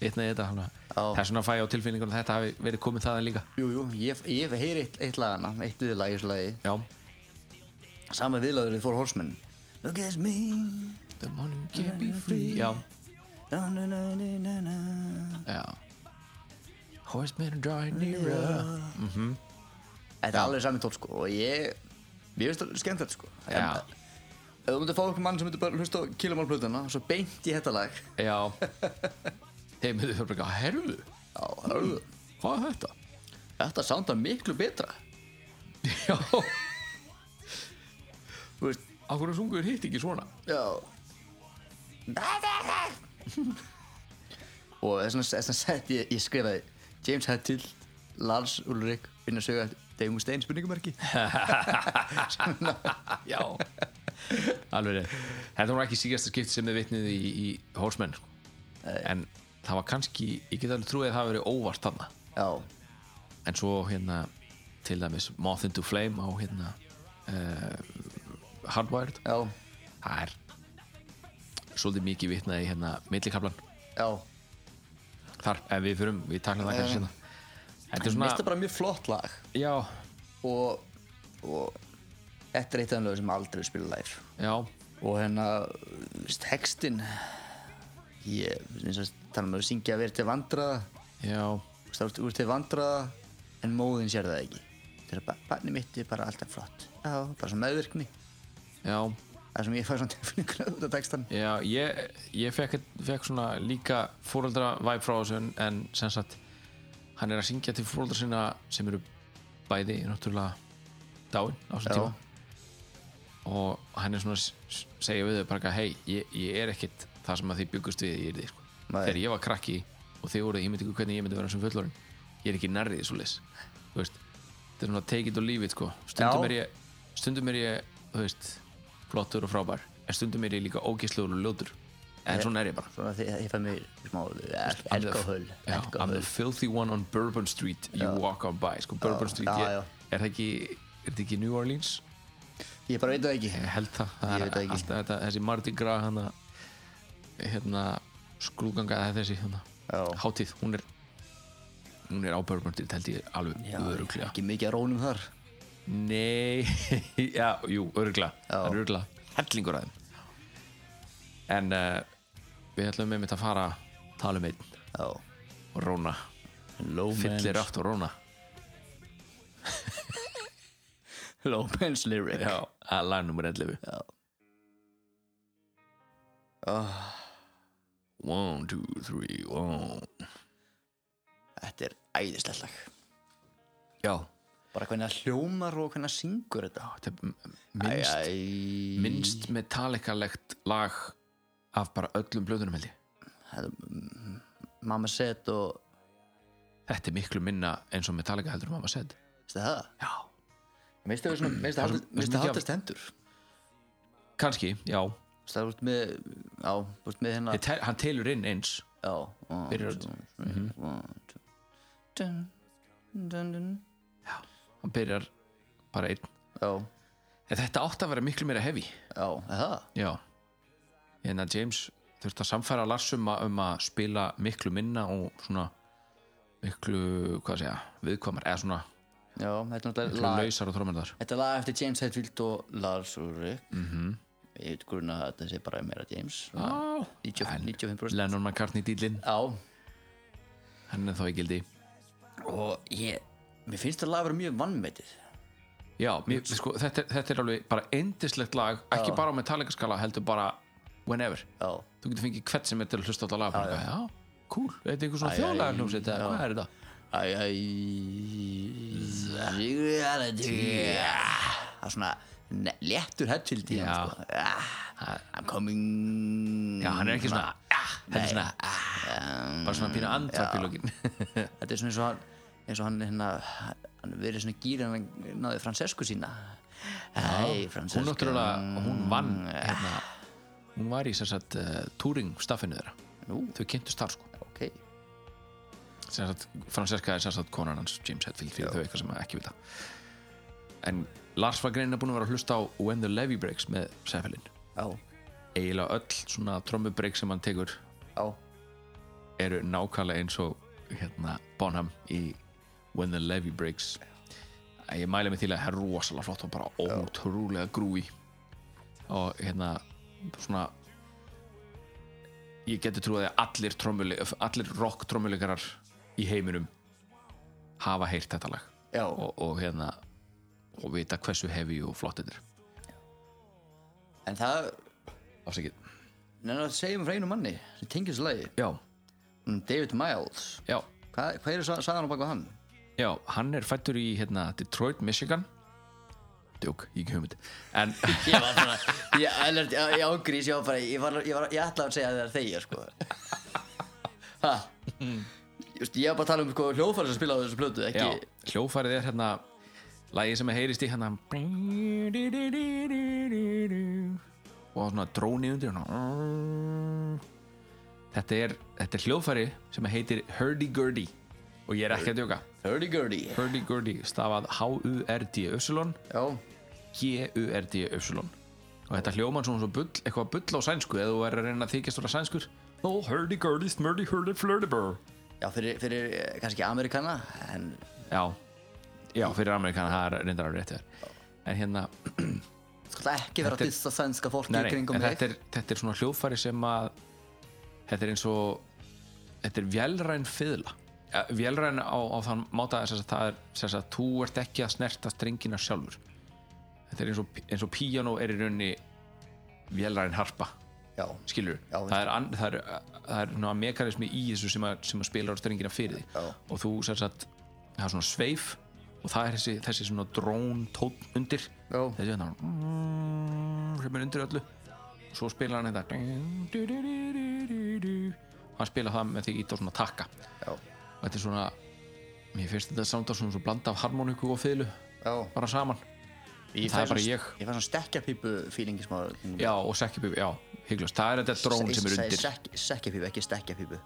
vitnað í þetta þannig að-
Já.
það er svona að fæ ég á tilfinningunum að þetta hafi verið komið þaðan líka
Jú, jú, ég, ég heyri eitt, eitt lagana Eitt viðlag í þessu lagi
Já,
Sama viðlagur við Þór Horsman Look at me
The morning can be free Já,
na, na, na, na, na, na.
já Horsemen are drawing nearer
Þetta er alveg sami tótt sko Og ég, ég veist það skemmt þetta sko
Já.
En- eh, Ef þú myndir fá okkur mann sem myndir bara hlusta á kilomálplötuna Svo beint í þetta lag
Já Þeir myndu fyrir bara, herðu,
Já, hörðu
hvað er þetta?
Þetta soundar miklu betra
Já
Þú veist,
Akkur að sungur hitt ekki svona
já Og þess vegna- þess vegna sett ég, ég skrifaði James Hettil, Lars Ulrik Vinna sögja Deimur Stein spurningumarki
Já Alveg rétt. Þetta var ekki síkasta skipt sem þið vitnið í, í Horsemen sko. En það var kannski Ég get alveg trúið að það hafi verið óvart þarna
Já,
En svo hérna Til dæmis Moth into Flame á hérna uh, Hardwired
já,
Það er svolítið mikið vitnaði í hérna millikablan
já
þar, en við fyrum, við taklum það kannski
já.
hérna Þetta er svona,
Mér er Eh, bara mjög flott lag
já,
Og, og Þetta er eitt af þeim lögum sem aldrei er spilað live
já
og hérna þú veist, textin ég eins og tala um að syngja að vera til vandraða
Já,
þú veist, þú ert til vandraða en móðin sér það ekki þetta er bara, barni mitt er bara alltaf flott já, bara svona meðvirkni
já,
það sem ég fæ svona tilfinninguna út af textan
já Ég, ég fekk, fekk svona líka fóreldra væp frá þessu en, en sem sagt, hann er að syngja til fóreldra sinna sem eru bæði náttúrulega dáin á þessum
Já.
tíma og hann er svona s- s- segja við þau bara eitthvað, hei, ég, ég er ekkit það sem að þið byggust við, ég er því sko.
Nei.
þegar ég var krakki og þið voruð, ég myndi ykkur hvernig ég myndi vera sem fullorinn ég er ekki nærrið svo leis þú veist, þetta er svona take it or leave it sko. stundum,
Já.
er ég, stundum er ég þú veist, flottur og frábær en stundum er ég líka ógeðslegur og ljótur en svona er ég bara
svona því ég fæ mér smá eh,
I'm the-
alkohol
Já, I'm the filthy one on Bourbon Street you walk on by sko, Bourbon
Já,
Street,
já,
ég,
já.
er það ekki er þetta ekki New Orleans?
ég bara veit það ekki
Ég held það,
Ég
það
veit
er
það ekki.
alltaf þetta, þessi Mardi Gras hana, hérna skrúganga eða þessi hana,
Já.
hátíð, hún er hún er á Bourbon Street held ég alveg
Já,
öruglega
ekki mikið að rónum þar
Nei, já, jú, öruglega það er öruglega hellingur að þeim en uh, við ætlum með mitt að fara tala um einn
já
og róna fyllir aftur og róna
Lópens lyric
já, að lag nummer 11
Já.
Ah. one, two, three, one
þetta er æðislegt lag
já,
bara hvernig það hljómar og hvernig það syngur þetta
þetta er m- minnst
Æ,
minnst metallikalegt lag af bara öllum blöðunum held ég
Mamma Set og
þetta er miklu minna eins og Metallica heldur mamma sedd
veistu það?
já,
Meistu það svona, meistu
Það er
það
svo- það er svo
meistu
mikið
það
af-
haldast hendur
kannski, já
Veistu það út með, já, út með hérna
Ég tel, hann telur inn eins
Já,
Byrjar Mhm. öll.
öll
hann byrjar bara einn
Já,
en þetta átti að vera miklu meira hefi
já, er það
já en að James þurfti að samfæra Lars um að, um að spila miklu minna og svona miklu, hvað segja, viðkvæmar eða svona
Já, þetta er
miklu
náttúrulega lag
lausar og þrómyndar
Þetta er lag eftir James Hetfield og Lars Ulrich mm -hmm. Ég veit grunna að þetta sé bara meira James svona 90 95%
Lennon McCartney dýlin,
Já,
hann er þá í gildi
og ég Mér finnst þetta lag vera mjög vannmetið
Já, mér, sko, þetta, er- þetta er alveg bara endislegt lag, ekki bara á Metallica skala heldur bara whenever
Já,
þú getur fengið hvert sem er til að hlusta á þetta lag já, já. já, cool, þetta er eitthvað svona
Æ, æ,
þjóðlega hljómsveit eða
já.
hvað er þetta?
Æ, æ, reality Það er svona ne- léttur headfield í
Já.
hann sko. Ah, I'm coming
Já, hann er ekki svona, ah, þetta er svona ah, bara svona pína andvarp í lókin
Þetta er svona eins og hann eins og hann hérna hann er verið svona gýr en hann náði Francesco sína Hei Francesco
hún náttúrulega, hún vann hérna, hún var í sem sagt uh, touring staffinu þeirra,
Nú,
þau kynntust þar sko
ok
sem sagt, Francesca er sem sagt konan hans James Hetfield fyrir þau eitthvað sem ekki vita en Lars var greina búin að vera að hlusta á When the Levy Breaks með Seffelin
Já,
eiginlega öll svona trommubreik sem hann tekur
já,
eru nákvæmlega eins og hérna Bonham í When the Levy Breaks Að ég mæli mig til að það er rosalega flott og bara ótrúlega grúi og hérna svona ég geti trúið að allir, trommule- allir rock trommuleikarar í heiminum hafa heyrt þetta lag
já
og, og hérna og vita hversu hefi og flott þetta er
En það,
afsakið
neina að segja um frá einu manni sem tengir þessu lagi
já,
um David Miles
já,
Hvað, hvað er sa- sagan á baku hann?
já, hann er fættur í hérna Detroit, Michigan djók, ég hef ekki hugmynd en
Ég var svona, ég, alveg, ég, ég ángrís, ég var bara, ég, var, ég, var, ég ætlaði að segja þér þegja, sko. Ha? Just, ég var bara að tala um sko, hljóðfæri sem spilaði á þessu plötu, ekki...
já, hljófarið er hérna lagið sem heyrist í hérna og svona dróni undir hérna. þetta er, þetta er hljófæri sem heitir hurdy-gurdy og ég er ekki að djóka
Hurdy-gurdy.
hurdy-gurdy stafað H-U-R-D-Y
Já.
G-U-R-D-Y og þetta hljóman svona svo bull, eitthvað bull á sænsku eða þú verður að reyna að þykjast vera sænskur Oh, hurdy-gurdy, smurdy-hurdy, flirty-burr
Já, fyrir, fyrir eh, kannski Amerikana, en
Já, já, fyrir Amerikana það er reyndar að rétti þér En hérna,
sko það ekki vera
Þetta
að
er-
dissa sænska fólki
nei,
í
nei, en
kringum
þetta er, þetta er svona hljóðfæri sem að þetta er eins og þetta er vélræn fiðla ja, Vélræn á, á þann máta þess að það er þess að þú ert ekki að snerta strengina sjálfur Þetta er eins og, eins og píanó er í rauninni vélræn harpa
Já,
skilur,
Já,
það er, an, það er, það er ná, mekanismi í þessu sem að, sem að spila á strengina fyrir því
Já.
og þú sér satt, það er svona sveif og það er þessi, þessi svona drón tótt undir
Já.
þessi hérna sem er undir öllu svo spila hann þetta hann spila það með því ít á svona takka
já,
og þetta er svona mér finnst þetta samt að svona svo blanda af harmoníku og fiðlu
já.
bara saman
Ég
það
fæ
er bara
svona-
ég.
Ég fann svona stekkjapípu fílingi smá.
já og sekkjabíbi, já, hygglust það er þetta drón sem er undir
Sekkjapípu, ekki stekkjapípu.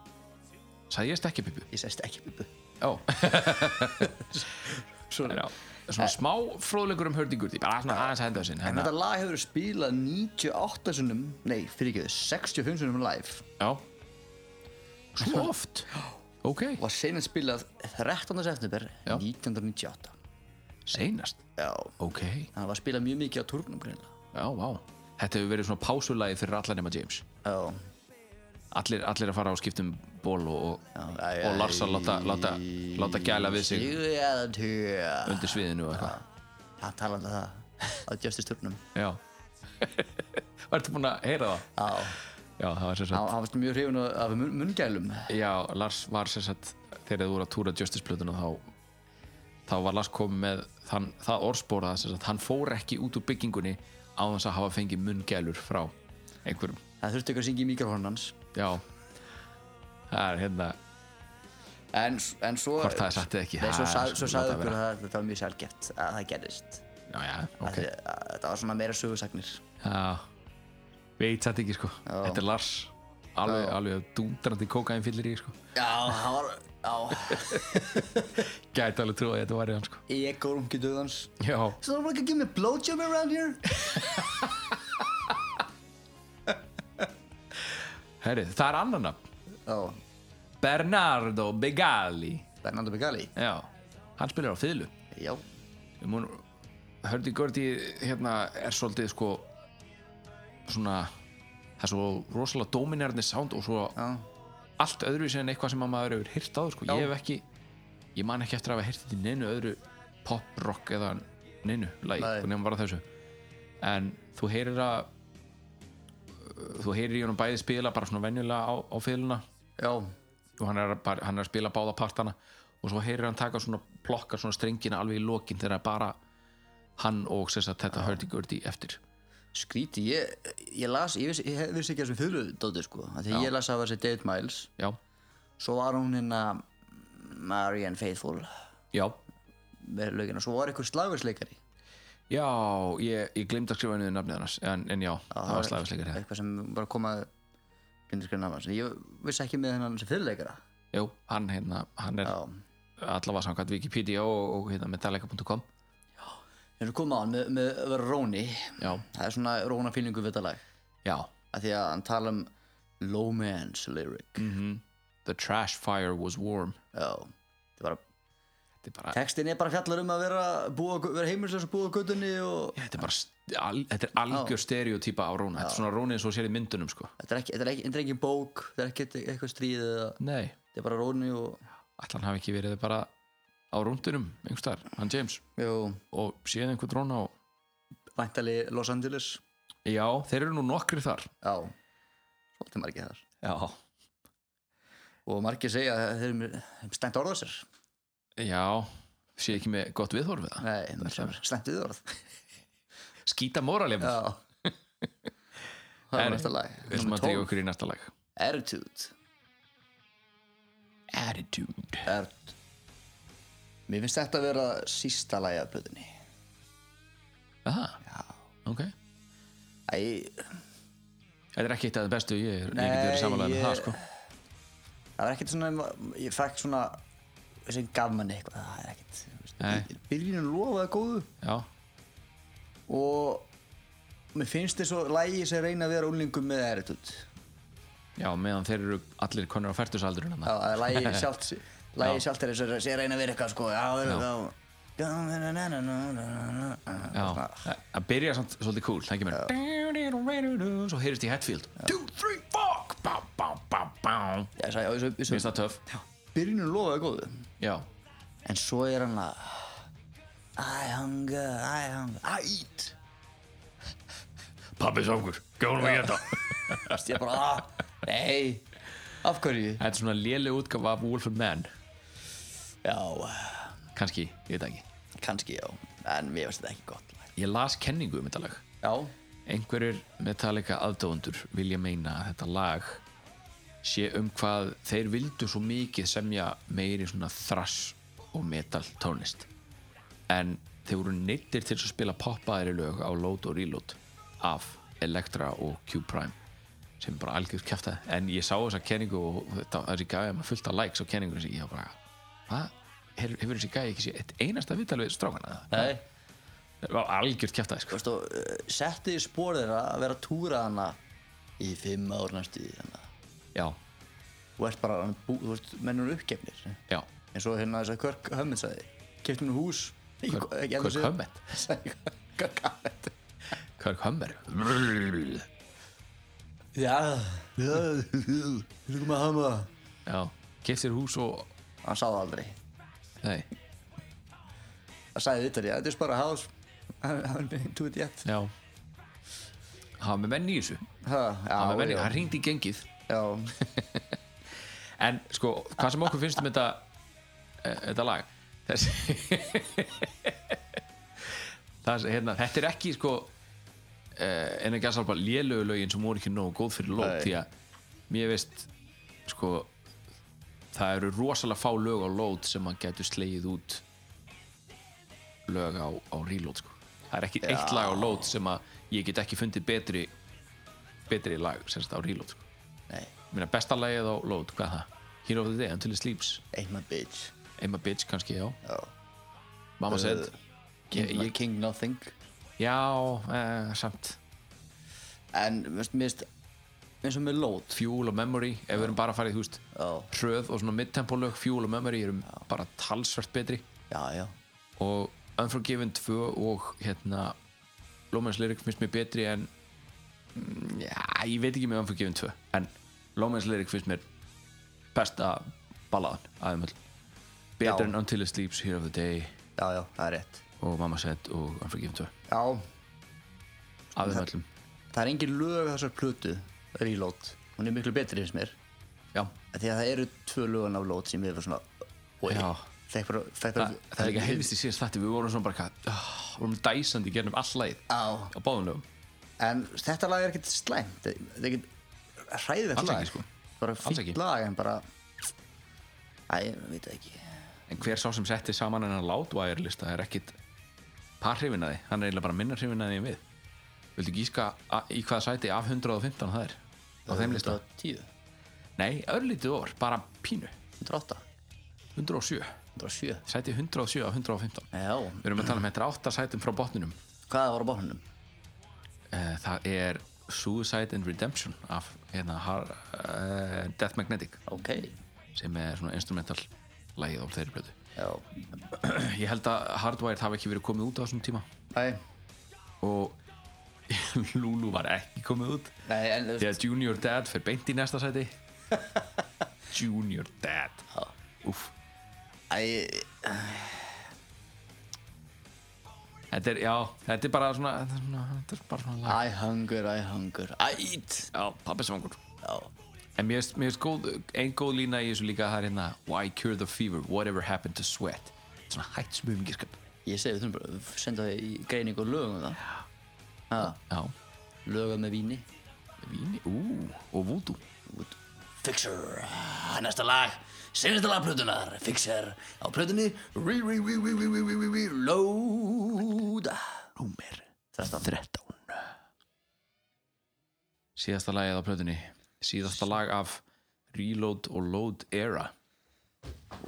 sagði ég stekkjabíbi?
Ég segi stekkjapípu.
Já Svona, svona smá fróðleikur um hörðingur Því bara svona aðeins að henda þessin
En
hérna,
þetta lag hefur verið spilað 98 sunnum, nei, fyrir ekki, 65 sunnum live.
Já Svo oft Ok,
Og var senast spilað 13. september
Já.
1998.
seinast
Já.
Ok,
Þannig að var spilað mjög mikið á turnum greinlega.
já, vá Þetta hefur verið svona pásulagi fyrir allar nema James
Já.
Allir, allir að fara á skiptum ból og, og,
æ, æ,
og Lars að láta, láta, láta gæla við sig
Sigurður.
undir sviðinu og eitthvað
Það talaði um það á Justice turnum.
Já Vartu búin að heyra það?
Já.
Já, það var sér
Hann hann varst mjög hrifun af mun- munngælum.
Já, Lars var sem sagt þegar þú voru að túra Justice plötuna þá, þá var Lars komið með þann, það orðspóra sem sagt hann fór ekki út úr byggingunni á þess að hafa fengið munngælur frá einhverjum
Það þurfti ekki að syngja í mikrofónum hans.
Já, það er hérna
En, s- en svo...
Hvort það er satt eða ekki,
Nei, svo,
það er
sag,
svo
svo
sem
sagði
láta
okkur
vera.
að það- þetta var mjög sjálfgeft að það gerðist.
Já, já, ok
Okay. Því, að, þetta var svona meira sögursagnir.
já, Veit satt ekki sko Þetta er Lars Alveg, alveg dúndrandi kókaðin fyllir í sko
Já, það var... Já,
Gæti alveg trúið að þetta var í hann sko
ég góðum ekki döðans.
Já,
So they're gonna give me a blowjob around here?
herrið, það er annan nafn
Já,
Bernardo Begali
Bernardo Begali.
Já, hann spilar á fiðlu
Já.
mun, Hördi Gördi hérna er svolítið sko svona það er svo rosalega dominerandi sound og svo
Já.
allt öðruvísi en eitthvað sem að maður hefur hýrt áður sko. ég hef ekki, ég man ekki eftir að hafa hýrt þetta í neinu öðru pop, rock eða neinu lagi,
Nei.
sko, nefnum bara þessu en þú heyrir að þú heyrir í honum bæði spila bara svona venjulega á, á fiðluna
Já.
og hann er, að bara, hann er að spila báða partana og svo heyrir hann taka svona plokka svona strengina alveg í lokin þegar bara hann og sérst að þetta hördi gördi eftir
Skríti, ég, ég las, ég vissi, ég vissi ekki að þessum fjöluðdóti sko. af Því
Já.
ég las að það var þessi David Miles.
já,
Svo var hún hérna Marianne Faithful
já,
með lögina. Svo var eitthvað slagversleikari.
já ég, ég glemt að skrifa niður nafnið hans en, en já, það var slæfisleikar
Eitthvað sem var að koma glindirskriðin af hans. Ég vissi ekki með hennan sem fjöluleikara.
jú, hann hérna, hann er
Já.
allavega samkvæmt Wikipedia og, og hérna metallica.com
En svo kom á hann með, með að vera Róni.
já,
Það er svona Róna fílingu við þetta lag.
já,
Af Því að hann tala um low man's lyric.
Mm. Mhm. the trash fire was warm
Já. Það var að
þetta er bara,
Textin er bara fjallar um að vera, búa, vera heimilslega sem búa á göttunni og
þetta er bara st- al, þetta er algjör stereotýpa á Róna þetta er svona Róna eins og sér í myndunum sko
þetta er ekki, þetta er ekki, þetta er ekki bók, þetta er ekki eitthvað stríð eða
nei,
þetta er bara róni og
allan hafi ekki verið bara á rúndunum, einhverstaðar, hann James
jú,
og séð einhvern drón á
væntali Los Angeles.
já, þeir eru nú nokkri þar
Já, svolítið margir þar.
já,
Og margir segja að þeir eru stengt orða sér.
já sé ekki með gott viðhorf við það
Nei, slengt yður orð.
skýta móralið
Já Það
En
var næsta lag
við ætlum
Númer
að drífa
12.
okkur í næsta lag
Attitude
Attitude
Ert Mér finnst þetta að vera sísta lagi af blöðinni
Aha. ok
Æ,
Þetta er ekki eitt af það bestu ég, er, ég
Nei,
geti verið samanlega
ég-
með það sko
það var ekkert svona Ég fekk svona sem gaf manni eitthvað Það er ekkert þú veist,
Nei.
í- Byrjunin lofaði góðu
Já,
og mér finnst þess að lægi sem reyna að vera úlingum með eritut
já, meðan þeir eru allir konur á færtusaldurinn hann
að lægi sjálft lægi sjálft er þess að reyna að vera eitthvað sko já,
Já.
já. já.
Já, að- að byrja samt svolítið cool Það kemur Svo heyrist í Hatfield 2, 3, 4 Bá, bá, bá, bá Mér
Ég sagði, já, ég svo, ég
finnst
svo,
það töff
byrjunum lofaði góðu
Já,
en svo er hann að I hunger, I hunger, I eat
pappi sákur, gjónum við þetta
Þú veist, ég bara, ah, nei af hverju?
Þetta er svona léleg útgafa af Wolf of Man
Já, eh,
Kanski, ég veit það ekki
kannski já en mér finnst þetta ekki gott lag.
Ég las kenningu um þetta lag
já,
Einhverjir Metallica aðdóðundur vilja meina að þetta lag sé um hvað þeir vildu svo mikið semja meiri svona thrash og metal tónlist en þeir voru neittir til að spila poppaðari lög á Load og Reload af Elektra og Q-Prime sem bara algjör kjæftaði en ég sá þessa kenningu og þetta, þessi gæði maður fullt af likes á kenningunum sem ég hef bara hvað, hefur, hefur þessi gæði ekki sé eitt einasta vital við strákana
nei
það var algjör kjæftaði
Þú
sko.
veist, og uh, setti í spór þeirra að vera að túra hana í fimm ár næstu því hana.
já,
og ert bara, hann bú, þú veist, menn eru uppgefnir
já,
eins og hérna þess að Körk Hömmett sagði kefti hún hús Ég-
Kirk-
ég- ég-
Kirk
ég-
Hammett?
Sagði Kirk Hammett
Kirk Hummer
já, já, þú erum að hama
já, keftir hús og
hann sagði það aldrei
nei,
hann sagði þetta, já, þetta er bara hás hann túið jætt
já hafa með menn í þessu hafa með menn í,
já,
hann ringdi í gengið
já,
En sko, hvað sem okkur finnst um þetta e, þetta lag þessi Það, sem, hérna, þetta er ekki sko eh, en ekki að sálpa lélögu lögin sem voru ekki nógu góð fyrir lót
Nei.
því að mér veist sko það eru rosalega fá lög á lót sem að getur slegið út lög á, á reload sko. það er ekki eitt lag á lót sem að ég get ekki fundið betri betri lag semst á reload sko.
nei,
Ég meina besta lagið á Load, hvað er það? Hero of the Day, Until It Sleeps
ain't my bitch
I'm a bitch kannski, já
já, Uh,
Mamma said
king,
Ég- ég-
king nothing
Já, uh, samt
en mér finnst- mér finnst eins og með lót
Fuel og Memory, ef við erum bara að fara í þú veist
Já.
Hröð og svona midtempo lög Fuel og Memory erum bara talsvert betri
já, já,
og Unforgiven 2 og hérna Lómens Lyric finnst mér betri en mm, já, ég veit ekki með Unforgiven 2 en Lómens Lyric finnst mér besta ballaðan aðeimöld betur
Já.
en Until It Sleeps, Hero of the Day
já, já, það er rétt
og Mamma Said og Unforgiven 2
já,
af þeim öllum
það er engin lög á þessar plötu Reload, hún er miklu betri eins mér
já,
af því að það eru tvö lögun af lót sem ég var svona oi,
Já.
fekk bara, fekk
það,
bara
það er líka heyrðist í síðast þetta við vorum svona bara hvað oh, vorum dæsandi í gerðum all lagið
Já.
á báðum lögum
en þetta lag er ekkert slæmt það er ekkert hræðilegt
Alls
lag
ekki, sko.
bara
ekki.
fýtt lag en bara æ, ég veit það ekki
en hver sá sem setti saman hennar látvæðir lista er ekkit par hrifinaði hann er eiginlega bara minna hrifinaði en við viltu gíska a- í hvaða sæti af 115 það er á þeim lista
110,
nei, örlítið ofar, bara pínu
108,
107,
107
sæti 107 af 115
já,
við erum að tala um þetta átta sætum frá botninum
hvað var á bóknum?
Eh, það er Suicide and Redemption af hérna, har, uh, Death Magnetic
ok,
sem er svona instrumental lagið á þeirri blötu
já
ég held að Hardwired hafi ekki verið komið út á þessum tíma
Æ,
og Lulu var ekki komið út
nei, en þú veist-
þegar Junior Dad fer beint í næsta sæti Junior Dad Úff.
Æ,
þetta er, já, þetta er bara svona þetta er, svona, þetta er bara svona lag
I hunger, I hunger, I eat
já, pappi svangur
Já,
en mér finnst- mér finnst góð, ein góð lína í þessu líka það er hérna Why cure the fever, whatever happened to sweat svona hætt smumingirskap
ég segi við þurfum bara að senda það í greiningu og lögum það Ha,
Já,
Lögum með víni
víni, ú, og vúdú
Fixer Það er Næsta lag Senasta lag plötunar Fixer Á plötunni Rí, rí, rí, rí, rí, rí, rí, rí, rí Load Númer 13
Síðasta lagið á plötunni Síðasta lag af Reload og Load Era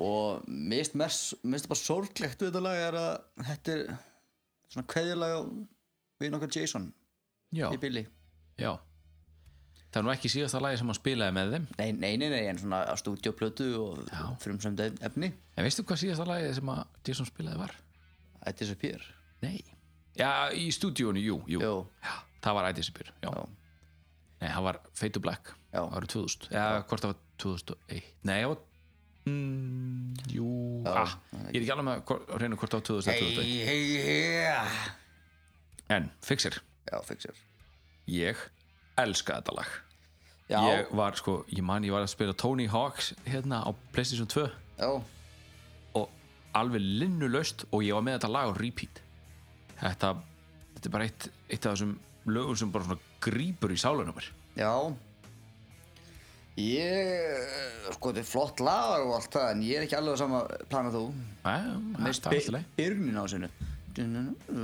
Og mist mest Mist bara sorglegt við þetta lag er að Þetta er Svona kveðjalag á Við nokkar Jason
Já,
Í billi
já Það er nú ekki síðasta lagið sem hann spilaði með þeim
Nei, nei, nei, nei En svona á stúdíoplötu Og frumsömda efni
En veistu hvað síðasta lagið sem að Jason spilaði var?
I disappear
Nei Já, í stúdíónu, jú, jú
Jú
Já, það var Ædisipur, já.
Já.
Nei, það var Fade to Black
Já.
árið 2000, eða hvort það var 2001 Nei, það var mm, Jú, ah, ég er ekki alveg með hvort- á hreinu hvort það var 2000 eða 2001
hey, yeah
En, fixir,
Já, Fixer
ég elska þetta lag
Já,
Ég var, sko, ég man, ég var að spila Tony Hawks hérna á Playstation 2
já
og alveg linnulaust og ég var með þetta lag á repeat Þetta, þetta er bara eitt, eitt af þessum lögum sem bara svona grípur í sálunum mér
Já Ég sko þetta er flott lag og allt það en ég er ekki alveg á sama plan að þú
Já, það er allt í lagi.
byrgnin á sinu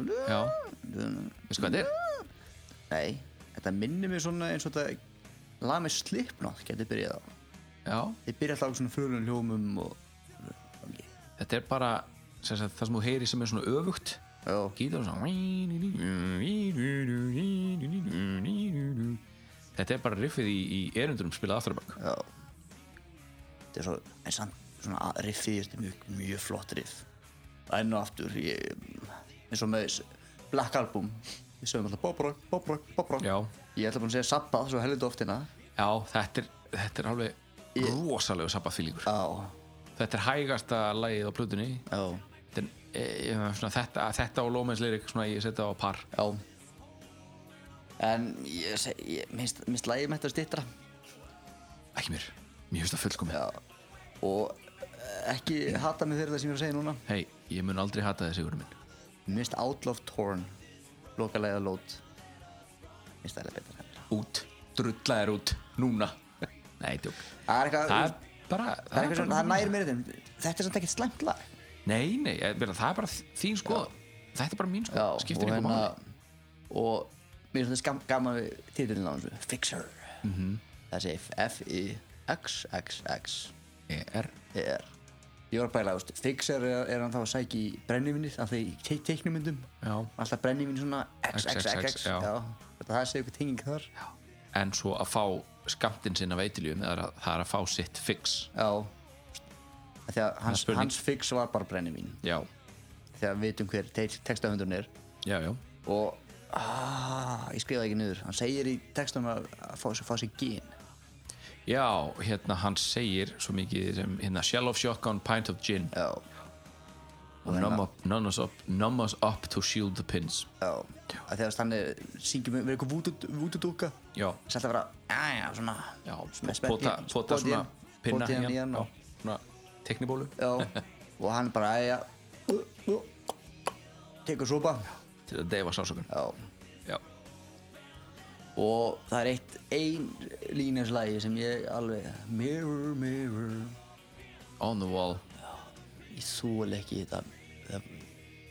Já, veistu hvað þetta er?
Nei, þetta minnir mig svona eins og þetta lag með slipnátt getur byrjað á
Já,
Þið byrja alltaf á svona frölun hljómum og
þetta er bara sem sagt, það sem þú heyri sem er svona öfugt
Já,
Gítar og svona Þetta er bara riffið í, í erundurum spilað afturabak
já Þetta er svo, en samt svona að- riffið þetta er mjög, mjög flott riff Enn og aftur, ég eins og með s- Black Album Við sögum alltaf Bobrok, Bobrok, Bobrok
Já,
Ég ætla búin að segja Sabba svo helvita oftina
já þetta, er, þetta er alveg rosalegu sabbaþýlingur
Já,
sko. Þetta er hægasta lagið á plötunni
já,
Þetta, er, e, e, svona, þetta, þetta og Lómens Lyrik svona ég setja á par
já En ég seg, ég, minnst, minnst lægið með þetta stittra
Ekki mér, mér finnst það fullkomið
Já Og eh, ekki hata mig fyrir það sem ég er að segja núna
Hei, ég mun aldrei hata þessi úr minn
Minnst Outlaw Torn Lokalega lót Minnst það er betra en þetta.
Út, drulla þér út, núna Nei, djók
Það er eitthvað
Það er bara
Það er eitthvað sem,
bara-
það næri mér þetta Þetta er samt ekkert slæmt lag
Nei, nei, ég meina, það er bara þín sko Þetta er bara mín sko, skiptir
og
einhver
hérna-
máli
Og mér finnst þetta skam- gaman við titilin á þessu Fixer mm -hmm. Það segir F-I-X-X-X
Er,
er ég var að pæla, veist, Fixer er, er hann þá að sækja í brennivinnið af því í te teiknumyndum
já
alltaf brennivinn svona
XXX,
XXXX
já.
þetta það sé ykkur tenging þar já,
En svo að fá skamtinn sinna veitiljum það er að, það er að fá sitt fix
já. Af því að hans,
spurning.
hans fix var bara brennivinn
Já,
þegar við vitum hver te textahundurinn er
já, já
og ah, ég skrifaði ekki niður hann segir í textunum að, að fá, fá sér gín
Já, hérna hann segir svo mikið sem hérna Shell of shotgun, pint of gin
já, hérna.
og numb up, numb us up, numb us up to shield the pins
já að því að hann er syngjum með eitthvað vútudúka vútudúka
Já,
þess að vera, já, já, svona
já,
svona
og pota,
spennti-
pota
spoti í
svona
hann-
pinna
poti í hann
í
í
hann
hann
Já,
hérna og-
svona teknibólu
Já, og hann bara aðja Tekur sopa
til að deyfa sásökun
Já
Já,
Og það er eitt ein línuslagi sem ég alveg Mirror, mirror
on the wall
Ég þúl ekki þetta Það-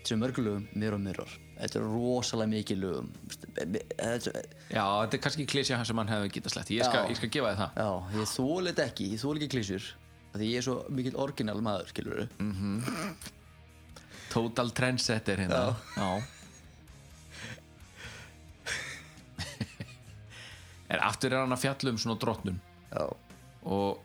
Þessu mörgu lögum, mirror, mirror Þetta er rosalega mikið lögum Þetta,
Já, þetta er kannski klísja sem hann hefði getað slett Ég skal,
Já.
ég skal gefa þið það
Já, ég þúl þetta ekki, ég þúl ekki klísur af Því ég er svo mikill orginal maður, skilur
Mm. Total trendsetter hérna Já En aftur er hann að fjalla um svona drottnun
Já,
og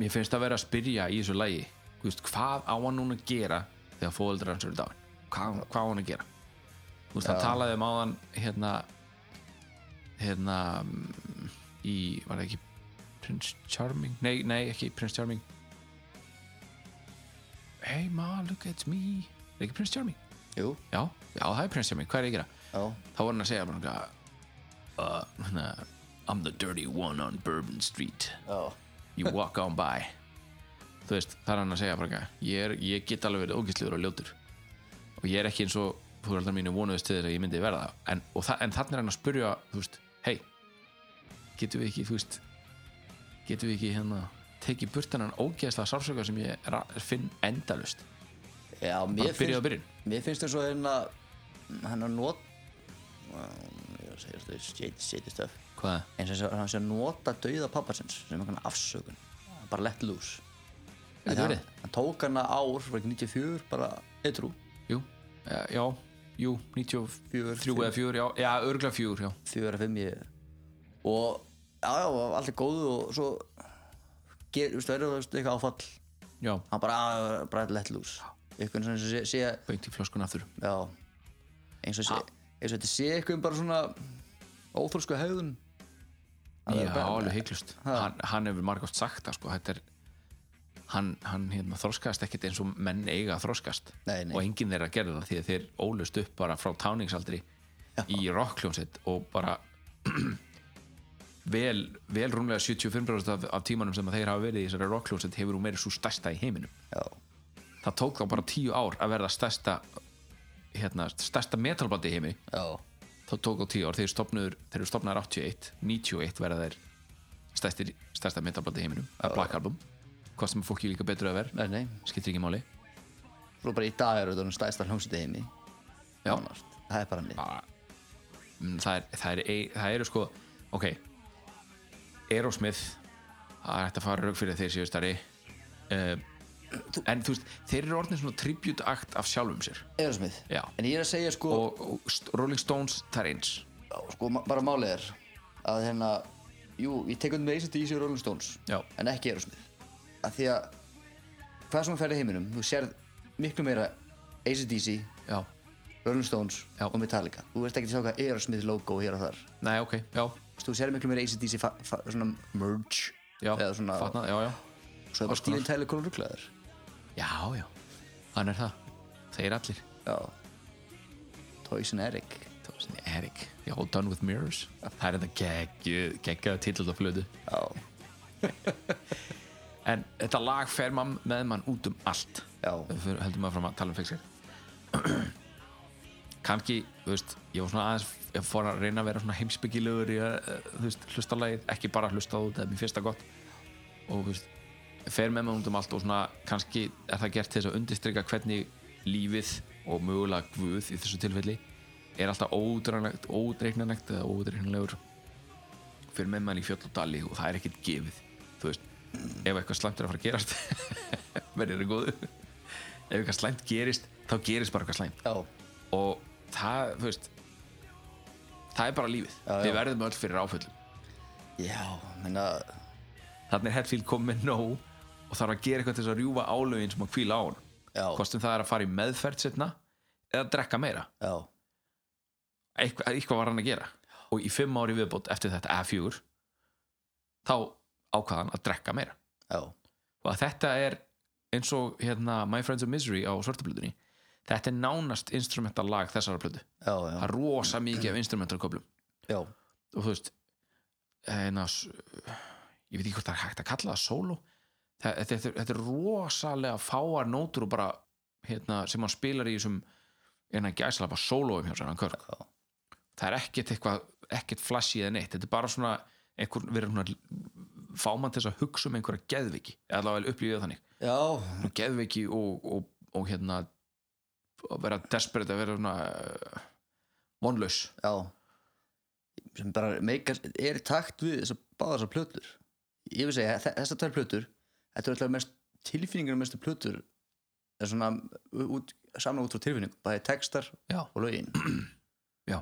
mér finnst að vera að spyrja í þessu lægi veist, hvað á hann núna að gera þegar fóðaldrar hans eru dáin hvað, hvað á hann að gera Þú veist, hann talaði um áðan hérna hérna mm, í, var það ekki Prince Charming, nei, nei, ekki Prince Charming Hey ma, look at me er ekki Prince Charming?
jú,
Já, já, það er Prince Charming, hvað er ég að gera?
já
þá var hann að segja bara eitthvað, uh, hérna, I'm the dirty one on Bourbon Street
Já,
you walk on by þú veist, það er hann að segja bara eitthvað, ég, er, ég get alveg verið ógæstlegur og ljótur og ég er ekki eins og fóröldar mínu vonuðist til þess að ég myndi verða en, og þa en þannig er hann að spurja þú veist, hei, getum við ekki þú veist, getum við ekki hérna tekið burt hennan ógeðslega sársöka sem ég ra- finn endalust
Já, mér
bara byrjaði á byrjun
Mér finnst eins og hérna hann að not um, ég var að segja þetta shady, shady stuff
hvað,
eins og þess að hann sé að nota dauða pappasins sem einhvern afsökun bara let loose
Er þetta
hann,
verið?
hann tók hana ár, var ekki 94 bara eitrú,
jú, já, já jú, 93 eða 4 já, já örgla 4, já
4-5 ég og já, já, var allt er góð og svo ger, þú veist, verður þú veist, eitthvað áfall
já,
hann bara, "Ah, bara let loose einhvern svona eins og sé, sé
beint í flöskun aftur
já, eins og sé eins og þetta sé eitthvað um bara svona óþrólsku hegðun
já,
er bara-
alveg heiklust hann, hann hefur margótt sagt það, sko, þetta er hann, hann hérna, þroskast ekkert eins og menn eiga að þroskast
Nei, nei.
og enginn þeirra gerði það því að þeir ólust upp bara frá táningsaldri í rockljónsett og bara vel, vel rúmlega 75% af, af tímanum sem að þeir hafa verið í þessari rockljónsett hefur hún verið svo stærsta í heiminum
já,
það tók þá bara tíu ár að verða stærsta hérna, stærsta metalbandi í heimi
já,
þá tók á tíu ár, þeir stopnuður þeir eru stopnaður 81, 91 verða þeir stærstir, stærsta metalbandi í heiminum að Black Album, hvað sem fólki líka betur að vera
nei, nei
skiptir ekki máli
svo bara í dag eru þetta orðin stæðsta hljómsveit í heimi
Já.
Nánast. það er bara nýtt
Mm, það, er, það, er, ei- það eru sko ok Aerosmith það er hægt að fara rauk fyrir að þeir séu stærri uh, en þú veist þeir eru orðin svona tribute act af sjálfum sér
Aerosmith
Já.
en ég er að segja sko,
og, og St- Rolling Stones það er eins
sko ma- bara málið er að hérna jú, ég tek undir með ACDC og Rolling Stones
Já.
en ekki Aerosmith að því að hvað sem þú ferði heiminum þú sérð miklu meira ACDC,
já,
Rolling Stones
Já.
og Metallica þú veist ekki að sjá hvað Aerosmith logo hér og þar
nei ok, já,
Þú veist, þú sérð miklu meira ACDC fa- fa- svona merge
já,
eða svona
fatnað, já, já
svo er bara
alls konar.
Steven Tyler konar rugglaður
Já, já, hann er það Þeir allir
já Toys and Eric
Tósin Erik, já, Done With Mirrors Það er þetta geggjuð, geggjaðu titill á flötu
já
En þetta lag fer mann með mann út um allt
Já.
Fyrir, Höldum maður fram að tala um fixir Kanski, þú veist, ég var svona aðeins Ég fór að reyna að vera svona heimsbyggilegur Í að, eh, þú veist, hlusta á lagið Ekki bara hlusta á þetta, mér finnst það gott Og, þú veist, fer með mann út um allt Og svona, kannski er það gert til þess að undirstrika Hvernig lífið og mögulega Guð í þessu tilfelli Er alltaf ódreiknanlegt, ódreiknanlegt Eða ódreiknanlegur fyrir með mann í fjöll og dali og það er ekkert gefið þú veist, ef eitthvað slæmt er að fara að gerast verður það góðu ef eitthvað slæmt gerist, þá gerist bara eitthvað slæmt
Já,
og það, þú veist það er bara lífið, við verðum öll fyrir áföllum
já, menna
þannig er Hetfield komið með nóg og þarf að gera eitthvað til þess að rjúfa álögin sem að hvíla á hann
Já,
hvort sem það er að fara í meðferð setna eða að drekka meira
já,
eitthvað, eitthvað var hann að gera og í fimm ári viðbót eftir þetta F4 þá ákvað hann að drekka meira
já,
og að þetta er eins og hérna, My Friends of Misery á svartablutunni þetta er nánast instrumental lag þessara plötu
já,
það
já,
er rosa mikið af instrumental köflum
já,
og þú veist hérna, s- ég veit ekki hvort það er hægt að kalla það solo Þa- þetta, þetta, er- þetta er rosalega fáar nótur og bara hérna, sem hann spilar í þessum hérna, gæslega bara soloum hjá sér hann körk
Já.
það er ekkert eitthvað ekkert flashy eða neitt, þetta er bara svona einhver, við erum svona fámann til þess að hugsa um einhverja geðviki eða allavega upplýðið þannig
já,
og geðveiki og, og, og hérna að vera desperate að vera svona uh, vonlaus
já sem bara meikar, er í takt við þess að báða þessar plötur ég vil segja, þe- þessar tvær plötur þetta er alltaf mest tilfinningar mestu plötur er svona u- út, saman út frá tilfinning, bæði textar
Já.
og lögin
Já.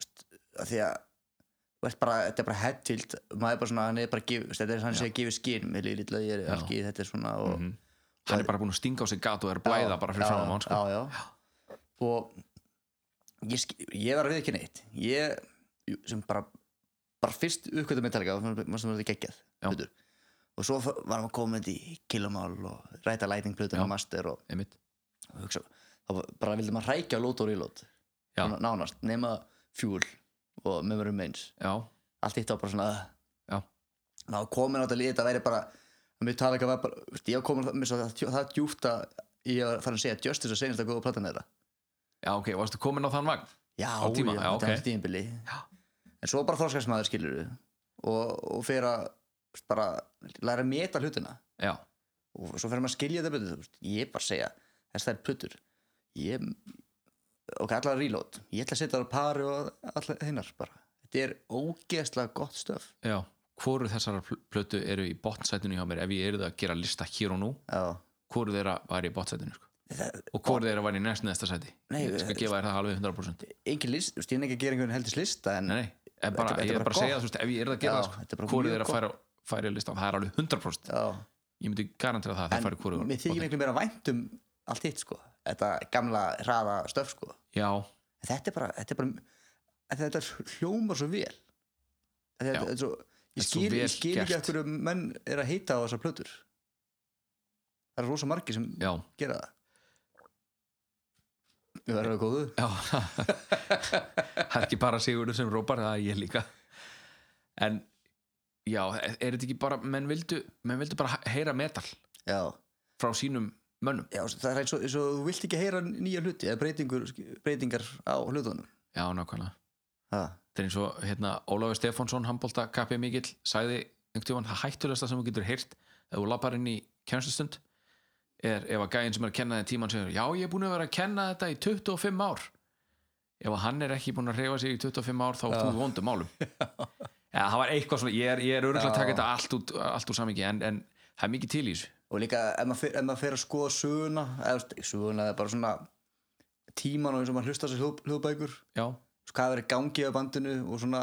Veist, af því að þú ert bara, þetta er bara hettild maður er bara svona, hann er bara gef, veist, þetta er hann sé að gefa skinn, með lýri illa ég er ekki þetta er svona
Mm.
og,
Mhm. hann er bara búinn að stinga á sig gat og er að blæða bara fyrir fram á hann sko.
já, já. og ég, sk- ég var að við ekki neitt ég sem bara bara fyrst uppkvæmta Metallica og maður sem var þetta geggjað
Já.
plötur. og svo f- var maður komin í kilomál og ræta lighting plötur
Já.
og master og
einmitt
og hugsa þá var- bara vildi maður rækja lót og rílót
Já.
nánast, nema fjúl og memory remains
já,
allt hitt var bara svona uh,
já,
þá komin á þetta lið, þetta væri bara Metallica var bara, veist, ég var komin það, það, það djúft að ég var farin að segja Justice að segjast að góða platan með þetta
Já, ok, varstu komin á þann vagn?
já,
Á tíma,
já,
já,
þetta
ok.
er hans tíðinbili en svo bara þroskast maður skilur og, og fer að bara læra að meta hlutina
Já,
og svo fer maður að skilja þetta betur þú veist. ég er bara að segja, þess það er puttur ég og allar að reload, ég ætla að setja það á pari og allar hinnar bara þetta er ógeðslega gott stöf
já Hvoru þessara pl- plötu eru í botnsætinu hjá mér ef ég erið að gera lista hér og nú
já,
hvoru þeirra var í botnsætinu sko?
það,
og hvoru þeirra var í næst neðsta sæti
Nei,
Ég skal
eh,
gefa þér það alveg 100%
engin list, þú veist, ég er ekki að gera einhvern heldis lista en
Nei, nei, en bara,
Þetta-
ég
þetta
er
er bara
bara að segja
gott.
þú veist, ef ég erið að gera
Já,
það
þetta er bara
sko, hvoru
mjög
þeirra
gott.
færi, færi á listan það er alveg 100%
já,
Ég myndi garantera það að það færi hvoru
en mér þykir einhvern meira vænt um allt hitt sko, þetta gamla hraða stöf sko,
Já,
en þetta er bara þetta, er bara, en þetta hljómar svo vel þetta,
Já.
þetta er svo ég
Þetta er svo
skil,
vel
ég skil ekki
gert.
að hverju menn er að heita á þessar plötur það er rosa margir sem
já,
gera það við verðum að góðu
já Það er ekki bara Sigurður sem rópar það er ég líka En, já, er er þetta ekki bara menn vildu, menn vildu bara heyra metal
já,
frá sínum mönnum
já, það er eins og, eins og þú vilt ekki heyra nýja hluti eða breytingur, breytingar á hlutunum
Já, nákvæmlega
ha.
Það er eins og hérna, Ólafur Stefánsson, handbólta kappið mikill, sagði einhvern tímann það hættulegsta sem þú getur heyrt ef þú lappar inn í kennslustund er ef að gæinn sem er að kenna þér tímann segir já, ég er búin að vera að kenna þetta í 25 ár ef að hann er ekki búin að reyfa sig í 25 ár þá ert þú í vondum málum Já, það var eitthvað svona, ég er, ég er örgulega að taka þetta allt út, allt úr samingi en, en það er mikið til í þessu
og líka ef maður fer, ef maður fer að skoða söguna eða þú veist, ekki söguna eða bara svona tíman og eins og maður hlusta þessi hljóð, hljóðbækur
Já,
svo hvað verið gangið á bandinu og svona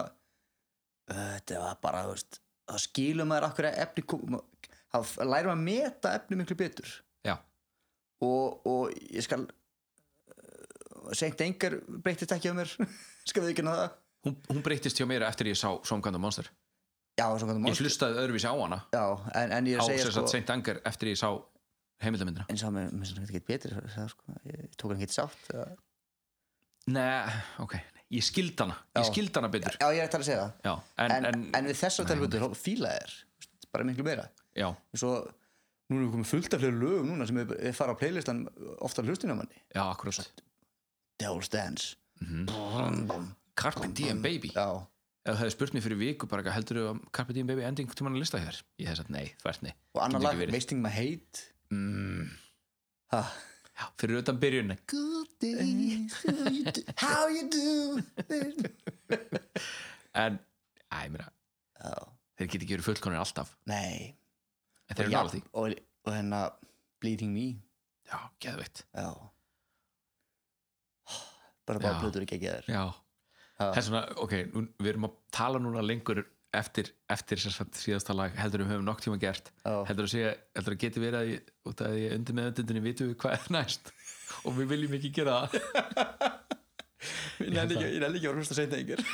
Ö, þetta var bara þú veist, þá skilur maður akkur að efni kom- ma- þá f- lærir maður að meta efni miklu betur
já,
og, og ég skal seint engar breytist ekki af mér skal við ekki það
hún, hún breyttist hjá mér eftir ég sá Songkanda Monster
já, svo kannum
Ég hlustaði öðruvísi á hana
já, en, en ég
á
er að segja
sér satt
sko,
Saint Anger eftir ég sá heimildamindina
eins og mér mér finnst þetta ekki betur það, sko, ég tók hann ekki sátt eða-
Nei, ok, ég skildi hana Ég
Já.
skildi hana betur
já, ég er að tala að segja það
Já, en,
en,
en,
en, við þess að tala betur, fíla þér veist, bara miklu meira
já,
svo, nú erum við komið fullt af fleiri lögum núna sem við, við fara á playlistan ofta hlustinu á manni
já, akkurat
Devil's Dance brum, brum,
Carpe Diem Mhm. Baby
sko, um- já,
Ef þú hefði spurt mér fyrir viku bara heldur þú að Carpe Diem Baby endi einhvern tímann að lista hér Ég hef sagt nei, þvært nei
og
Getur
annar
ekki
lag
verið.
Wasting My Hate mm.
Já, Fyrir utan byrjunni
Good day how you do- How you do
En, æ, mér að
Já.
Þeir geti ekki verið fullkonir alltaf
Nei
En þeir eru
Já,
nála því
og, og hérna Bleeding Me
Já, geðveitt
já. bara
Já.
bara blöður ekki ekki þér
Já, það er svona, ok, nú, við erum að tala núna lengur eftir, eftir sem sagt síðasta lag, heldur við höfum nokk tíma gert
Já.
heldur að segja, heldur að geti verið að ég, út af því að undir með öndundinni vitum við hvað er næst og við viljum ekki gera það
ég nefndi ekki, ég nenni ekki að vera hlusta seint einhver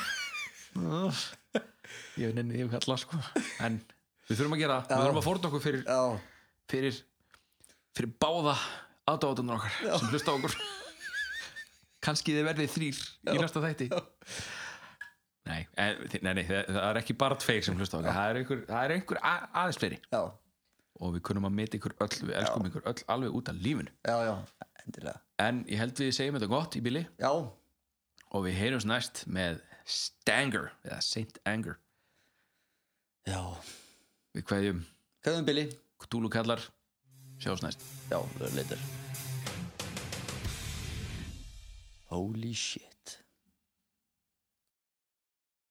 ég nenni því að kalla sko en við þurfum að gera, það, við þurfum að fórna okkur fyrir,
já,
fyrir fyrir báða aðdáðunar okkar sem hlusta á okkur kannski þið verðið þrýr í næsta þætti nei, en, nei, nei það, það er ekki bara tveir sem hlusta á okkur það er einhver, það er einhver a, aðeins fleiri
já,
og við kunum að meta ykkur öll, við elskum ykkur öll alveg út af lífinu
já, já, endilega
en ég held við segjum þetta gott í bili
já,
og við heyrjumst næst með Stanger eða Saint Anger
já,
við kveðjum
höfum Billy
Cthulhu kallar sjáumst næst
Já, leitar Holy shit